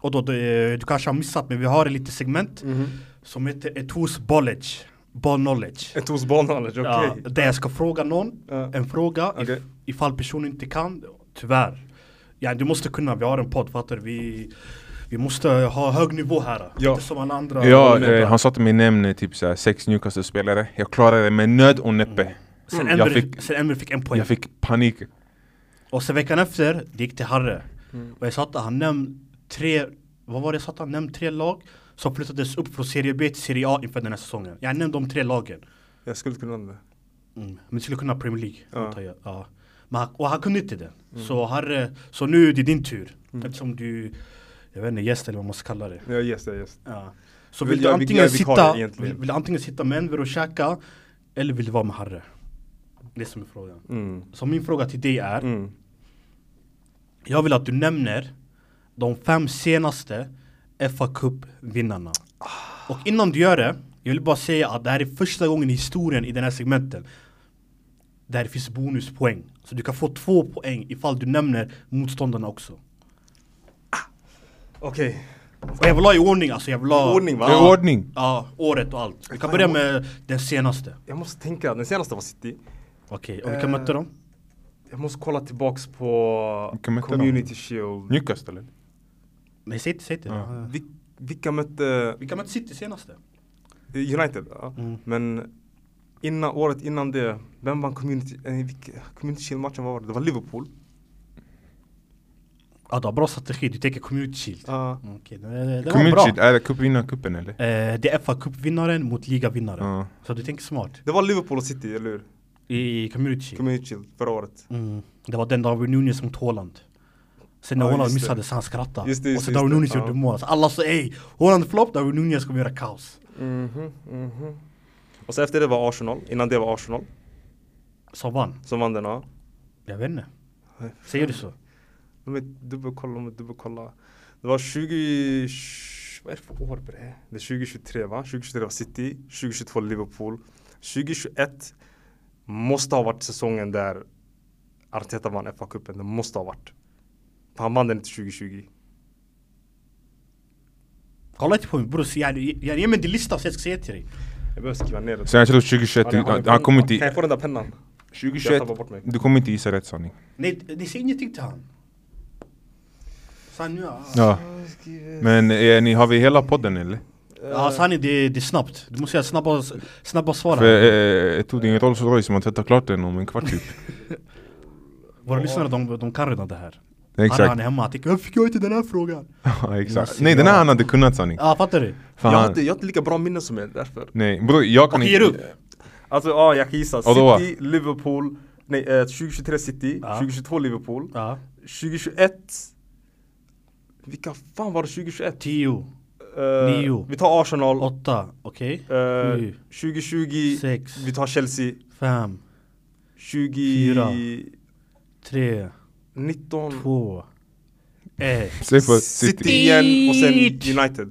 A: Och då, det, du kanske har missat men vi har ett litet segment
B: Mhm.
A: som heter Etos Bollage, Ball Knowledge.
C: Ett hos Barnhallage, okej.
A: Ja, där jag ska fråga någon
C: Ja.
A: en fråga
C: Okej.
A: if, ifall personen inte kan, tyvärr. Ja, du måste kunna, vi har en podd fattar du? vi, vi måste ha hög nivå här.
C: Ja.
A: Inte som alla andra.
B: Ja,
A: Men-
B: eh, han sa till mig nämn eh, typ såhär, sex Newcastle-spelare. Jag klarade det med nöd och näppe.
A: Mm. Sen
B: Mm. Jag,
A: Emre
B: fick,
A: fick, sen Emre fick en poäng.
B: jag fick panik.
A: Och sen veckan efter, det gick till Harre. Och jag satte han nämn tre, vad var det jag satte han nämn tre lag som flyttades upp från Serie B till Serie A inför den här säsongen. Jag nämnde de tre lagen.
C: Jag skulle kunna det.
A: Mm. Men det skulle kunna Premier League.
C: Ja.
A: antar jag. Ja. Men han, och han kunde inte det. Så, Harre, så nu är det din tur. Eftersom du, jag vet inte, gäst eller vad man ska kalla det.
C: Ja, yes, ja, yes.
A: Ja. Så
C: Vill
A: vill,
C: jag-
A: du
C: jag
A: antingen
C: är vikarie
A: sitta,
C: egentligen.
A: vill, vill du antingen sitta med Enver och käka eller vill du vara med Harre? Det är som är frågan.
C: Mm.
A: Så min fråga till dig är,
C: Mm.
A: Jag vill att du nämner de fem senaste FA Cup-vinnarna. Och innan du gör det, jag vill bara säga att det här är första gången i historien i den här segmenten där det finns bonuspoäng. Så du kan få två poäng ifall du nämner motståndarna också.
C: Ah, Okej.
A: Och jag vill ha i ordning alltså, jag vill ha...
C: Ordning, va?
B: Det är ordning.
A: Ja, året och allt. Vi kan börja med den senaste.
C: Jag måste tänka, den senaste var City.
A: Okej, och vilka mötte de?
C: Jag måste kolla tillbaks på
B: Vilka mötte de?
C: Community Shield.
B: Newcastle eller?
A: Nej, säg inte, säg inte.
B: Ja.
C: Vil- vilka mötte
A: Vilka mötte City senaste?
C: United? Ja.
A: Mm.
C: Men innan, året innan det, vem vann Community, eh, vilka, community Shield-matchen? Vad var det? Det var Liverpool.
A: Ja, du har bra strategi. Du tänker Community Shield.
C: Ja.
A: Okej, det, det var bra.
B: Community, är det cup innan cupen eller?
A: Eh, det är FA Cup-vinnaren mot ligavinnaren.
B: Ja.
A: Så du tänker smart.
C: Det var Liverpool och City, eller hur?
A: I community.
C: Community Shield förra året.
A: Mm. Det var den Darwin Nunes mot Haaland. Sen när
C: Ja,
A: Haaland
C: just det.
A: missade så han skrattade.
C: Just det, just
A: och sen
C: det,
A: Darwin
C: just det.
A: Nunes
C: Ja.
A: gjorde mål. Så alla sa ey, Haaland flopp, Darwin Nunes kommer göra kaos.
C: Mhm, mhm. Och så efter det var Arsenal, innan det var Arsenal
A: Som vann.
C: som vann den ja.
A: Jag vet inte. Säger du så?
C: Låt mig dubbelkolla, låt mig dubbelkolla. Det var 20... Vad är det för år bre? Det är 2023 va? 2023 var City, 2022 Liverpool. 2021 måste ha varit säsongen där Arteta vann FA-cupen. Det måste ha varit. För han vann den inte 2020.
A: Kolla inte på mig bror, Så jag- jag- ge mig din lista så jag ska säga till dig.
C: Jag behöver skriva ner det.
B: Sen jag tror 2021,
C: Har ni- har ni-
B: han kommer
C: Kan
B: inte...
C: jag få den där pennan? Jag
B: 2021,
C: tappar bort mig.
B: du kommer inte gissa rätt sanning.
A: Nej, ni säger ingenting till han. Sanning, ja.
B: Ja. Men eh, ni, har vi hela podden eller?
A: Ja, sanning det, det är snabbt. Du måste säga snabba, snabba svar.
B: För
A: här.
B: eh, jag tog din Rolls Royce som har tvättat klart den om en kvart typ.
A: Våra lyssnare de, de kan redan det här. Han, han
B: Exakt.
A: är hemma, han tänker varför fick jag inte den här frågan?
B: Ja, exakt. Nej den här han hade kunnat sanning.
A: Ja, fattar du?
C: Jag har,
B: Fan.
C: inte, jag har inte lika bra minnen som er därför.
B: Nej bror jag kan
A: Okej, ger upp.
C: Alltså ja, jag kan gissa.
B: Ja, då va?
C: City, Liverpool. Nej, eh, 2023 City,
A: Ja.
C: 2022 Liverpool.
A: Ja.
C: 2021. Vilka fan var det 2021?
A: 10,
C: Eh,
A: Nio.
C: Vi tar Arsenal.
A: 8, okej?
C: Eh,
A: Sju.
C: 2020.
A: Sex.
C: Vi tar Chelsea.
A: 5,
C: 20...
A: Fyra. 3,
C: 19.
A: 2, 1.
B: Säg för
C: City
B: City.
C: igen och sen United.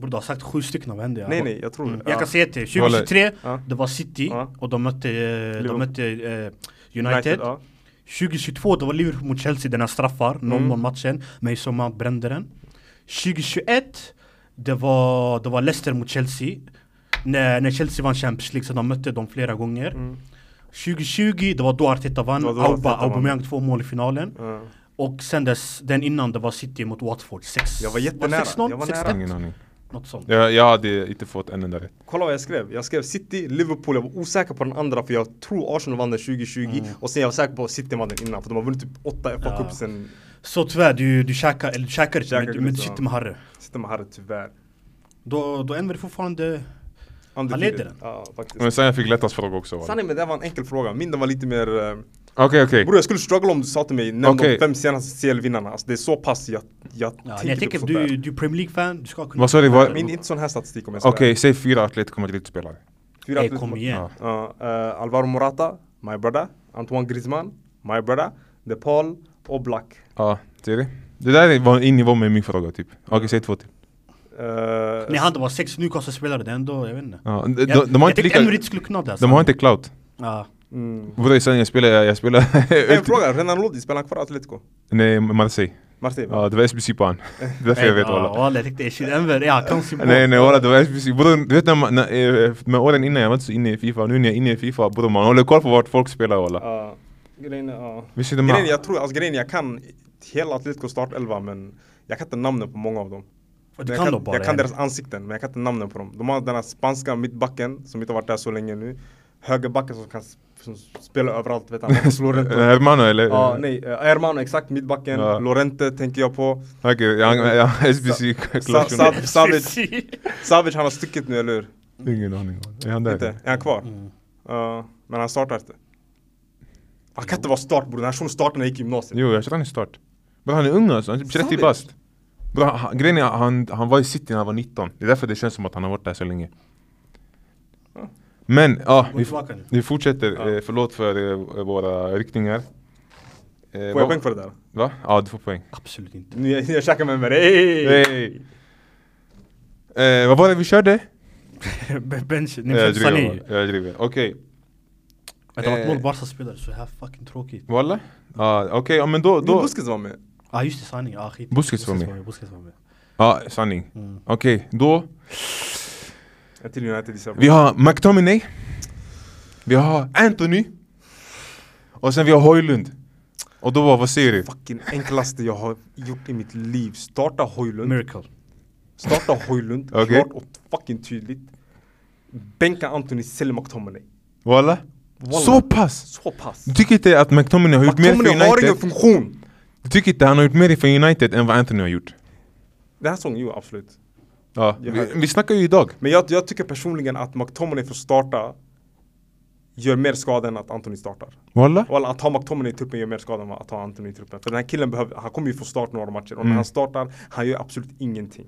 A: Borde ha sagt sju stycken av en det.
C: Nej, nej, jag tror det.
A: Mm. Jag
C: Ja.
A: kan säga till, 2023,
C: Ja.
A: det var City
C: Ja.
A: och de mötte, eh, de
C: Liverpool.
A: mötte eh, United.
C: ja.
A: 2022 det var Liverpool mot Chelsea, den här straffar, 0-0
C: Mm.
A: matchen. Mason Mount brände den. 2021 det var, det var Leicester mot Chelsea. När, när Chelsea vann Champions League så de mötte dem flera gånger. 2020 det var då Arteta vann,
C: Mm. Det var då
A: Auba,
C: Arteta vann.
A: Aubameyang två mål i finalen.
C: Ja. Eh,
A: Och sen dess, den innan det var City mot Watford. 6
C: Jag var jättenära. Jag var nära.
B: Ingen aning.
A: Något sånt.
B: Jag, jag hade inte fått en enda rätt.
C: Kolla vad jag skrev. Jag skrev City, Liverpool. Jag var osäker på den andra för jag tror Arsenal vann den 2020
A: Mm.
C: och sen jag var säker på City vann den innan för de har vunnit typ åtta FA Cup sen
A: Så tyvärr, du, du käkar, eller du käkar inte,
C: Käkar
A: men, du-
C: inte,
A: men du
C: ja.
A: sitter med Harry.
C: sitter man här tyvärr.
A: Då, då ändrar du fortfarande...
C: Undefeated.
A: Han leder den.
C: Ja, faktiskt.
B: Men sen jag fick lättast fråga också. va?
C: Sanningen men det var en enkel fråga. Min den var lite mer... eh,
B: Okej okej.
C: Bror jag skulle struggle om du sa till mig nämn
B: Okej.
C: de fem senaste CL-vinnarna. Alltså, det är så pass jag,
A: Ja,
C: jag tänker
A: nej, jag
C: typ
A: tänker
C: sånt
A: du,
C: där.
A: du är Premier League-fan, du ska kunna...
B: Vad sa du, vad-
C: Min inte sån här statistik om jag ska
B: Okej säg fyra Atletico Madrid-spelare.
C: Fyra
A: Nej,
C: plus-
A: Eh, kom igen.
C: Ja, eh, Alvaro Morata, my brother. Antoine Griezmann, my brother. De Paul, Oblak.
B: Ja, ser du? Det där var i nivå med min fråga typ. Okej säg två till.
C: Eh,
A: Nej han det var sex Newcastle-spelare, det är ändå, jag vet inte.
B: Ja, de,
A: jag
B: de, de har
A: jag tänkte
B: inte lika...
A: Emre inte skulle kunna det. alltså.
B: De har inte clout.
A: Ja.
C: mm.
B: Bror sen jag spelar, jag spelar...
C: En fråga, Renan Lodi, spelar han kvar i Atletico?
B: Nej, Marseille.
C: Marseille? va?
B: Ja, det var SBC på han. Det är
C: E,
B: därför jag vet
A: Ja,
B: alla.
A: walla, jag tänkte shit Emre, ja kanske
B: Nej nej walla, det var SBC. Bror, du vet när man, när, eh, med åren innan jag var inte så inne i Fifa, nu när jag är inne i Fifa, bror man håller koll på vart folk spelar walla.
C: Ja, grejen är, ja.
B: Visst är det
C: Grejen är,
B: man?
C: jag tror, alltså grejen är, jag kan hela Atletico startelva men jag kan inte namnen på många av dem.
A: Du
C: jag
A: kan
C: kan,
A: då bara
C: jag kan
A: Emre.
C: deras ansikten men jag kan inte namnen på dem. De har den här spanska mittbacken som inte har varit där så länge nu. Högerbacken som kan s- som spelar överallt, vet han. Lorente.
B: Hermano eller?
C: Ja, nej, eh, Hermano exakt, mittbacken,
B: Ja.
C: Lorente tänker jag på.
B: Okej, han- ja, SBC
C: Sa,
B: klart.
C: Sa, Savage, Savage han har stuckit nu, eller hur?
B: Ingen aning. walla. Är han där?
C: Inte? Är han kvar?
B: Mm.
C: Ja, men han startar inte. Han kan inte vara start bror, den här shunon startade när jag gick i gymnasiet.
B: Typ. Jo, jag tror han är start. Bror han är ung alltså, han är typ 30
C: Savage.
B: bast. Bror, han- han- grejen är han, han var i city när han var 19. Det är därför det känns som att han har varit där så länge. Men, ja,
A: Gå
B: vi,
A: tillbaka nu.
B: vi fortsätter. Eh, förlåt för eh, våra riktningar. Eh,
C: Får jag
B: vad-
C: poäng för det där?
B: Va? Ja, du får poäng.
A: Absolut inte.
C: Nu jag, jag käkar med mig, hey!
B: Hey. Eh, vad var det vi körde?
A: Bench, ni
B: Jag
A: vet Sané.
B: driver. Jag driver. Okej.
A: Att det var
B: Eh.
A: ett mål Barca-spelare, så här fucking tråkigt.
B: Walla? Ja, okej, ja, men då...
C: Då
B: då.
C: Busquets var med.
A: Ja ah, just det, sanning, ah skit.
B: Busquets var med.
A: Busquets var med.
B: Ja, sanning. Okej, då.
C: En till United gissar jag på.
B: Vi har McTominay. Vi har Anthony. Och sen vi har Højlund. Och då var, vad säger du?
C: Fucking enklaste jag har gjort i mitt liv. Starta Hojlund.
A: Miracle.
C: Starta Hojlund.
B: Okej.
C: Klart och fucking tydligt. Bänka Anthony, sälj McTominay.
B: Walla?
C: Walla.
B: Så pass!
C: Så pass.
B: Du tycker inte att McTominay har gjort mer
C: McTominay
B: för
C: har ingen
B: United?
C: funktion.
B: Du tycker inte han har gjort mer för United än vad Anthony har gjort?
C: Den här säsongen, jo absolut.
B: Ja,
C: Jag
B: vi,
C: hör-
B: vi snackar ju idag.
C: Men jag, jag tycker personligen att McTominay får starta gör mer skada än att Anthony startar.
B: Walla?
C: Och alla- att ha McTominay i truppen gör mer skada än att ha Anthony i truppen. För den här killen behöver, han kommer ju få start några matcher. Och
B: Mm.
C: när han startar, han gör absolut ingenting.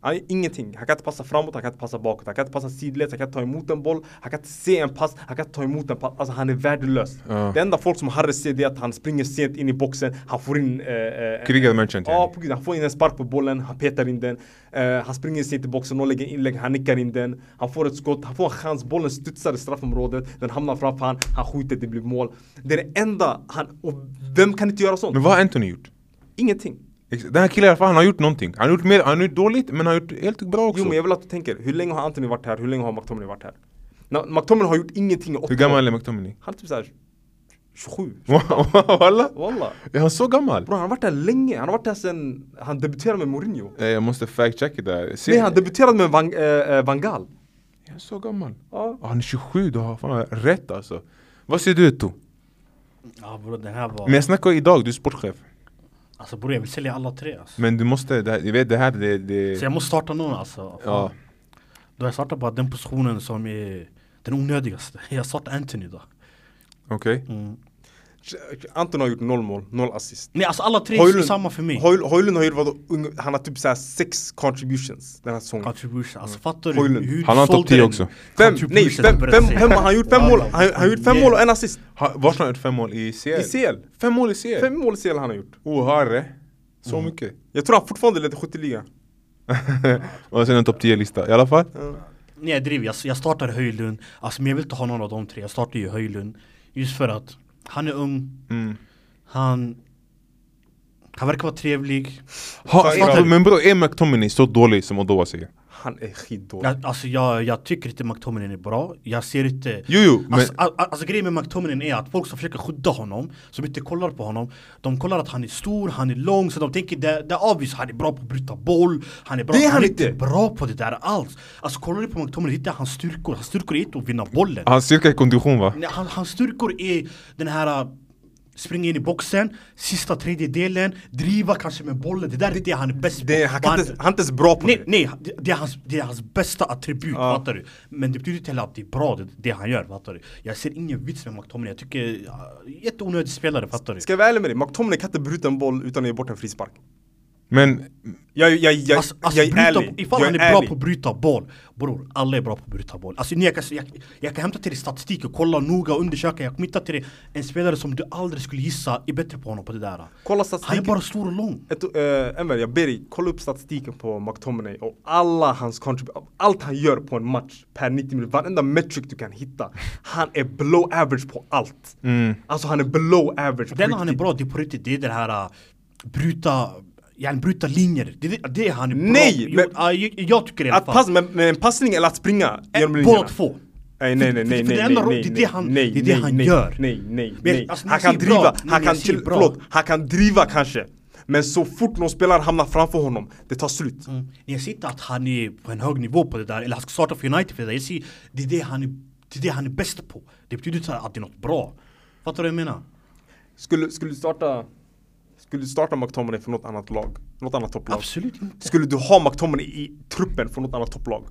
C: Han gör ingenting. Han kan inte passa framåt, han kan inte passa bakåt, han kan inte passa sidleds, han kan inte ta emot en boll, han kan inte se en pass, han kan inte ta emot en pass. Alltså han är värdelös.
B: Ja.
C: Det enda folk som Harry ser det är att han springer sent in i boxen, han får in... Eh, eh,
B: Krigad merchant,
C: Ja,
B: yani.
C: på gud. Han får in en spark på bollen, han petar in den. Eh, han springer sent i boxen, någon lägger inlägg, han nickar in den. Han får ett skott, han får en chans, bollen studsar i straffområdet. Den hamnar framför han, han skjuter, det blir mål. Det är det enda han... Och vem kan inte göra sånt?
B: Men vad har Anthony gjort?
C: Ingenting.
B: Ex- Den här killen i alla fall, han har gjort någonting. Han har gjort, mer, han har gjort dåligt, men han har gjort helt bra också.
C: Jo men jag vill att du tänker, hur länge har Anthony varit här? Hur länge har McTominay varit här? Na, McTominay har gjort ingenting i åtta
B: Hur gammal
C: år.
B: är McTominay?
C: Han är typ såhär 27.
B: Walla?
C: Walla.
B: Är han så gammal?
C: Bro, han har varit där länge. Han har varit där sen han debuterade med Mourinho.
B: Eh, Jag måste fact checka det här. Se,
C: Nej, han debuterade med Van, eh, eh, Van Gaal.
B: Är han så gammal?
C: Ja.
B: Ah, han är 27, du har fan rätt alltså. Vad säger du Etto?
A: Ja bror det här var...
B: Men jag snackar idag, du är sportchef.
A: Alltså bror jag vill sälja alla tre alltså.
B: Men du måste, det här, jag vet det här det...
A: Så
B: det
A: jag måste starta någon alltså.
B: ja.
A: Då jag startar bara den positionen som är den onödigaste. Jag startar Anthony då.
B: Okej.
C: Anton har gjort noll mål, noll assist.
A: Nej alltså alla tre är samma för mig.
C: Hoylund, Hoylund har gjort vadå? Ung- Han har typ såhär sex contributions den här säsongen.
A: Contribution, alltså fattar du
C: Hojlund.
A: hur
B: Han har en topp
A: sålde
B: 10
A: den?
B: också.
C: Fem, nej,
A: Contribution
C: fem,
A: började
C: fem,
A: säga.
C: fem, han har gjort fem
A: Ja,
C: mål,
A: ja.
C: han, han har gjort fem mål och en assist.
B: Ha- Varsågod, han har gjort fem mål i CL?
C: I CL.
B: Fem mål i CL?
C: Fem mål ser han har gjort.
B: Oh, herre. Så mycket.
C: Jag tror han fortfarande leder skytteligan.
B: Och sen en topp 10-lista. I alla fall.
C: Mm.
A: Nej jag driver, jag, jag startar Höjlund. Alltså men jag vill inte ha någon av de tre, jag startar ju Höjlund. Just för att han är ung,
B: Mm.
A: han... Han verkar vara trevlig. Alltså,
B: Ha,
C: Fan, bra.
B: men bror, är McTominay så dålig som Odoa säger?
C: Han är skitdålig.
A: Jag, alltså jag, jag tycker inte McTominay är bra. Jag ser inte...
B: Jo, jo, men-
A: alltså, a, a, alltså grejen med McTominay är att folk som försöker skydda honom, som inte kollar på honom, de kollar att han är stor, han är lång, så de tänker det, det är obvious, han är bra på att bryta boll, han är bra...
C: Det är han
A: är
C: inte.
A: bra på det där alls! Alltså kollar du på McTominay, det är hans styrkor, hans styrkor är inte att vinna bollen.
B: Han cirka i kondition va?
A: Nej, han, hans styrkor är den här äh, springa in i boxen, sista tredjedelen, driva kanske med bollen. Det där är det han är bäst på.
C: Det, han, kan
A: Och
C: inte, han är inte ens bra på
A: nej,
C: det.
A: nej, det- det är hans, det är hans bästa attribut, fattar du? Men det betyder inte heller att det är bra det, det han gör, fattar du? Jag ser ingen vits med McTominay, jag tycker, äh, jätteonödig spelare, fattar du?
C: Ska jag vara ärlig med dig, McTominay kan inte bryta en boll utan att ge bort en frispark.
B: Men
C: Jag, jag, jag,
A: Alltså, alltså,
C: jag är
A: bryta,
C: ärlig.
A: ifall
C: jag
A: han är bra
C: ärlig.
A: på att bryta boll, bror, alla är bra på att bryta boll. Alltså, ni, jag, kan, jag, jag kan hämta till dig statistik och kolla noga och undersöka, jag kommer hitta till dig en spelare som du aldrig skulle gissa är bättre på honom på det där.
C: Kolla
A: Han är
C: statistiken.
A: bara stor och lång.
C: Ett, eh, Enver, jag ber dig, kolla upp statistiken på McTominay och alla hans contrib- allt han gör på en match per 90 minuter, varenda metric du kan hitta. Han är below average på allt. Alltså han är below average på
A: Den han är
C: riktigt.
A: bra, det är på riktigt, det är den här äh, bryta, ja, bryta linjer. Det, är det- det är han är bra
C: Nej,
A: Jo,
C: men-
A: ja, jag, jag tycker det i alla
C: Att
A: fall.
C: passa med, med en passning eller att springa genom linjerna.
A: Båda två.
C: Nej nej nej
A: För- för-
C: nej
A: för det
C: nej nej
A: enda ro-
C: nej
A: det är det
C: nej,
A: han-
C: nej
A: det är det
C: nej,
A: han
C: nej,
A: gör.
C: Nej nej
A: Men,
C: nej
A: alltså, när
C: Han
A: jag
C: kan
A: säger
C: driva,
A: bra, när
C: han
A: jag
C: kan,
A: säger
C: till,
A: bra.
C: förlåt, han kan driva kanske Men så fort någon spelare hamnar framför honom, det tar slut
A: Mm. Jag ser inte att han är på en hög nivå på det där, eller han ska starta för United för det där. Jag ser, det är det han är, det är, det han är bäst på. Det betyder inte att det är något bra. Fattar du vad jag menar?
C: Skulle, skulle du starta Skulle du starta McTominay för något annat lag? Något annat topplag?
A: Absolut inte.
C: Skulle du ha McTominay i truppen för något annat topplag?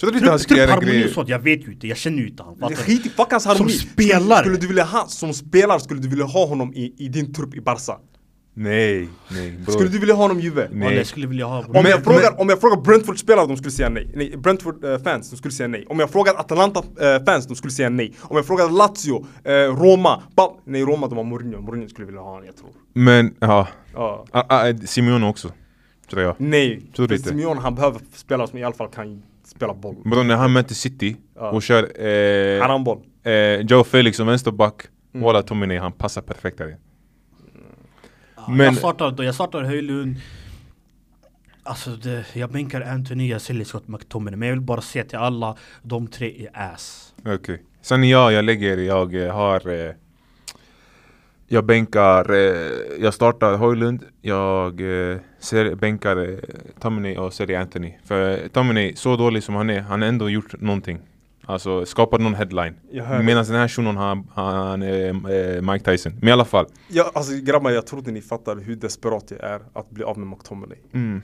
B: tror du inte han
A: Trupp,
B: skulle
A: trupp,
B: göra
A: harmoni och
B: grejer?
A: sånt, jag vet ju inte, jag känner ju inte han. fattar du?
C: Skit i fuck hans harmoni
A: Som spelare.
C: Skulle, skulle du vilja ha, som spelare skulle du vilja ha honom i, i din trupp i Barca?
B: Nej, nej bror.
C: Skulle du vilja ha honom i Juve?
A: Ja,
B: Nej.
A: jag skulle vilja ha
C: Om,
A: men,
C: jag frågar, om jag frågar Brentford-spelare, de skulle säga nej. nej Brentford-fans, de skulle säga nej. Om jag frågar Atalanta-fans, de skulle säga nej. Om jag frågar Lazio, eh, Roma, ba- Nej, Roma, de har Mourinho. Mourinho skulle vilja ha honom, jag tror.
B: Men, ja.
C: Ja.
B: Ah, ah, eh, Simeone också. Tror jag.
C: Nej,
B: Tror
C: för
B: inte. Mm.
C: Simeone, han behöver spelare som i alla fall kan spela boll.
B: Bror när han möter City och kör
C: Han har Mm.
B: eh,
C: en boll.
B: eh, Joe Felix som vänsterback. Walla Tomine, han passar perfekt där.
A: jag
B: men-
A: startar då, jag startar Höjlund. Alltså det, jag bänkar Anthony, jag säljer Scott McTominay. Men jag vill bara säga till alla, de tre är ass.
B: Okej. Sen jag, jag lägger, jag eh, har... Eh, jag bänkar, eh, jag startar Höjlund, jag eh, ser, bänkar eh, Tomine och säljer Anthony. För Tomine, så dålig som han är, han har ändå gjort någonting. Alltså skapat någon headline.
C: Jag hör det.
B: Medan den här shunon, han, han är eh, Mike Tyson. Men i alla fall.
C: Jag, alltså grabbar, jag tror inte ni fattar hur desperat jag är att bli av med McTominay.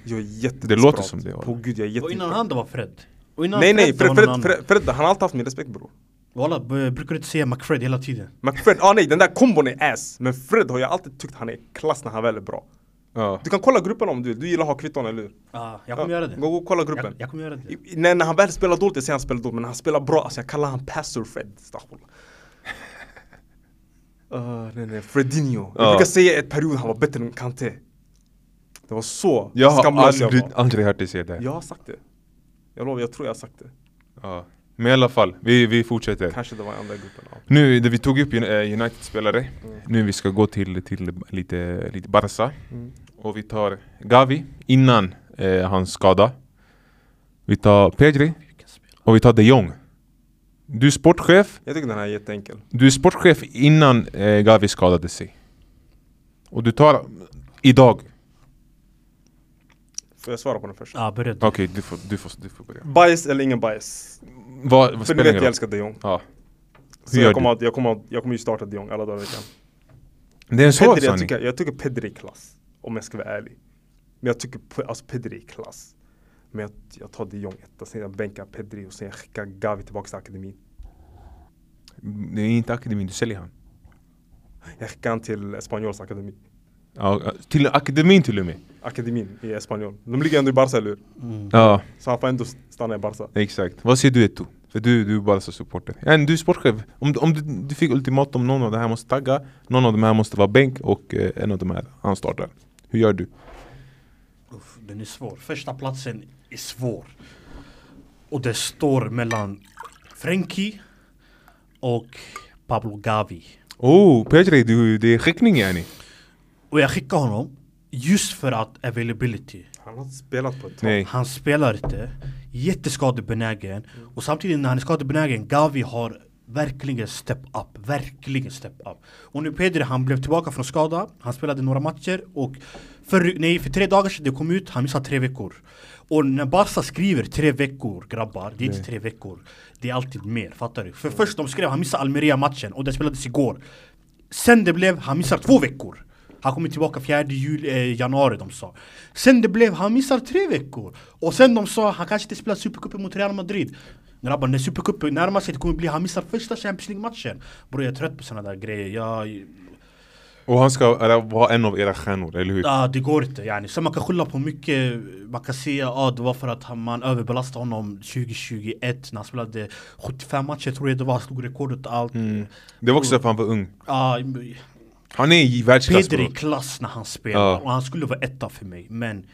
C: Jag är jättedesperat.
B: Mm. Det låter som det, va?
C: På gud, jag är
A: Och
C: jättedesperat.
A: innan han det var Fred. Och innan
C: Nej, nej,
A: det
C: Fred,
A: var någon
C: Fred,
A: annan.
C: Fred, Fred, han har alltid haft min respekt bror.
A: Walla, b- brukar du inte säga McFred hela tiden?
C: McFred, ah nej den där kombon är ass. Men Fred har jag alltid tyckt han är klass när han väl är bra.
B: Ja.
C: Du kan kolla gruppen om du vill, du gillar att ha kvitton eller hur?
A: Ja, jag kommer
C: Ja,
A: göra det.
C: Gå, gå och kolla gruppen.
A: Jag, jag kommer göra det.
C: I- när, när han väl spelar dåligt, jag säger han spelar dåligt, men när han spelar bra, alltså jag kallar han Pastor Fred. astaghfirullah. Ah, nej, nej, Fredinho. Jag
B: Ja.
C: brukar säga ett period han var bättre än Kanté. Det var så
B: Jag har
C: skamlös
B: aldrig,
C: jag var.
B: aldrig hört dig säga det.
C: Jag har sagt det. Jag lovar, jag tror jag har sagt det.
B: Ja. Men i alla fall, vi, vi fortsätter.
C: Kanske det var i andra gruppen. Ja.
B: Nu, det vi tog upp eh, United-spelare. Nu vi ska gå till, till lite, lite Barca.
C: Mm.
B: Och vi tar Gavi innan eh, hans skada. Vi tar Pedri och vi tar de Jong. Du är sportchef.
C: Jag tycker den här är jätteenkel.
B: Du är sportchef innan eh, Gavi skadade sig. Och du tar idag.
C: Får jag svara på den först?
A: Ja, börja du.
B: Okej, du, får, du, får, du får börja.
C: Bias eller ingen bias?
B: Vad, vad
C: För ni
B: spelar
C: vet jag
B: ingen roll?
C: älskar de Jong.
B: Ja.
C: Så
B: gör
C: jag kommer, att, jag, kommer att, jag kommer ju starta de Jong alla dagar i veckan.
B: Det är en svår
C: Pedri, jag,
B: sanning.
C: tycker, jag tycker Pedri är klass. Om jag ska vara ärlig. Men jag tycker Pe- alltså Pedri är klass. Men jag, jag tar de Jong etta, sen jag bänkar Pedri och sen jag skickar Gavi tillbaka till akademin.
B: Det är inte akademin, du säljer han.
C: Jag skickar han till Espanyols akademi.
B: Ja, till akademin till och med.
C: Akademin i Espanyol. De ligger ändå i Barca, eller hur?
B: Ja.
C: Så han får ändå stanna i Barca.
B: Exakt. Vad säger du Eto? För du, du är bara så supporter. En, du är sportchef. Om, du- om du, du fick ultimatum, någon av de här måste tagga, någon av de här måste vara bänk och eh, en av de här, han startar. Hur gör du?
A: Uff, den är svår. Första platsen är svår. Och det står mellan Frenkie och Pablo Gavi.
B: Oh, Pedri, du, det är skickning yani.
A: Och jag skickar honom just för att availability.
C: Han har inte spelat på ett tag.
B: Nej.
A: Han spelar inte, jätteskadebenägen och samtidigt när han är skadebenägen, Gavi har verkligen step up, verkligen step up. Och nu Pedri, han blev tillbaka från skada, han spelade några matcher och för, nej, för tre dagar sedan det kom ut, han missade tre veckor. Och när Barca skriver tre veckor grabbar, det är inte tre veckor, det är alltid mer, fattar du? För först de skrev han missade Almeria-matchen och den spelades igår. Sen det blev, han missar två veckor. Han kommer tillbaka 4 jul, eh, januari de sa. Sen det blev, han missar tre veckor. Och sen de sa, han kanske inte spelar Supercupen mot Real Madrid. Grabbar, när Supercupen närmar sig, det kommer bli, han missar första Champions League-matchen. Bror jag är trött på såna där grejer. Jag,
B: Och han ska eh, vara en av era stjärnor, eller hur?
A: Ja, det går inte yani. Så man kan skylla på mycket, man kan säga att ah, det var för att han- man överbelastade honom 2021 när han spelade 75 matcher tror jag det var, han slog rekordet och allt.
B: Det var också därför han var ung.
A: Ja,
B: Han är i världsklass
A: Pedri är
B: bror.
A: klass när han spelar
B: Ja.
A: och han skulle vara etta för mig men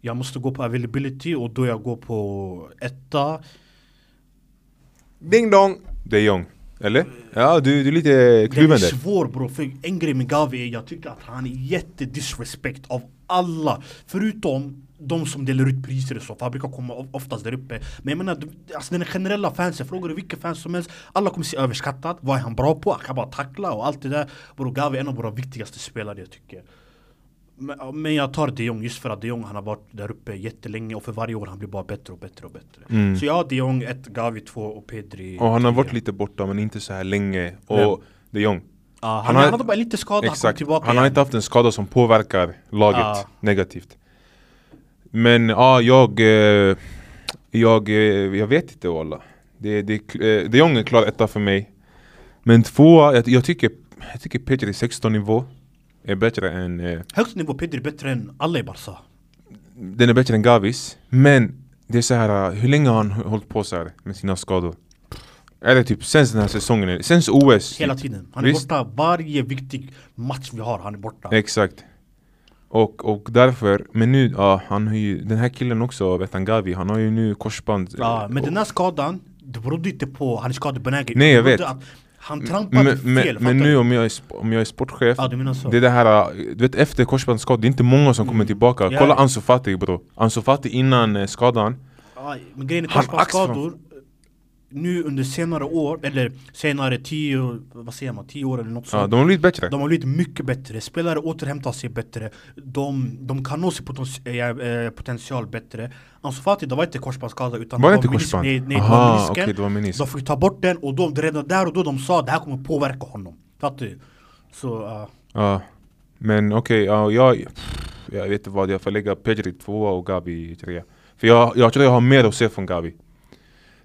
A: jag måste gå på availability och då jag går på etta
C: Ding dong!
B: De Jong. Eller? Ja, du, du är lite
A: Den är
B: kluven där.
A: svår bro, för en grej med Gavi är jag tycker att han är jättedisrespect av alla Förutom de som delar ut priser och så, för han brukar komma of- oftast där uppe Men jag menar, du- alltså den generella fansen, frågar du vilken fan som helst Alla kommer se överskattat, vad är han bra på? Han kan bara tackla och allt det där Bro, Gavi är en av våra viktigaste spelare jag tycker men, men jag tar de Jong just för att de Jong han har varit där uppe jättelänge och för varje år han blir bara bättre och bättre och bättre Så jag har de Jong 1, Gavi 2 och Pedri
B: Mm. Och han har
A: tre.
B: varit lite borta men inte så här länge. Och De Jong.
A: Ja, han,
B: Han
A: han,
B: har-
A: hade bara lite skada, han kom
B: Exakt.
A: tillbaka
B: han har
A: igen.
B: inte haft en skada som påverkar laget
A: Ja.
B: negativt. Men ja, jag, eh, jag, eh, jag vet inte walla. Det, det, är kl- eh, de Jong är klar etta för mig. Men tvåa, jag, jag tycker, jag tycker Pedri 16 nivå är bättre än, eh,
A: Högst nivå Pedri är bättre än alla i Barca.
B: den är bättre än Gavis. Men det är så här, eh, hur länge har han hållit på så här med sina skador? Är det typ sen den här säsongen? eller- Sen OS?
A: Hela
B: typ.
A: tiden. Han är
B: Visst.
A: borta varje viktig match vi har, han är borta.
B: Exakt. Och, och därför, men nu, ja, han har ju, den här killen också, Vetan Gavi, han har ju nu korsband.
A: Ja, men
B: Och-
A: den här skadan, det berodde inte på han är skadebenägen.
B: Nej, jag
A: Det berodde
B: vet.
A: att Han trampade
B: men,
A: fel,
B: men,
A: fattar
B: men nu
A: du?
B: om jag är, sp- om jag är sportchef,
A: Ja, du menar så. Mm.
B: det är det här, äh, du vet efter korsbandsskadan, det är inte många som kommer tillbaka.
A: Ja.
B: Kolla Ansu Fati bro. Ansu Fati innan eh, skadan,
A: Ja, men grejen är
B: Han
A: korsbandsskador, eh, nu under senare år, eller senare tio, vad säger man, tio år eller något
B: ja,
A: sånt.
B: de har blivit bättre.
A: Mm. De har blivit mycket bättre, spelare återhämtar sig bättre De, de kan nå sin poten- eh, eh, potential bättre Ansu Fati, det var inte korsbandsskada utan
B: Var det
A: var
B: inte
A: menis-
B: korsband?
A: Nej, nej det
B: Aha,
A: var menisken
B: okej, det var menisk.
A: De fick ta bort den och de, redan där och då de sa det här kommer påverka honom Fattar du? Så, ja
B: Ja. Men okej, ja, jag, pff, jag vet inte vad, jag får lägga Pedri tvåa och Gavi trea. För jag, jag tror jag har mer att se från Gavi.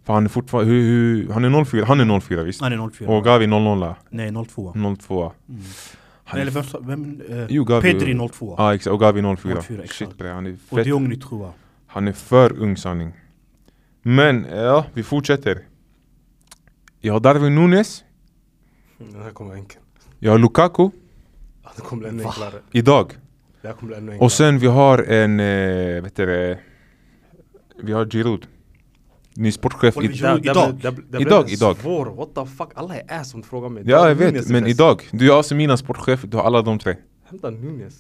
B: För han är fortfarande, hur, hur, han är 04, han är 04 visst?
A: han är 04
B: Och Gavi 00,
A: Nej 02
B: 02. Han
A: Eller
B: är,
A: vem, sa- vem eh,
B: Mm. Jo, Gavi.
A: Pedri 02
B: ah, exakt, och Gavi 04.
A: 04, exakt.
B: Shit bre, han är
A: och de
B: fett.
A: Jong 02
B: Han är för ung sanning. Men ja, vi fortsätter. Jag har Darwin Nunes,
C: Mm, Den här kommer bli enkel.
B: jag har Lukaku
C: Ja, Den kommer bli ännu
A: Va?
C: enklare.
B: idag.
C: Det här kommer bli ännu enklare.
B: Och sen vi har en, eh, vet du det, vi har Giroud. ny sportchef.
A: Oliver
B: i-
A: Giroud. idag.
B: Idag, idag.
C: Svår, what the fuck. Alla är ass om du frågar mig.
B: Ja, jag
C: Nunes
B: vet.
C: är
B: Men
C: bäst.
B: idag, du är AC Milans sportchef, du har alla de tre.
C: Hämta Nunes.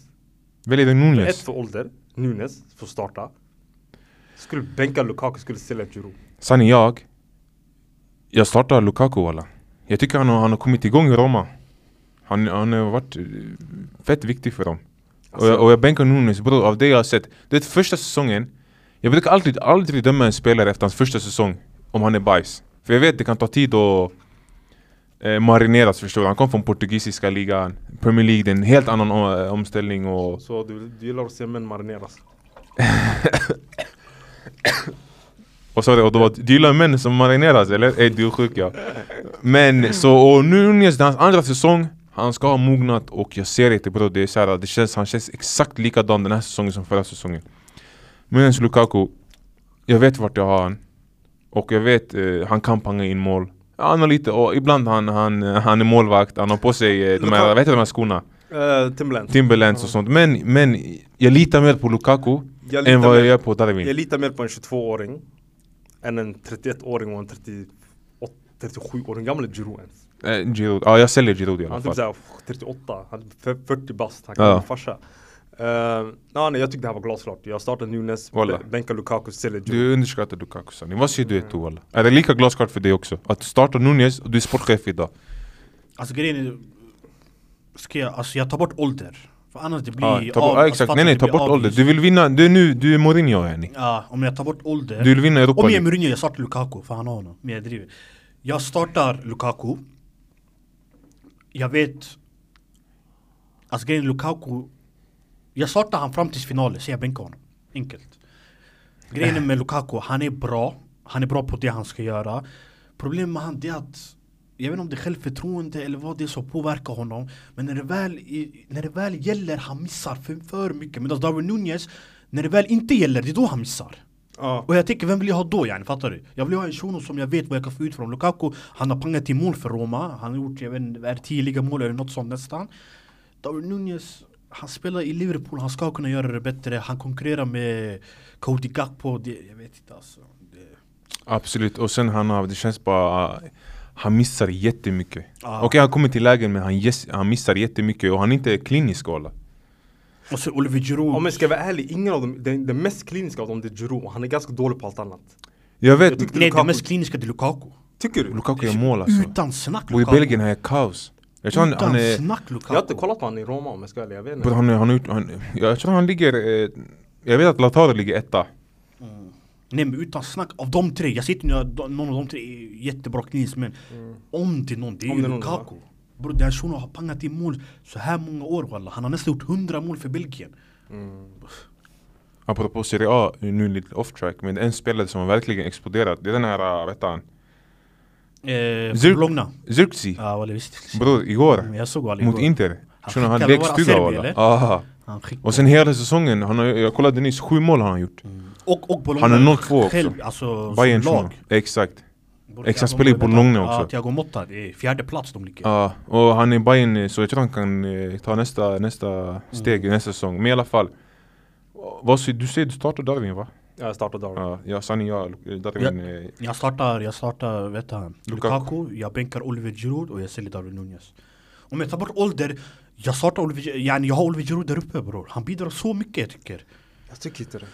B: Välj dig
C: Ett
B: Nunes.
C: för ålder, Nunes får starta. Skulle bänka Lukaku, skulle sälja Giroud.
B: Sanni, jag. Jag startar Lukaku alla. Jag tycker han har, han har kommit igång i Roma. Han, han har varit eh, fett viktig för dem. och, jag, och jag bänkar Nunes, bror. Av det jag har sett. Det är första säsongen. Jag brukar alltid, aldrig döma en spelare efter hans första säsong. Om han är bajs. För jag vet, det kan ta tid att eh, marineras förstår du. Han kom från portugisiska ligan, Premier League, det är en helt annan eh, omställning och...
C: Så du, du gillar att se män marineras?
B: Och så och då var du gillar män som marineras eller? Ey du är sjuk ja.
C: Mm.
B: Men så och nu Nunes, det är hans andra säsong. Han ska ha mognat och jag ser inte bror, det är så här, det känns, han känns exakt likadan den här säsongen som förra säsongen. Men Lukaku, jag vet vart jag har han. Och jag vet, eh, han kan panga in mål. Ja, han har lite, och ibland han, han, eh, han är målvakt, han har på sig eh, de här,
C: Lukaku-
B: vad heter de här skorna?
C: Uh, Timberland.
B: Timberlands och sånt. Men, men jag litar mer på Lukaku
C: Jag litar
B: än vad
C: mer-
B: jag gör på
C: Jag
B: Darwin.
C: litar mer på en 22-åring än en 31-åring och en 38 37-åring gammal Giroud ens.
B: Eh, Giroud. Ja, jag säljer Giroud i alla
C: Han är typ
B: fall.
C: såhär 38, han är typ f- 40 bast, han kan
B: Ja.
C: vara farsa. Eh, ja, nej, jag tyckte det här var glasklart. Jag startade Nunes,
B: Walla.
C: bä- bänkar Lukaku, säljer Giroud.
B: Du underskattar Lukaku Sani. Vad säger du Eto'o walla? Är det lika glasklart för dig också? Att du startar Nunez och du är sportchef idag.
A: Alltså grejen är... Ska jag, alltså jag tar bort ålder. För annars det blir
B: Ja, ta bort,
A: av-
B: ja
A: alltså
B: exakt,
A: fattar
B: nej
A: du,
B: nej
A: det
B: ta
A: blir
B: bort ålder.
A: avvist.
B: Du vill vinna, du är nu, du är Mourinho yani.
A: Ja, om jag tar bort ålder.
B: Du vill vinna Europa
A: Om jag är
B: League.
A: Mourinho, jag startar Lukaku. För han har honom. Men jag driver. Jag startar Lukaku. Jag vet... Alltså grejen är Lukaku... Jag startar han fram tills finalen, så jag bänkar honom. Enkelt. Grejen är med Lukaku, han är bra. Han är bra på det han ska göra. Problemet med han det är att jag vet inte om det är självförtroende eller vad det är som påverkar honom. Men när det väl, i- när det väl gäller, han missar för, för mycket. Medan Darwin Nunez, när det väl inte gäller, det är då han missar.
C: Ja.
A: Och jag tänker, vem vill jag ha då yani? Fattar du? Jag vill ha en shuno som jag vet vad jag kan få ut från Lukaku. Han har pangat i mål för Roma. Han har gjort, jag vet inte, är det tio ligamål eller något sånt nästan. Darwin Nunez, han spelar i Liverpool. Han ska kunna göra det bättre. Han konkurrerar med Cody Gakpo. Det, jag vet inte alltså. Det,
B: Absolut, och sen han har, det känns bara... Han missar jättemycket.
A: Ah.
B: Okej han kommer till lägen men han, yes, han missar jättemycket och han är inte klinisk walla.
A: Och så Oliver Giroud.
C: Om jag ska vara ärlig, ingen av dem, den, den mest kliniska av dem det är Giroud. Han är ganska dålig på allt annat.
B: Jag vet,
A: Nej,
C: tyckte-
A: det
C: Lukaku.
A: mest kliniska det är Lukaku.
C: Tycker du?
B: Lukaku gör mål alltså.
A: Utan snack
B: Och i
A: Lukaku.
B: Belgien här är kaos. Jag tror han,
A: Utan
B: han är...
A: snack
C: Jag har
A: Lukaku.
C: inte kollat på honom i Roma om jag ska vara ärlig, jag vet
B: Bror,
C: inte.
B: han, är- han, är ut- han, jag tror han ligger... Eh, jag vet att Lautaro ligger etta.
A: Nej men utan snack, av de tre, jag sitter nu, jag- någon av de tre är jättebra kliniskt men Om det är någon, det är
C: Mm. Om
A: ju
C: det är någon,
A: Lukaku Bror den shunon har pangat i mål så här många år walla Han har nästan gjort 100 mål för Belgien
B: Apropå Serie A, nu lite off track, men en spelare som har verkligen exploderat, det är den här, äh, vad heter han?
A: eh,
B: Zirk-
A: Långna
B: Zirkzee!
A: Ja walla visst
B: Bror,
A: Men
B: igår,
A: Jag såg walla
B: mot
A: igår
B: Inter.
A: Han
B: Shunon, han
A: skickade
B: lek
A: bara
B: stuga
A: Serbi,
B: walla.
A: eller?
B: Aha.
A: Han skickade
B: Och sen hela säsongen, han har, jag kollade nyss, sju mål har han gjort.
A: Och, och Bologna
B: Han är 0-2 också.
A: själv, alltså
B: Bayern
A: Mm. som
B: shunon.
A: lag
B: Exakt.
A: Borde
B: Exakt, han
A: Thiago
B: spelar ju
A: Motta-
B: Bologna
A: Ja,
B: också.
A: Thiago Motta, det är fjärde plats de ligger
B: Ja, och han är Bayern eh, så jag tror han kan eh, ta nästa,
A: Mm.
B: nästa steg i nästa säsong. Men i alla fall. Vad säger du? Säger du startar Darwin va?
C: Jag startar Darwin.
B: Ja, ja Sani, jag, eh, Darwin. eh,
A: Jag startar, jag startar, vet han,
B: Lukaku.
A: Lukaku. jag bänkar Oliver Giroud oh, och jag säljer Darwin Nunez. Om jag tar bort ålder, jag startar Oliver, Gi- yani jag har Oliver Giroud där uppe bror. Han bidrar så mycket jag tycker.
C: Jag tycker inte det.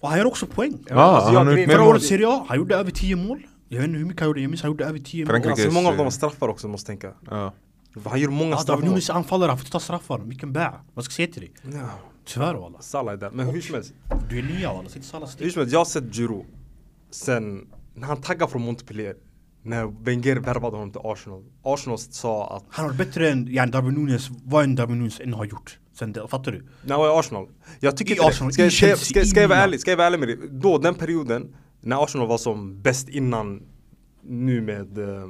A: Och han gör också poäng.
B: Ja,
C: Alltså, jag
B: han har
C: grejen-
B: gjort mer
A: Förra
B: mål.
A: året Serie A, han gjorde över 10 mål. Jag vet inte hur mycket han gjorde, jag minns han gjorde över 10 mål.
B: Frankrike.
C: Alltså, hur många av
B: eh,
C: dem var straffar också, måste tänka.
B: Ja.
C: Han gör många
A: Ja, Darwin
C: straffmål.
A: Nunez är anfallare, han får ta straffar. Vilken bä. Vad ska jag säga till dig?
C: Ja,
A: Tyvärr walla.
C: Salah är där. Men hur som helst.
A: Du är nia walla, sitt Salah
C: Hur
A: still.
C: som helst, jag har sett Giroud sen när han taggade från Montpellier. När Wenger värvade honom till Arsenal. Arsenal sa att,
A: Han har varit bättre än, yani Darwin Nunez, vad än Darwin Nunez än har gjort. Sen det, fattar du?
C: när han var i Arsenal. Jag tycker
A: I
C: inte
A: Arsenal,
C: det. Ska,
A: i
C: jag- ska, jag-
A: Chelsea,
C: ska, ska jag vara
A: i
C: ärlig, ska jag vara ärlig med dig. Då, den perioden, när Arsenal var som bäst innan nu med, eh,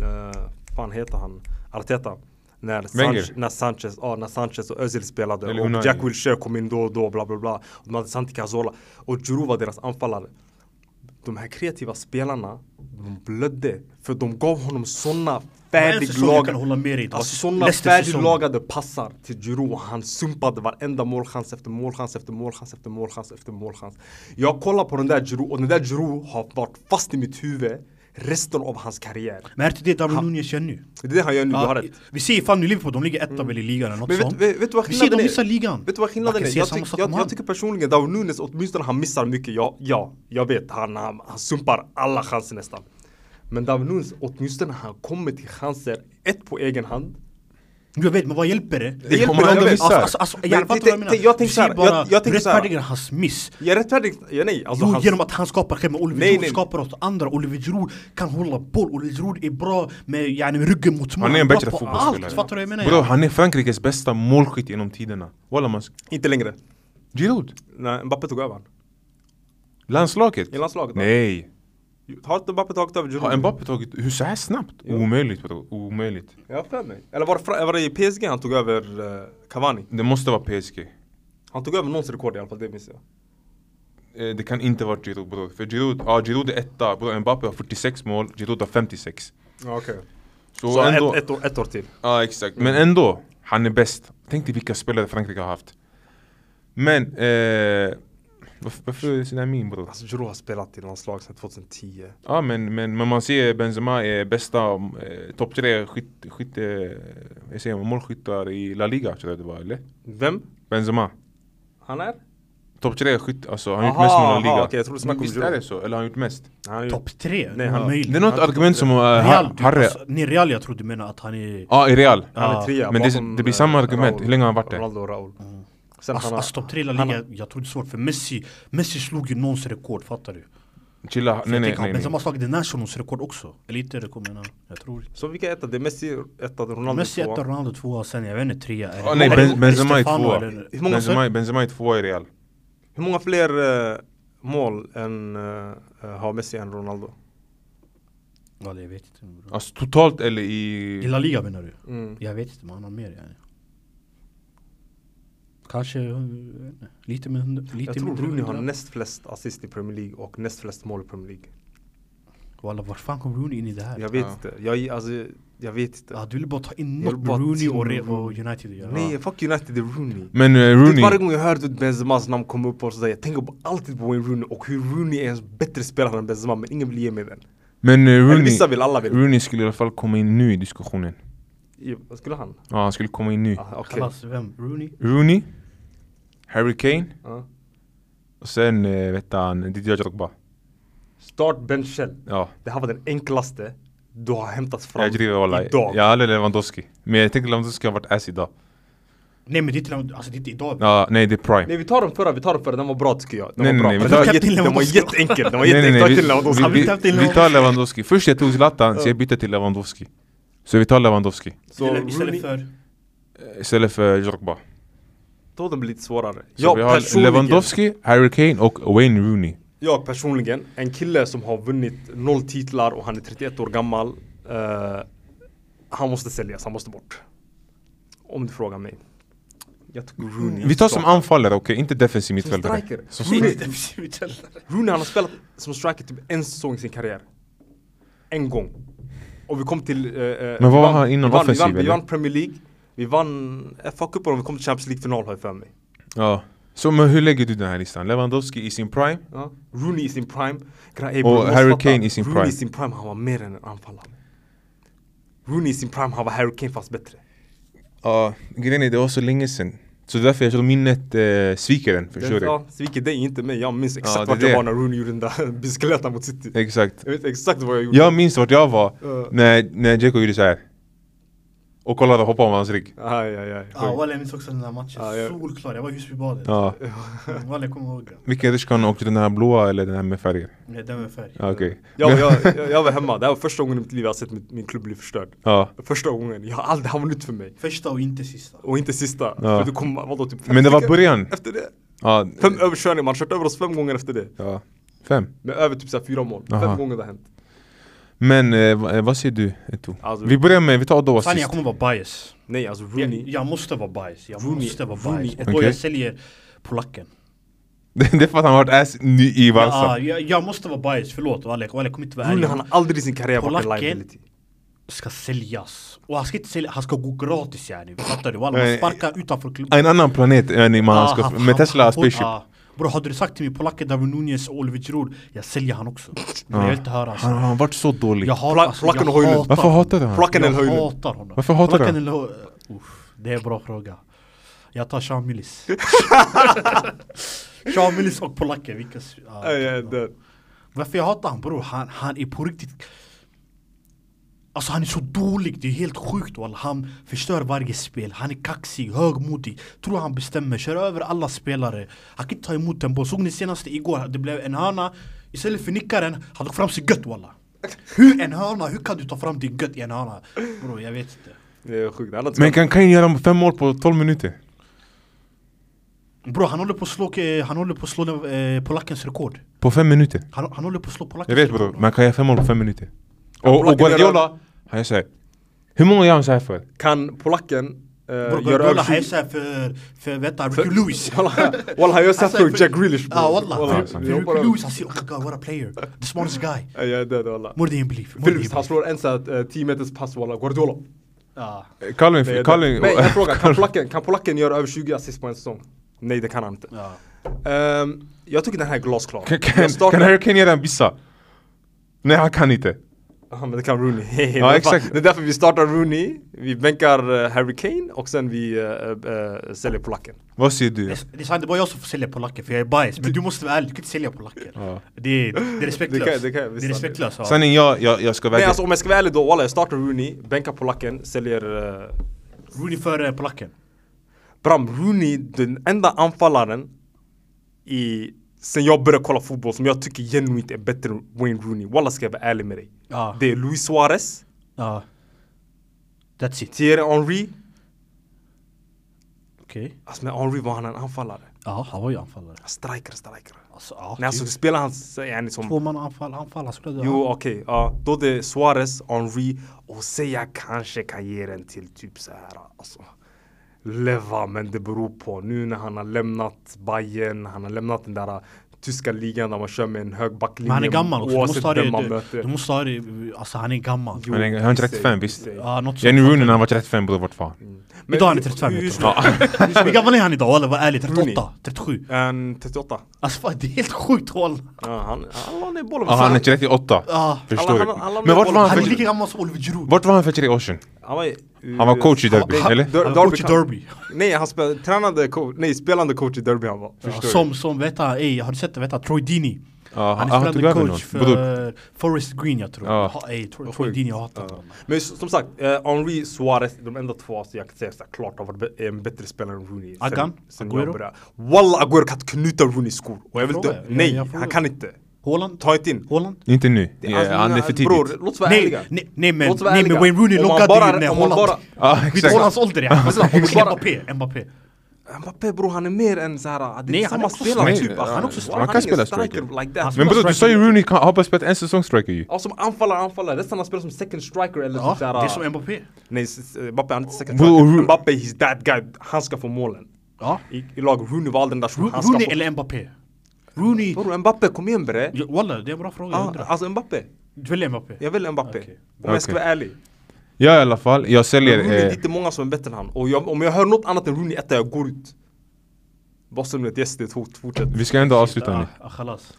C: eh, fan heter han, Arteta. När Sanchez,
B: Wenger.
C: när, Sanchez, ja, när Sanchez och Özil spelade
B: Eller
C: och
B: Unai.
C: Jack Wilshere kom in då och då, bla bla bla. Och de hade Santi Cazorla och Giroud var deras anfallare. de här kreativa spelarna, de blödde. För de gav honom sådana
A: En säsong jag kan
C: färdiglagade,
A: hålla med dig. Det var
C: alltså, såna
A: Leicester-säsongen.
C: färdiglagade passar till Giroud. och Han sumpade varenda målchans efter målchans efter målchans efter målchans efter målchans. Jag kollar på den där Giroud och den där Giroud har varit fast i mitt huvud resten av hans karriär.
A: Men är det inte det Darwin Nunez gör nu?
C: Det är det han gör nu, du har
A: Ja,
C: rätt.
A: vi ser fan nu Liverpool, de ligger etta väl i ligan eller något
C: Men vet,
A: sånt.
C: vet, vet du vad
A: Alltså. vi ser
C: skillnaden
A: de
C: är?
A: missar ligan.
C: Vet du vad skillnaden
A: Man kan
C: är?
A: säga
C: Jag,
A: samma
C: tyck,
A: sak
C: jag,
A: om
C: jag
A: han.
C: tycker personligen Darwin Nunes, åtminstone han missar mycket. Ja, ja, jag vet. Han, han, han sumpar alla chanser nästan. Men Darwin Nunes, åtminstone han kommer till chanser, ett på egen hand.
A: Jag vet, men vad hjälper det?
B: Det
A: hjälper
B: kommer han
A: inte.
B: aldrig
A: Alltså,
B: missa.
A: alltså, alltså,
C: Men
A: jag
C: t-
A: fattar vad jag
C: t-
A: menar.
C: jag tänker
A: Du
C: så här,
A: ser bara
C: jag- jag tänker så här.
A: rättfärdigar hans miss.
C: Jag rättfärdig... Ja, nej, alltså
A: Jo,
C: hans-
A: genom att han skapar själv med Oliver
C: Nej,
A: Giroud
C: nej.
A: skapar åt andra. Oliver Giroud kan hålla boll. Oliver Giroud är bra med yani, ryggen mot mål.
B: Han är en
A: bra
B: bättre
A: på
B: fotbollsspelare.
A: Allt, fattar du vad jag menar?
B: Bro, han är Frankrikes bästa målskytt genom tiderna. Walla man.
C: Inte längre.
B: Giroud.
C: Nej, Mbappé tog över han.
B: Landslaget.
C: I landslaget, va?
B: Nej.
C: Har inte Mbappé tagit över
B: Har
C: Giroud?
B: Mbappé tagit, hur så här snabbt? Omöjligt bro. Omöjligt.
C: Jag har för mig. Eller var det, fra- var det i PSG han tog över eh, Cavani?
B: Det måste vara PSG.
C: Han tog över någons rekord i alla fall, det minns jag.
B: Eh, Det kan inte vara Giroud bror. För Giroud, ja Giroud är etta, bror Mbappé har 46 mål, Giroud har 56.
C: Ja, okej.
B: Så,
C: Så
B: ändå,
C: ett, ett, år, ett år till.
B: ja exakt. Men ändå, han är bäst. Tänk dig vilka spelare Frankrike har haft. Men, eh, varför, varför sån här min bror?
C: Alltså Giroud har spelat i landslag sedan 2010.
B: Ja men, men, men man ser Benzema är bästa, eh, topp tre skytt, skytt, eh, jag säger målskyttar i La Liga tror jag det var eller?
C: Vem?
B: Benzema.
C: Han är?
B: Topp tre skytt, alltså han har
C: Aha,
B: gjort mest mål i La
C: aha,
B: Liga.
C: okej, jag trodde du snackade
B: men
C: om
B: visst
C: Giroud.
B: är det så? Eller har han gjort mest?
C: Han är ju-
A: Topp tre?
C: Nej,
A: Nej,
C: han-
A: han,
B: Det är något argument som eh,
A: Real, du,
B: Harry,
A: alltså, nej, Real jag tror du menar att han är...
B: Ja, i Real.
C: Han är trea
B: Men det-
C: bakom,
B: det blir
C: eh,
B: samma argument. Hur länge har han varit där?
C: Ronaldo och Raul. Sen
A: Alltså,
C: han har-
A: alltså topp tre i La
C: han
A: Liga, jag tror det är svårt för Messi, Messi slog ju någons rekord, fattar du?
B: Chilla,
C: Alltså,
A: Nej,
B: nej nej
A: tänker,
B: nej.
A: nej, Benzema
B: nej.
A: har slagit The Nationals rekord också. Eller inte rekord menar jag. jag tror.
C: Så vilka är etta? Det är Messi etta, Ronaldo
A: Messi
C: tvåa.
A: etta, Ronaldo tvåa, sen jag vet inte trea. Är det-
B: Ah, nej,
A: Eller-
B: ben, Benzema är
A: Stefano
B: tvåa.
A: eller-
C: Hur många sa
B: Benzema, Benzema är tvåa i Real.
C: Hur många fler eh, mål än, eh, har Messi än Ronaldo?
A: Ja, det jag vet inte.
B: Alltså totalt eller
A: I
B: i...
A: La Liga menar du?
C: Mm.
A: Jag vet inte, man har mer yani. Kanske eh, lite, med, hundra- lite
C: Jag tror
A: mindre.
C: Rooney har
A: hundra.
C: näst flest assist i Premier League och näst flest mål i Premier League.
A: Walla, var fan kom Rooney in i det här?
C: Jag vet
B: Ja.
C: inte. Jag, alltså, jag vet inte.
A: Ah, du vill bara ta in
C: Jag
A: något
C: vill bara
A: med Rooney
C: ta in
A: och, Re- och
C: Rooney.
A: United att göra.
C: Nej, fuck United, det är Rooney.
B: Men eh,
C: Rooney. Varje
B: Rooney,
C: gång jag hör du vet, Benzemas namn komma upp och sådär, jag tänker på, alltid på Wayne Rooney och hur Rooney är en bättre spelare än Benzema men ingen vill ge mig den.
B: men eh,
C: Eller vissa
B: Rooney,
C: vill, alla vill.
B: Rooney skulle i alla fall komma in nu i diskussionen.
C: I- Vad skulle han?
B: Ja, han skulle komma in nu.
C: Ah, Okej.
A: Kallas vem? Rooney?
B: Rooney, Harry Kane
C: Ja.
B: och sen eh, vet han, Didier Drogba.
C: Start bench Shell.
B: Ja,
C: Det här var den enklaste du har hämtat fram
B: jag driver walla.
C: idag.
B: Ja, eller Lewandowski. Men jag tänker Lewandowski har varit ass idag.
A: Nej men det är inte, alltså, det är inte idag.
B: Ja, nej det är prime.
C: Nej vi tar den förra, vi tar den förra, den var bra tycker jag. Den
B: Nej,
C: var
B: nej,
C: bra.
B: nej, vi
C: Men
B: tar-
C: den, var jätte,
A: Kapten
C: den var
A: Lewandowski.
C: jätteenkel, den var
B: Nej, nej,
C: jätteenkel.
B: nej,
C: Ta
B: vi,
C: till Lewandowski.
A: Han
B: vi,
A: vill ta till
B: vi, vi tar
A: Lewandowski.
B: Lewandowski. Först jag tog Zlatan, så jag bytte till Lewandowski. Så vi tar Lewandowski.
C: Så
A: istället,
C: Rooney-
A: istället för...
B: Eh, Istället för Drogba.
C: Då den blir lite svårare.
B: Så vi har
C: personligen,
B: Lewandowski, Harry Kane och Wayne Rooney.
C: jag personligen, en kille som har vunnit noll titlar och han är 31 år gammal. eh, han måste säljas, han måste bort. Om du frågar mig. Jag tycker Rooney.
B: Vi tar som
C: startar.
B: anfallare, okej? Inte defensiv mittfältare.
C: striker.
B: Som
C: Rooney-
B: striker.
C: Rooney han har spelat som striker typ en säsong i sin karriär. En gång. Och vi kom till... eh, eh,
B: Men vad
C: vi
B: var
C: vann-
B: han innan
C: vi vann-
B: offensiv,
C: Vi vann, vi
B: eller?
C: vann Premier League, vi vann FA-cupen och vi kom till Champions League-final har jag för mig.
B: Ja. Så men hur lägger du den här listan? Lewandowski i sin prime?
C: Ja. Rooney i sin prime. Gra-
B: Och
C: ey, bro, du måste
B: Harry
C: fatta.
B: Kane i sin
C: Rooney
B: prime.
C: i sin prime, han var mer än en anfallare. Rooney i sin prime, han var Harry Kane fast bättre.
B: Ja, grejen är det var så länge sedan. Så därför jag tror minnet eh, sviker den, förstår du?
C: Ja, sviker dig, inte mig. Jag minns exakt
B: det är
C: vart jag
B: det.
C: var när Rooney gjorde den där bicicletan mot City.
B: Exakt.
C: Jag vet exakt vad jag gjorde.
B: Jag minns vart jag var
C: Ja.
B: när, när Dzeko gjorde så här. Och kollade och hoppade om hans rygg.
C: Aj, aj, aj.
A: Ja walla jag minns också den där matchen,
C: Ja, jag-
A: solklar, jag var i Husbybadet.
B: Ja.
A: Mm, Walla jag kommer ihåg den.
B: Vilken rutschkana åkte den här blåa eller den här med färger?
A: Nej, Den med färg.
B: Ja, Okej.
C: Jag, jag, jag, jag var hemma, det här var första gången i mitt liv jag har sett min, min klubb bli förstörd.
B: Ja.
C: Första gången, jag har aldrig, det här var nytt för mig.
A: Första och inte sista.
C: Och inte sista. För det kom, vadå, typ fem
B: Men det var
C: stycken
B: början.
C: Efter det.
B: Ja.
C: Fem överkörningar, man har kört över oss fem gånger efter det.
B: ja. Fem.
C: Med över typ så här fyra mål.
B: Aha.
C: Fem gånger det har hänt.
B: Men eh, va- eh, vad säger du Eto?
C: Alltså-
B: vi börjar med, vi tar Odoa
A: Fan
B: sist.
A: jag kommer vara bias.
C: Nej alltså Rooney.
A: Jag, jag måste vara bias, jag
C: Rooney-
A: måste vara
C: Rooney
A: bias.
C: ett-
A: Och då
B: Okej.
A: jag säljer polacken.
B: Det det är för att han har varit ass ny i Barca.
A: Ja, jag, jag måste vara bias, förlåt Walek. Walek kommer inte vara
C: Rooney
A: ärlig.
C: han har aldrig i sin karriär varit en
A: Polacken.
C: liability.
A: Ska säljas. Och han ska inte sälja, han ska gå gratis yani. Fattar du? Walla, man
B: Nej.
A: sparkar utanför klubben. Ah,
B: En annan planet än i man han ska, med Tesla Spaceship.
A: Bror hade du sagt till mig polacken Darwin Nunez och Oliver Giroud, jag säljer han också. Men jag vill inte höra
B: Han
A: alltså.
B: han har varit så dålig.
A: Jag hatar,
C: Pla-
A: alltså, jag
C: Placken och Højlund.
A: hatar
B: Varför
A: honom.
B: hatar du honom?
C: Placken eller
A: Jag
C: Höjlund?
A: hatar honom.
B: Varför hatar du
A: Placken
B: honom?
A: eller Hø- Uff, Det är en bra fråga. Jag tar Sean Millis. Sean Millis och polacken, vilka... s- ah, ja,
C: Ja, ja, det-
A: Varför jag hatar han bror? Han, han är på riktigt Alltså han är så dålig, det är helt sjukt walla. Han förstör varje spel, han är kaxig, högmodig Tror han bestämmer, kör över alla spelare Han kan inte ta emot en boll, såg ni senaste igår? Det blev en hörna Istället för nickaren, han tog fram sin gött walla Hur en hörna? Hur kan du ta fram din gött i en hörna? Bror jag vet inte
C: Det är sjukt. Alla
B: Men kan Kane göra fem mål på 12 minuter?
A: Bror han håller på att slå, eh, han håller på att slå eh, polackens rekord
B: På fem minuter?
A: han, han håller på att slå
B: Jag
A: polackens
B: vet
A: rekord
B: bror, man kan göra fem mål på fem minuter. Och, och
C: Polacken gör-
B: Guardiola, han gör såhär. Hur många gör han såhär för?
C: Kan polacken eh,
A: Bror
C: göra
A: Guardiola
C: över 20?
A: hejsar för, för vet du, Ricky Lewis
C: Walla han gör såhär för
A: Alltså, för-
C: Jack Grealish
A: Ja
B: Ja,
A: wallah,
B: sant.
A: Ricky Lewis, I see, oh my god what a player, the smartest guy
C: Ja, jag är död walla.
A: More than you believe, more than you
C: Philips, han
A: believe
C: slår en såhär 10 meters pass walla, Guardiola.
A: Ja.
B: Calvin,
C: Nej, jag
B: Calvin,
C: dör. Men en fråga, kan polacken, kan polacken göra över 20 assist på en säsong? Nej det kan han inte.
A: Ja.
C: Ehm, jag tycker den här är glasklar.
B: kan,
C: jag
B: kan,
C: startar-
B: kan Harry Kane göra en bissa? Nej han kan inte.
C: Ja men det kan Rooney. det, är
B: Ja,
C: fan-
B: exakt.
C: det är därför vi startar Rooney, vi bänkar eh, Harry Kane och sen vi eh, eh, säljer polacken.
B: Vad säger du?
A: Det är sant, det är bara jag som får sälja polacker för jag är bias Men du måste vara ärlig, du kan inte sälja polacker
B: Ja.
A: Det är det är respektlöst
C: Det kan- det kan jag visst
A: Det är respektlöst ja.
B: Sanningen, jag, jag, jag ska
C: Nej
B: väga...
C: alltså om jag ska vara ärlig då, walla jag startar Rooney, bänkar polacken, säljer eh,
A: Rooney före polacken
C: Bram Rooney, den enda anfallaren i, sen jag började kolla fotboll som jag tycker genuint är bättre än Wayne Rooney. Walla ska jag vara ärlig med dig.
A: Ja.
C: Det är Luis Suarez,
A: Ja That's it,
C: Thierry Henry.
A: okej
C: Alltså men Henry var han en anfallare.
A: Ja, han var ju anfallare
C: Striker, striker.
A: Alltså ja,
C: Nej alltså
A: typ.
C: spelar han så- yani som...
A: Tvåmannaanfall, anfall, han spelade
C: Jo okej, ja. Då det är Suarez, Henry och Seja kanske kan ge den till typ så här alltså. Leva, men det beror på. Nu när han har lämnat Bayern, han har lämnat den där äh, tyska ligan där man kör med en hög backlinje.
A: Men han är gammal också, du
C: oavsett
A: måste ha
C: vem
A: det,
C: man
A: du,
C: möter.
A: du måste ha det, alltså han är gammal
C: Jo,
B: Han är- han är inte
C: visst,
B: 35, visst.
A: Ja, något sånt
B: Jenny Rooney när han var 35 bror, vart
C: Mm.
B: fan?
C: Men
A: Idag är han
C: hur-
A: 35
C: hur-
A: vet du.
C: hur-
A: Hur gammal är han idag? Walla, var ärlig, 38,
C: Rooney.
A: 37
C: En 38.
A: Alltså fan, det är helt sjukt walla
C: Ja, han, Alltså, han la ner bollen.
B: Ja, han är 38.
A: Ja.
B: Förstår du?
C: Alla- alla- alla
B: Men vart
C: med
B: var
A: Han
B: han
A: är
B: för,
A: lika gammal som Oliver Giroud
B: vart var han för tre år sedan?
C: Han var, eh,
B: Han var coach i derby,
C: han-
B: eller?
C: Der-
A: Han var coach i
C: kan-
A: derby.
C: Nej, han spelade, tränande coach, nej spelande coach i derby han var.
A: Ja, som, som, vet han, ey, har du sett det? Vet han, Troy Deeney
B: Ja,
A: Han
B: han-
A: är
B: han tog
A: spelande
B: över
A: coach
B: någon.
A: för
B: Bror.
A: Forest Green jag tror
B: Ja.
A: ha, ey, Troy, Troy Deeney, jag hatar honom
C: Men s- som sagt, eh, Henri Suarez, de enda två alltså, jag kan säga såhär, klart har varit be- en bättre spelare än Rooney. Sen-
A: Agan?
C: sen
A: Aguero?
C: jag började. Walla Aguero kan inte knyta Rooneys skor. Och jag vill
A: frågar,
C: inte,
A: jag-
C: nej,
A: jag frågar.
C: han kan inte.
A: Haaland?
C: Ta inte in.
A: Haaland?
B: Inte nu. Ja,
C: Alltså,
B: han är för tidigt.
C: Bror, låt oss vara
A: Nej,
C: ärliga.
A: nej, nej men,
C: Låt oss vara
A: nej, men
C: ärliga.
A: Wayne Rooney
C: Om man
A: loggade
C: bara-
A: ju när
C: om man
A: Haaland...
B: Ja,
A: Vet du
B: exakt.
A: Haalands ålder? är?
C: Alltså, om vi bara-
A: Mbappé, Mbappé
C: Mbappé bror, han är mer än såhär, det är
A: Nej, han
C: inte samma
A: är också
C: spelare
B: striker.
C: typ.
B: Nej,
C: Alltså,
B: han
C: är
B: också
C: inte-
B: striker. Han kan spela striker.
C: like
A: Han
C: that.
B: Men
A: spelar
B: bror, du sa ju
A: striker.
B: Rooney kan- har bara spelat en säsong striker ju.
C: Ja, som anfallare, anfallare. Resten han spelar som second striker eller
A: Ja,
C: typ
A: det
C: såhär...
A: är som Mbappé
C: Nej, s- s- Mbappé han är inte second
B: Bro,
C: striker.
B: Ro-
C: Mbappé, he's that guy. Han ska få målen.
A: Ja.
C: I, i lag, Rooney var aldrig den där som
A: Ro-
C: han ska
A: Rooney
C: få.
A: eller Mbappé? Rooney...
C: Bror, Mbappé, kom igen bre.
A: Ja, Walla, det är en bra fråga, jag
C: Ah,
A: undrar
C: alltså Mbappé.
A: Du väljer Mbappé?
C: Jag vill Mbappé.
A: Okej.
C: Om jag ska
B: Okej.
C: vara ärlig.
B: Jag i alla fall, jag säljer...
C: Rooney, det är
B: Eh,
C: inte många som är bättre än han. Och jag, om jag hör något annat än Rooney etta, jag går ut. Bara som ett yes, det är ett hot. Fortsätt.
B: vi ska ändå avsluta nu.
A: Ah, ah, khalas.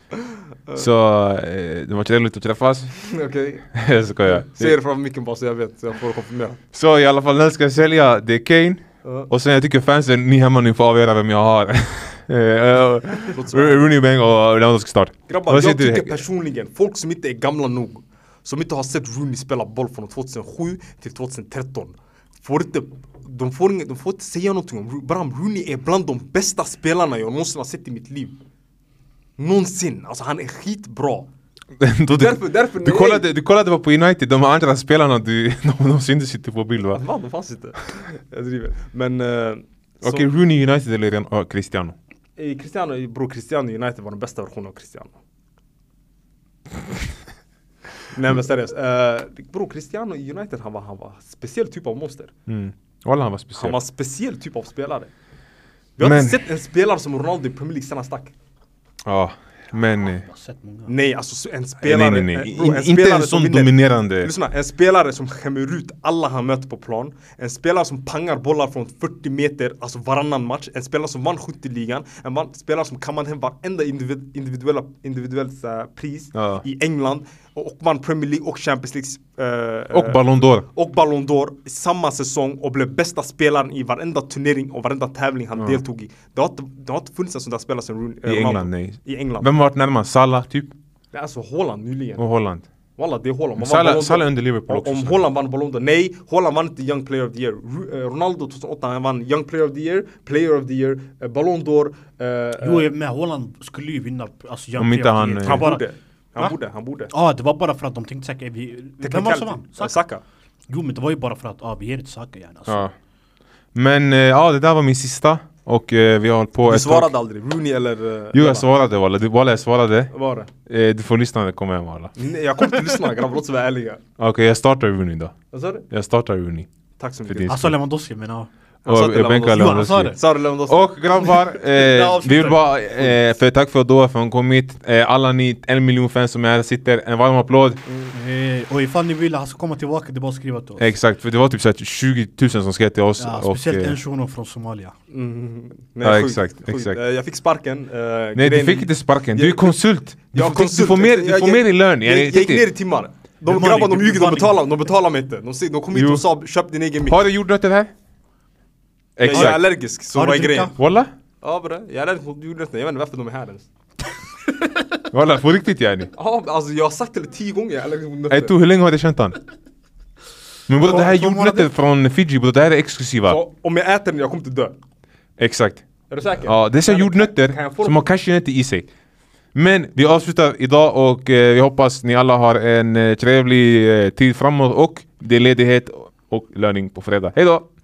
B: Så eh, det var trevligt att träffas.
C: Okej.
B: jag skojar.
C: Säg det framför micken bara så jag vet, så jag får konfirmera.
B: Så i alla fall, den ska jag sälja, det är Kane.
C: Ja.
B: Och sen jag tycker fansen, ni hemma nu får avgöra vem jag har. Eh, eh,
C: Låt så.
B: Rooney Bang och Lewandowski start.
C: Grabbar,
B: Vad
C: jag
B: säger
C: tycker
B: du?
C: personligen, folk som inte är gamla nog, som inte har sett Rooney spela boll från 2007 till 2013, får inte, de, får inget, de får inte säga någonting om Ro- Bram. Rooney är bland de bästa spelarna jag någonsin har sett i mitt liv. Någonsin. Alltså han är skitbra.
B: Då du,
C: Därför- därför
B: du,
C: nej.
B: kollade, du kollade bara på United, de andra spelarna, du, de, de syntes inte på bild va?
C: Va, de fanns inte. Jag driver. Men... eh, så-
B: Okej, Rooney United eller Ren- ja, Cristiano?
C: eh, Cristiano, bror Cristiano United var den bästa versionen av Cristiano. Nej men seriöst. Uh, bror Cristiano i United han var, han var speciell typ av monster.
B: Mm. Walla han var
C: Han
B: speciell. typ
C: var en speciell typ av spelare. Vi har
B: Men-
C: inte sett en spelare som Ronaldo i Premier League sen han stack.
B: Ja, men... eh,
A: Jag har sett många.
C: Nej, alltså så- en spelare...
B: Nej, nej, nej.
C: eh, bro,
B: In, inte
C: spelare
B: en
C: som
B: sån
C: vinner-
B: dominerande...
C: Lyssna, en spelare som skämmer ut alla han möter på plan. En spelare som pangar bollar från 40 meter, alltså varannan match. En spelare som vann skytteligan. En man, spelare som kammade hem varenda individ, individuella, individuellt eh, pris
B: Ja.
C: i England. Och, och vann Premier League och Champions League. eh,
B: Och
C: eh,
B: Ballon d'Or.
C: och Ballon d'Or i samma säsong och blev bästa spelaren i varenda turnering och varenda tävling han deltog i. Det har, inte, det har inte funnits en sån där spelare som Rooney. eh,
B: I
C: Ronaldo.
B: England, nej.
C: I England.
B: Vem varit närmast? Salah typ?
C: Nej, Alltså Holland nyligen.
B: Och Holland?
C: Walla, det är Holland. Man vann
B: Salah,
C: Ballon d'Or.
B: Salah under Liverpool också.
C: Om Holland vann Ballon d'Or, nej! Holland vann inte Young Player of the Year. Ru- eh, Ronaldo 2008, han vann Young Player of the Year, Player of the Year, eh, Ballon d'Or. eh, eh,
A: Jo, men Holland skulle ju vinna. Alltså, Young
B: Om inte
A: Player of
B: han,
A: the Year.
B: eh,
A: Han bara...
C: borde.
A: Va?
C: Han borde, han borde.
A: Ja, det var bara för att de tänkte säkert... Vi, vem var det som vann?
C: Teknikalitet.
A: Saka.
C: Saka.
A: Jo, men det var ju bara för att ah, vi ger det till Saka gärna. Alltså.
B: Ja. Men eh, ja, det där var min sista. Och eh, vi har hållit på
C: Du
B: ett tag.
C: svarade aldrig, Rooney eller... eh,
B: Jo, jag
C: Walla.
B: svarade walla. Du- Walla, jag svarade.
C: Vad Var det?
B: Eh, du får lyssna när jag kommer hem walla.
C: Nej, jag kommer inte lyssna grabbar, låt oss vara ärliga.
B: Okej, jag startar Rooney då.
C: Vad sa du?
B: Jag startar Rooney.
C: Tack så
B: För
C: mycket.
B: din-
A: Han sa Alltså, Lewandowski, men ja.
C: Han sa
B: Och
C: till
B: eh,
C: Lewandowski.
B: bänka
A: Jo, han sa
B: Lewandowski.
A: det.
C: Sa du Lewandowski?
B: Och grabbar, eh, vi vill bara eh, för tack för då för att ni kom hit. Eh, alla ni en miljon fans som är här sitter, en varm applåd.
A: Eh, och ifall ni vill han ska komma tillbaka, det är bara att skriva till oss.
B: Exakt, för det var typ så här 20 000 som skrev till oss.
A: Ja,
B: och,
A: speciellt
B: eh,
A: en shuno från Somalia.
C: Mm,
B: Ja,
C: sjukt,
B: exakt,
C: sjukt.
B: exakt.
C: Eh, Jag fick sparken.
B: Nej du fick inte sparken, du är
C: Jag-
B: konsult! Du,
C: Jag
B: får, du får mer, du får mer i lön!
C: Jag, jag,
B: Yani,
C: jag gick
B: riktigt.
C: ner i timmar. De
A: Bemanning,
C: grabbarna de ljuger, de
A: bemanning.
C: betalar, de betalar mig inte. De, säger- de kom hit
B: Jo.
C: och sa köp din egen mick.
B: Har du jordnötter här?
C: Jag, jag är
B: Exakt!
C: allergisk, så
A: Har du
C: vad är grejen?
A: dricka?
B: Walla?
C: Ja bre, jag är allergisk mot jordnötter, jag vet inte varför de är här ens.
B: Walla, på riktigt yani!
C: Ja, alltså jag har sagt det tio gånger, jag är allergisk mot
B: Ey
C: nötter.
B: to, hur länge har du känt han? Men bror det här är
A: Två- två
B: jordnötter
A: månader.
B: från Fiji bror, det här är exklusiva!
C: Så Om jag äter den, jag kommer inte dö.
B: Exakt!
C: Är du säker?
B: Ja, det är så
C: Kan- kan
B: jordnötter
C: jag få
B: som
C: dem?
B: har cashewnötter i sig. Men vi avslutar idag och eh, vi hoppas ni alla har en eh, trevlig eh, tid framåt och det är ledighet och löning på fredag. Hejdå!